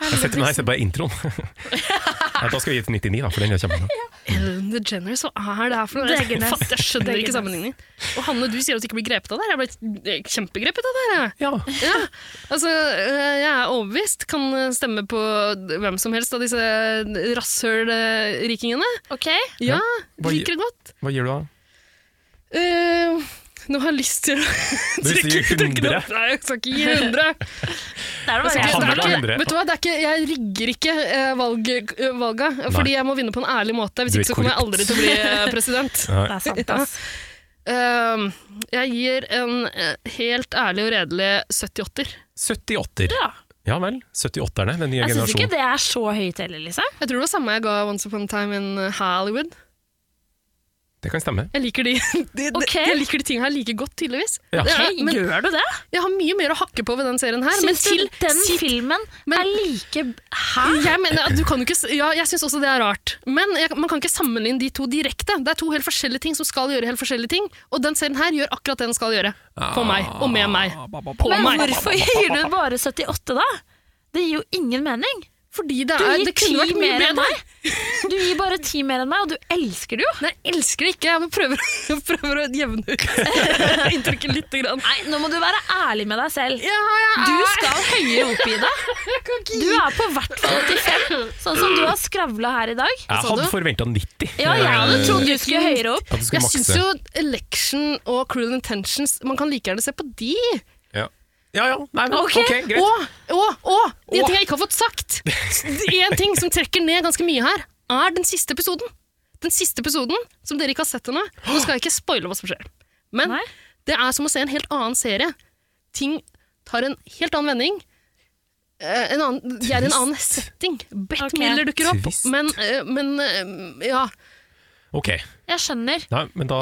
Speaker 2: Jeg setter, nei, jeg setter bare introen. Nei, da skal vi gi et 99, da, for den er kjempebra.
Speaker 4: Ellen DeGeneres, hva er det her for noe? Jeg,
Speaker 3: Degenes.
Speaker 4: fatter- jeg skjønner ikke
Speaker 3: Degenes.
Speaker 4: sammenligningen. Og Hanne, du sier at du ikke blir grepet av det her. Jeg ble kjempegrepet av det her. jeg.
Speaker 2: Ja.
Speaker 4: Altså, eh, jeg er overbevist. Kan eh, stemme på hvem som helst av disse rasshøl-rikingene.
Speaker 3: Ok.
Speaker 4: Ja,
Speaker 2: Hva gi-
Speaker 4: liker det godt.
Speaker 2: Hva gir du, da?
Speaker 4: Eh, nå har jeg lyst til å
Speaker 2: Du sier
Speaker 4: trykke trykke det
Speaker 2: 100.
Speaker 4: opp. Nei, jeg skal ikke gi 100.
Speaker 3: Det er det
Speaker 4: Jeg skal
Speaker 3: bare
Speaker 4: ikke-
Speaker 2: Hanne tar
Speaker 4: det er
Speaker 2: 100.
Speaker 4: ikke, vet du hva, det er ikke, jeg rigger ikke eh, valg, eh, valga, fordi jeg må vinne på en ærlig måte. Hvis
Speaker 2: Du er
Speaker 4: ikke så kommer jeg
Speaker 2: korrupt.
Speaker 4: aldri til å bli eh, president.
Speaker 2: Nei.
Speaker 3: Det er sant, ass.
Speaker 4: Ehm, jeg gir en eh, helt ærlig og redelig 70-80-er.
Speaker 2: 78-er.
Speaker 3: Ja.
Speaker 2: Ja vel. 78-erne, den nye
Speaker 3: Jeg syns ikke
Speaker 2: generasjonen.
Speaker 3: det er så høyt heller, liksom.
Speaker 4: Jeg tror det var samme jeg ga Once Upon a Time in eh, Hollywood.
Speaker 2: Det kan stemme.
Speaker 4: Jeg liker de, de, de,
Speaker 3: Ok.
Speaker 4: jeg liker de tingene her like godt, tydeligvis.
Speaker 2: Ja.
Speaker 4: Det er-
Speaker 3: Ok,
Speaker 4: men
Speaker 3: gjør du det?
Speaker 4: jeg har mye mer å hakke på ved den serien her. Men
Speaker 3: Syns du
Speaker 4: til,
Speaker 3: den
Speaker 4: si-
Speaker 3: filmen
Speaker 4: men-
Speaker 3: er like Hæ?
Speaker 4: jeg mener at du kan jo ikke, s- ja, jeg syns også det er rart. Men jeg, man kan ikke sammenligne de to direkte. Det er to helt forskjellige ting som skal gjøre helt forskjellige ting. Og den serien her gjør akkurat det den skal gjøre. For meg. Og med meg. På
Speaker 3: Men
Speaker 4: meg.
Speaker 3: hvorfor gir du bare 78, da? Det gir jo ingen mening.
Speaker 4: Fordi det,
Speaker 3: Du
Speaker 4: er,
Speaker 3: gir
Speaker 4: det
Speaker 3: ti
Speaker 4: kunne vært mye
Speaker 3: mer enn
Speaker 4: bedre.
Speaker 3: meg. Du gir bare ti mer enn meg, og du elsker det jo.
Speaker 4: Nei, jeg elsker det ikke. Jeg bare prøver, prøver å jevne ut inntrykket litt. Grann.
Speaker 3: Nei, nå må du være ærlig med deg selv.
Speaker 4: Ja, jeg
Speaker 3: Du skal høyere opp i det. Du er på hvert fall 85, sånn som du har skravla her i dag.
Speaker 2: Jeg
Speaker 4: sa
Speaker 2: hadde
Speaker 4: du?
Speaker 2: forventa 90.
Speaker 3: Ja, jeg hadde
Speaker 2: Eh,
Speaker 3: trodd du skulle høyere opp.
Speaker 2: At du skulle
Speaker 4: Jeg
Speaker 2: makse.
Speaker 4: syns jo Election og Cruel Intentions Man kan like gjerne se på de.
Speaker 2: Ja ja, ja. Nei, men,
Speaker 3: Ok.
Speaker 2: ok, greit.
Speaker 4: Og, og, og en
Speaker 2: Å.
Speaker 4: ting jeg ikke har fått sagt! En ting som trekker ned ganske mye her, er den siste episoden. Den siste episoden som dere ikke har sett ennå. Nå skal jeg ikke spoile hva som skjer. Men
Speaker 3: Nei.
Speaker 4: det er som å se en helt annen serie. Ting tar en helt annen vending. Eh, En annen, de er i en annen setting. Bett
Speaker 3: Ok.
Speaker 4: Miller dukker opp,
Speaker 2: Twist.
Speaker 4: men, eh, men eh, ja.
Speaker 2: Ok.
Speaker 3: Jeg skjønner.
Speaker 2: Nei, men da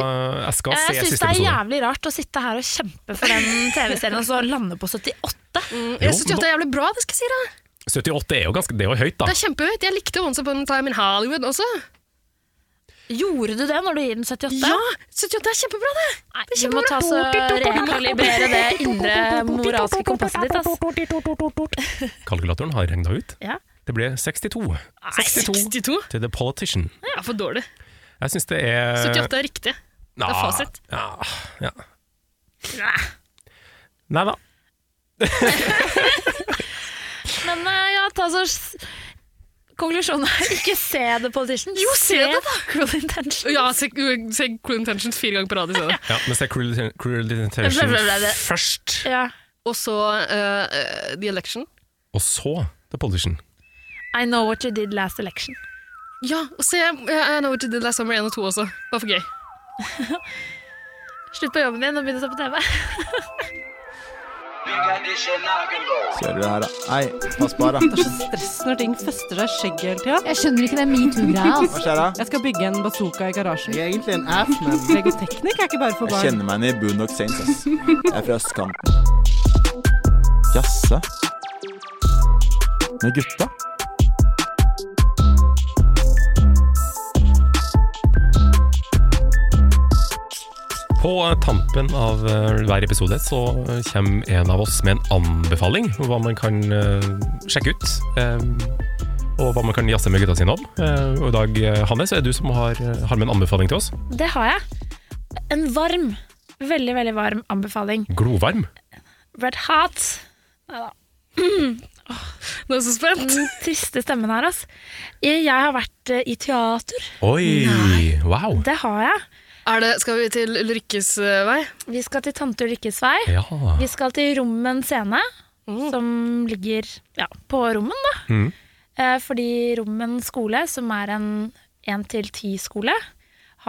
Speaker 2: Jeg skal
Speaker 3: Jeg
Speaker 2: se
Speaker 3: syns
Speaker 2: siste
Speaker 3: det er
Speaker 2: episode.
Speaker 3: jævlig rart å sitte her og kjempe for den TV-serien og så lande på 78.
Speaker 2: Jo,
Speaker 4: Jeg syns jo at det er jævlig bra, det skal jeg si deg.
Speaker 2: 78 er jo ganske Det er jo høyt, da.
Speaker 4: Det er kjempehøyt. Jeg likte Once Upon a Time in Hollywood også.
Speaker 3: Gjorde du det når du gir den 78?
Speaker 4: Ja, synes jo at det er kjempebra, det.
Speaker 3: Nei, du må ta så rekalibrere det indre moralske kompasset ditt. Ass.
Speaker 2: Kalkulatoren har regna ut.
Speaker 3: Ja.
Speaker 2: Det ble 62
Speaker 4: Nei, 62?
Speaker 2: til The Politician.
Speaker 4: Det er for dårlig.
Speaker 2: Jeg syns det er
Speaker 4: 78 er riktig.
Speaker 2: Nei,
Speaker 4: er fasit.
Speaker 2: Ja, ja. Nei da.
Speaker 3: Men eh, ja, ta så s- Konklusjonen er ikke se The Politician. Jo, se det, da! Cruel Intention.
Speaker 4: Ja, se, se Cruel Intentions fire ganger på rad i stedet.
Speaker 2: Ja, men se Cruel, Cruel Intention
Speaker 3: Blablabla.
Speaker 2: først,
Speaker 3: Ja.
Speaker 4: Og så eh, eh, The Election.
Speaker 2: og så The Politician.
Speaker 3: I know what you did last election.
Speaker 4: Ja, og se eh, I Know What You Did Last Summer 1 og 2 også. Det var for gøy.
Speaker 3: Slutt på jobben din og begynn å se på TV.
Speaker 12: Kjører du her, da? Nei, pass på her, da.
Speaker 13: stress når ting fester seg i skjegget hele tida.
Speaker 14: Jeg skjønner ikke den metoo-greia.
Speaker 12: Hva
Speaker 14: Altså.
Speaker 12: skjer da?
Speaker 13: Jeg skal bygge en bazooka i garasjen.
Speaker 12: Jeg er egentlig en ass, men
Speaker 13: Legoteknikk er ikke bare for
Speaker 12: Jeg
Speaker 13: barn.
Speaker 12: kjenner meg igjen i Boondock Saints, ass. Jeg er fra østkanten. Jaså? Med gutta?
Speaker 2: På tampen av eh, hver episode så kommer en av oss med en anbefaling om hva man kan eh, sjekke ut. eh, og hva man kan jazze med gutta sine om. Eh, og I dag, eh, Hanne, så er det du som har, har med en anbefaling til oss.
Speaker 3: Det har jeg. En varm Veldig, veldig varm anbefaling.
Speaker 2: Glovarm?
Speaker 3: Red Hot. Neida.
Speaker 4: Nå er jeg så spent.
Speaker 3: Den triste stemmen her, altså. Jeg har vært eh, i teater.
Speaker 2: Oi, wow.
Speaker 3: Det har jeg.
Speaker 4: skal vi til Ulrikkes eh, vei?
Speaker 3: Vi skal til tante Ulrikkes vei.
Speaker 2: Ja.
Speaker 3: Vi skal til Rommen scene, som ligger ja, på Rommen, da.
Speaker 2: Mm.
Speaker 3: Eh, fordi Rommen skole, som er en 1-10-skole,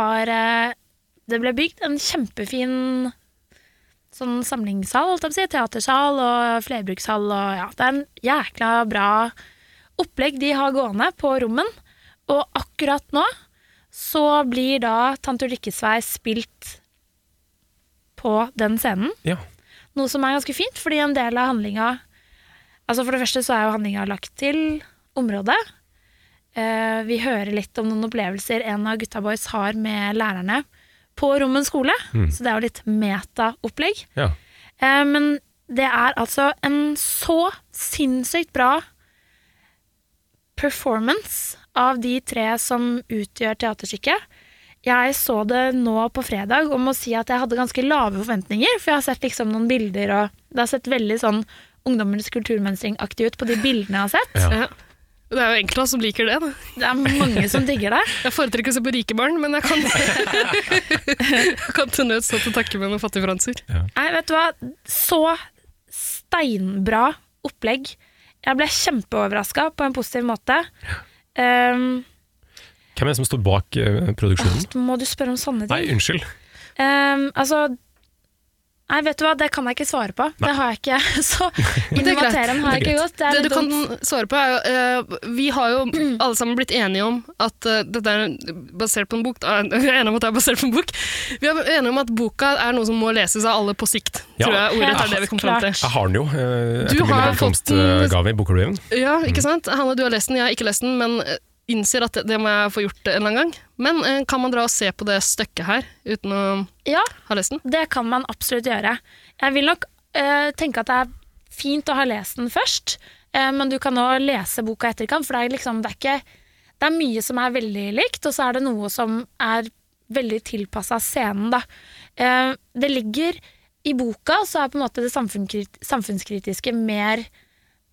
Speaker 3: har eh, Det ble bygd en kjempefin sånn samlingssal, holdt jeg på å si. Teatersal og flerbrukshall og ja. Det er en jækla bra opplegg de har gående på Rommen. Og akkurat nå så blir da Tante Ulrikkes vei spilt på den scenen.
Speaker 2: Ja.
Speaker 3: Noe som er ganske fint, fordi en del av handlinga Altså For det første så er jo handlinga lagt til området. Eh, vi hører litt om noen opplevelser en av gutta boys har med lærerne på Rommen skole.
Speaker 2: Mm.
Speaker 3: Så det er jo litt meta-opplegg.
Speaker 2: Ja.
Speaker 3: Eh, men det er altså en så sinnssykt bra performance av de tre som utgjør teaterstykket. Jeg så det nå på fredag og må si at jeg hadde ganske lave forventninger, for jeg har sett liksom noen bilder og det har sett veldig sånn ungdommens kulturmønstring-aktig ut på de bildene jeg har sett.
Speaker 4: Ja. Det er jo enkelte av oss som liker det. Da.
Speaker 3: Det er mange som digger det.
Speaker 4: Jeg foretrekker å se på rike barn, men jeg kan, jeg kan til nød stå til takke med noen fattige franser.
Speaker 3: Nei, vet du hva? Så steinbra opplegg. Jeg ble kjempeoverraska på en positiv måte. Ehm,
Speaker 2: Hvem er det som står bak eh,
Speaker 4: Ah,
Speaker 2: produksjonen?
Speaker 3: må du spørre om sånne ting?
Speaker 2: Nei, unnskyld.
Speaker 3: Ehm, altså Nei, vet du hva, det kan jeg ikke svare på. Det har jeg ikke. Så inn i materien har jeg ikke gått. Det er
Speaker 4: det
Speaker 3: litt
Speaker 4: du kan
Speaker 3: dumt.
Speaker 4: svare på, er jo eh, Vi har jo alle sammen blitt enige om at eh, dette er basert på en bok. da- Vi er enige om at det er basert på en bok. Vi er enige om at boka er noe som må leses av alle på sikt, tror jeg ordrett er det vi kom fram til.
Speaker 2: Jeg har den jo. eh,
Speaker 4: Du
Speaker 2: Etter min
Speaker 4: har fått den-
Speaker 2: velkomstgave i bokklubben.
Speaker 4: Ja, ikke sant? Hanne, du har lest den, jeg har ikke lest den, men eh, innser at det- det må jeg få gjort en eller annen gang. Men eh, kan man dra og se på det stykket her, uten å
Speaker 3: Ja,
Speaker 4: ha lest den?
Speaker 3: det kan man absolutt gjøre. Jeg vil nok eh, tenke at det er fint å ha lest den først, eh, men du kan òg lese boka etterkant, for det er, liksom, det, er ikke, det er mye som er veldig likt, og så er det noe som er veldig tilpassa scenen. Da. Eh, det ligger i boka, så er på en måte det samfunnskrit samfunnskritiske mer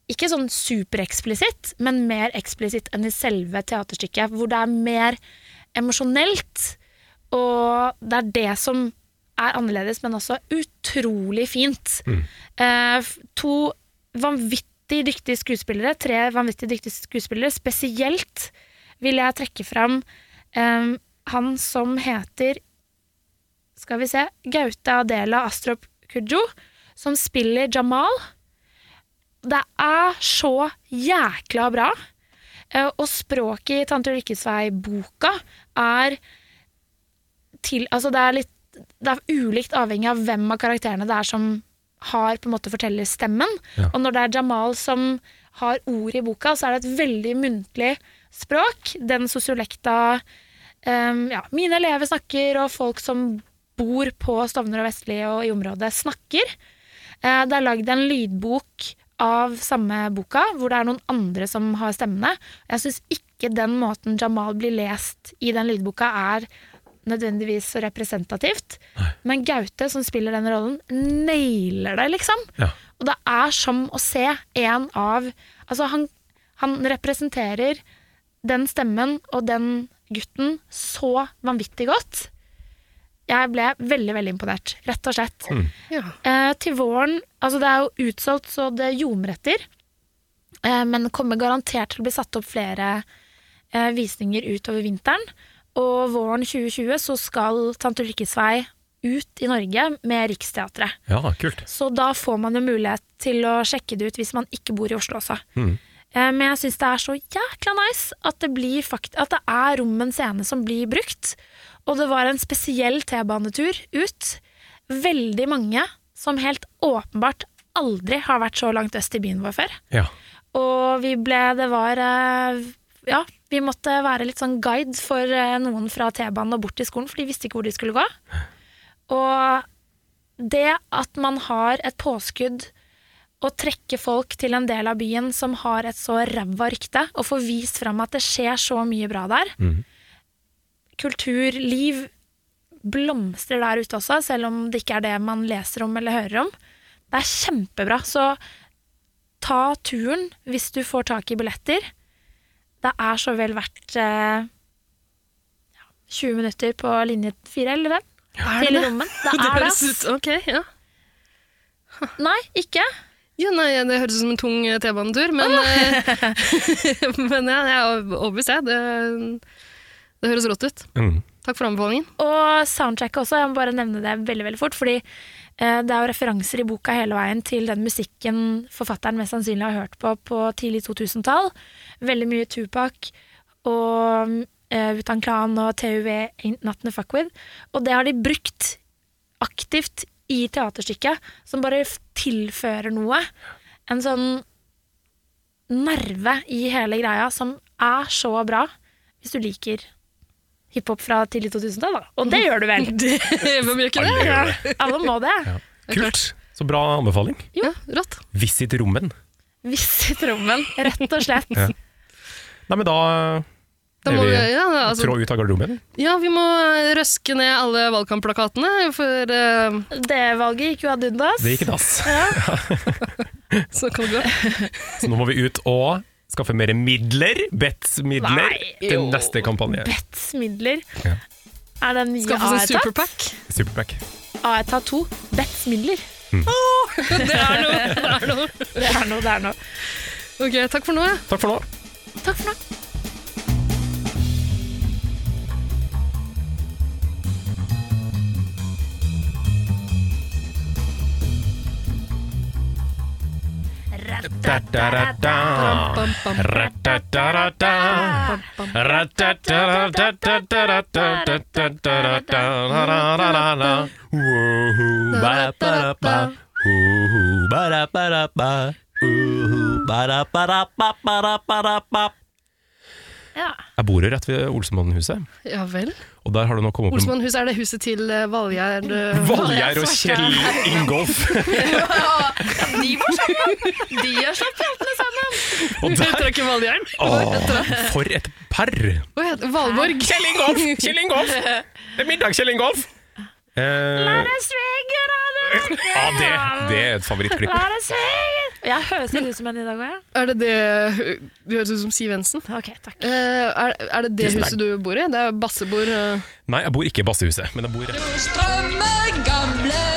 Speaker 3: ikke sånn supereksplisitt, men mer eksplisitt enn i selve teaterstykket, hvor det er mer emosjonelt. Og det er det som er annerledes, men også utrolig fint. Eh, f- to vanvittig dyktige skuespillere, tre vanvittig dyktige skuespillere. Spesielt vil jeg trekke fram eh, han som heter Skal vi se Gaute Adela Astrup Kujo, som spiller Jamal. Det er så jækla bra. Eh, og språket i Tante Ulrikkes vei-boka er til Altså, det er litt Det er ulikt avhengig av hvem av karakterene det er som har på en måte fortellerstemmen.
Speaker 5: Ja.
Speaker 3: Og når det er Jamal som har ord i boka, så er det et veldig muntlig språk. Den sosiolekta em, ja, mine elever snakker, og folk som bor på Stovner og Vestli og i området, snakker. Eh, Det er lagd en lydbok av samme boka, hvor det er noen andre som har stemmene. Jeg syns ikke den måten Jamal blir lest i den lydboka, er nødvendigvis så representativt. Men Gaute, som spiller den rollen, nailer det, liksom.
Speaker 2: Ja.
Speaker 3: Og det er som å se en av Altså, han, han representerer den stemmen og den gutten så vanvittig godt. Jeg ble veldig, veldig imponert, rett og slett.
Speaker 5: Mm.
Speaker 3: Eh, til våren Altså, det er jo utsolgt så det ljomer etter. Eh, men kommer garantert til å bli satt opp flere eh, visninger utover vinteren. Og våren 2020 så skal Tante Ulrikkes vei ut i Norge med Riksteatret.
Speaker 2: Ja, kult.
Speaker 3: Så da får man jo mulighet til å sjekke det ut hvis man ikke bor i Oslo også.
Speaker 2: Mm.
Speaker 3: Eh, Men jeg syns det er så jækla nice at det, blir fakt at det er rommen scene som blir brukt. Og det var en spesiell T-banetur ut. Veldig mange som helt åpenbart aldri har vært så langt øst i byen vår før.
Speaker 2: Ja.
Speaker 3: Og vi ble Det var eh, Ja, vi måtte være litt sånn guide for eh, noen fra T-banen og bort til skolen, for de visste ikke hvor de skulle gå. Og det at man har et påskudd å trekke folk til en del av byen som har et så ræva rykte, og få
Speaker 4: Mhm.
Speaker 3: vist fram at det skjer så mye bra der. Kulturliv, blomstrer der ute også, selv om det ikke er det man leser om eller hører om. Det er kjempebra. Så ta turen hvis du får tak i billetter. Det er så vel verdt eh, ja, 20 minutter på linje 4 eller 5
Speaker 4: Er det
Speaker 3: til
Speaker 4: det?
Speaker 3: Rommen. Det
Speaker 4: Det
Speaker 3: er det.
Speaker 4: høres ut- ok, ja.
Speaker 3: Nei, ikke.
Speaker 4: Ja, nei, Det høres ut som en tung eh, T-banetur, men, eh, men ja, jeg er overbevist, jeg. Det, det høres rått ut.
Speaker 2: Mm.
Speaker 4: Takk for anbefalingen.
Speaker 3: Og soundtracket også, jeg må bare nevne det veldig veldig fort. Fordi eh, det er jo referanser i boka hele veien til den musikken forfatteren mest sannsynlig har hørt på på tidlig 2000-tall. Veldig mye Tupac og eh, Wutan Klan og TUV Ain't Nothing to Fuck With. Og det har de brukt aktivt i teaterstykket, som bare f- tilfører noe. En sånn nerve i hele greia som er så bra, hvis du liker hiphop fra tidlig 2000-tall, da. Og det gjør du vel?
Speaker 4: Hvem gjør ikke det?
Speaker 2: Alle gjør
Speaker 3: Ja, Alle må det.
Speaker 2: Kult! Så bra anbefaling.
Speaker 3: Jo,
Speaker 4: rått.
Speaker 2: Visit Rommen.
Speaker 3: Visit rommen, rett og slett.
Speaker 2: Ja. Nei, men da,
Speaker 4: Da
Speaker 2: er
Speaker 4: må
Speaker 2: vi
Speaker 4: vi- ja, altså-
Speaker 2: trå ut av garderoben.
Speaker 4: Ja, vi må eh, røske ned alle valgkampplakatene, for eh,
Speaker 3: Det valget gikk jo ad undas.
Speaker 2: Det gikk i dass.
Speaker 4: Så kan det gå.
Speaker 2: Så nå må vi ut og skaffe mer midler. Bets-midler
Speaker 3: Nei,
Speaker 2: til
Speaker 3: jo.
Speaker 2: neste kampanje.
Speaker 3: Bets-midler.
Speaker 2: Ja.
Speaker 3: Er den E nye
Speaker 4: Skaffe seg
Speaker 3: AETAT?
Speaker 2: Superpack.
Speaker 3: AETAT 2. Bets-midler.
Speaker 4: Åh, det er noe! Det er noe.
Speaker 3: Det er noe, det er noe.
Speaker 4: Ok, takk for nå. ja.
Speaker 2: Takk for nå.
Speaker 3: Takk for nå.
Speaker 2: Ah,
Speaker 3: Ja.
Speaker 2: Jeg bor jo rett ved Olsenmannen-huset,
Speaker 4: Ja vel.
Speaker 2: og der har det nå kommet opp en-
Speaker 4: Olsmannhuset, er det huset til eh, Valgjerd eh,
Speaker 2: Valgjerd og Kjell Ingolf.
Speaker 3: De var sammen! De har slått hjertene sammen!
Speaker 2: Og der-
Speaker 4: Heter det ikke Valgjerd?
Speaker 2: Åh, for et par!
Speaker 4: Hva heter Valborg?
Speaker 2: Kjell Ingolf! Kjell Ingolf! Det er middag, Kjell Ingolf! Eh,
Speaker 3: Lære svinger,
Speaker 2: ja, det, det er et favorittklipp.
Speaker 3: Lære svinger! Jeg høres litt ut som en i dag òg, jeg.
Speaker 4: Er det det Du høres ut som Siv Jensen.
Speaker 3: Ok, takk.
Speaker 4: Eh, er, er det det
Speaker 2: Tusen takk.
Speaker 4: huset du bor i? Det er bassebord. eh.
Speaker 2: Nei, jeg bor ikke i Bassehuset, men jeg bor rett
Speaker 14: Strømme gamle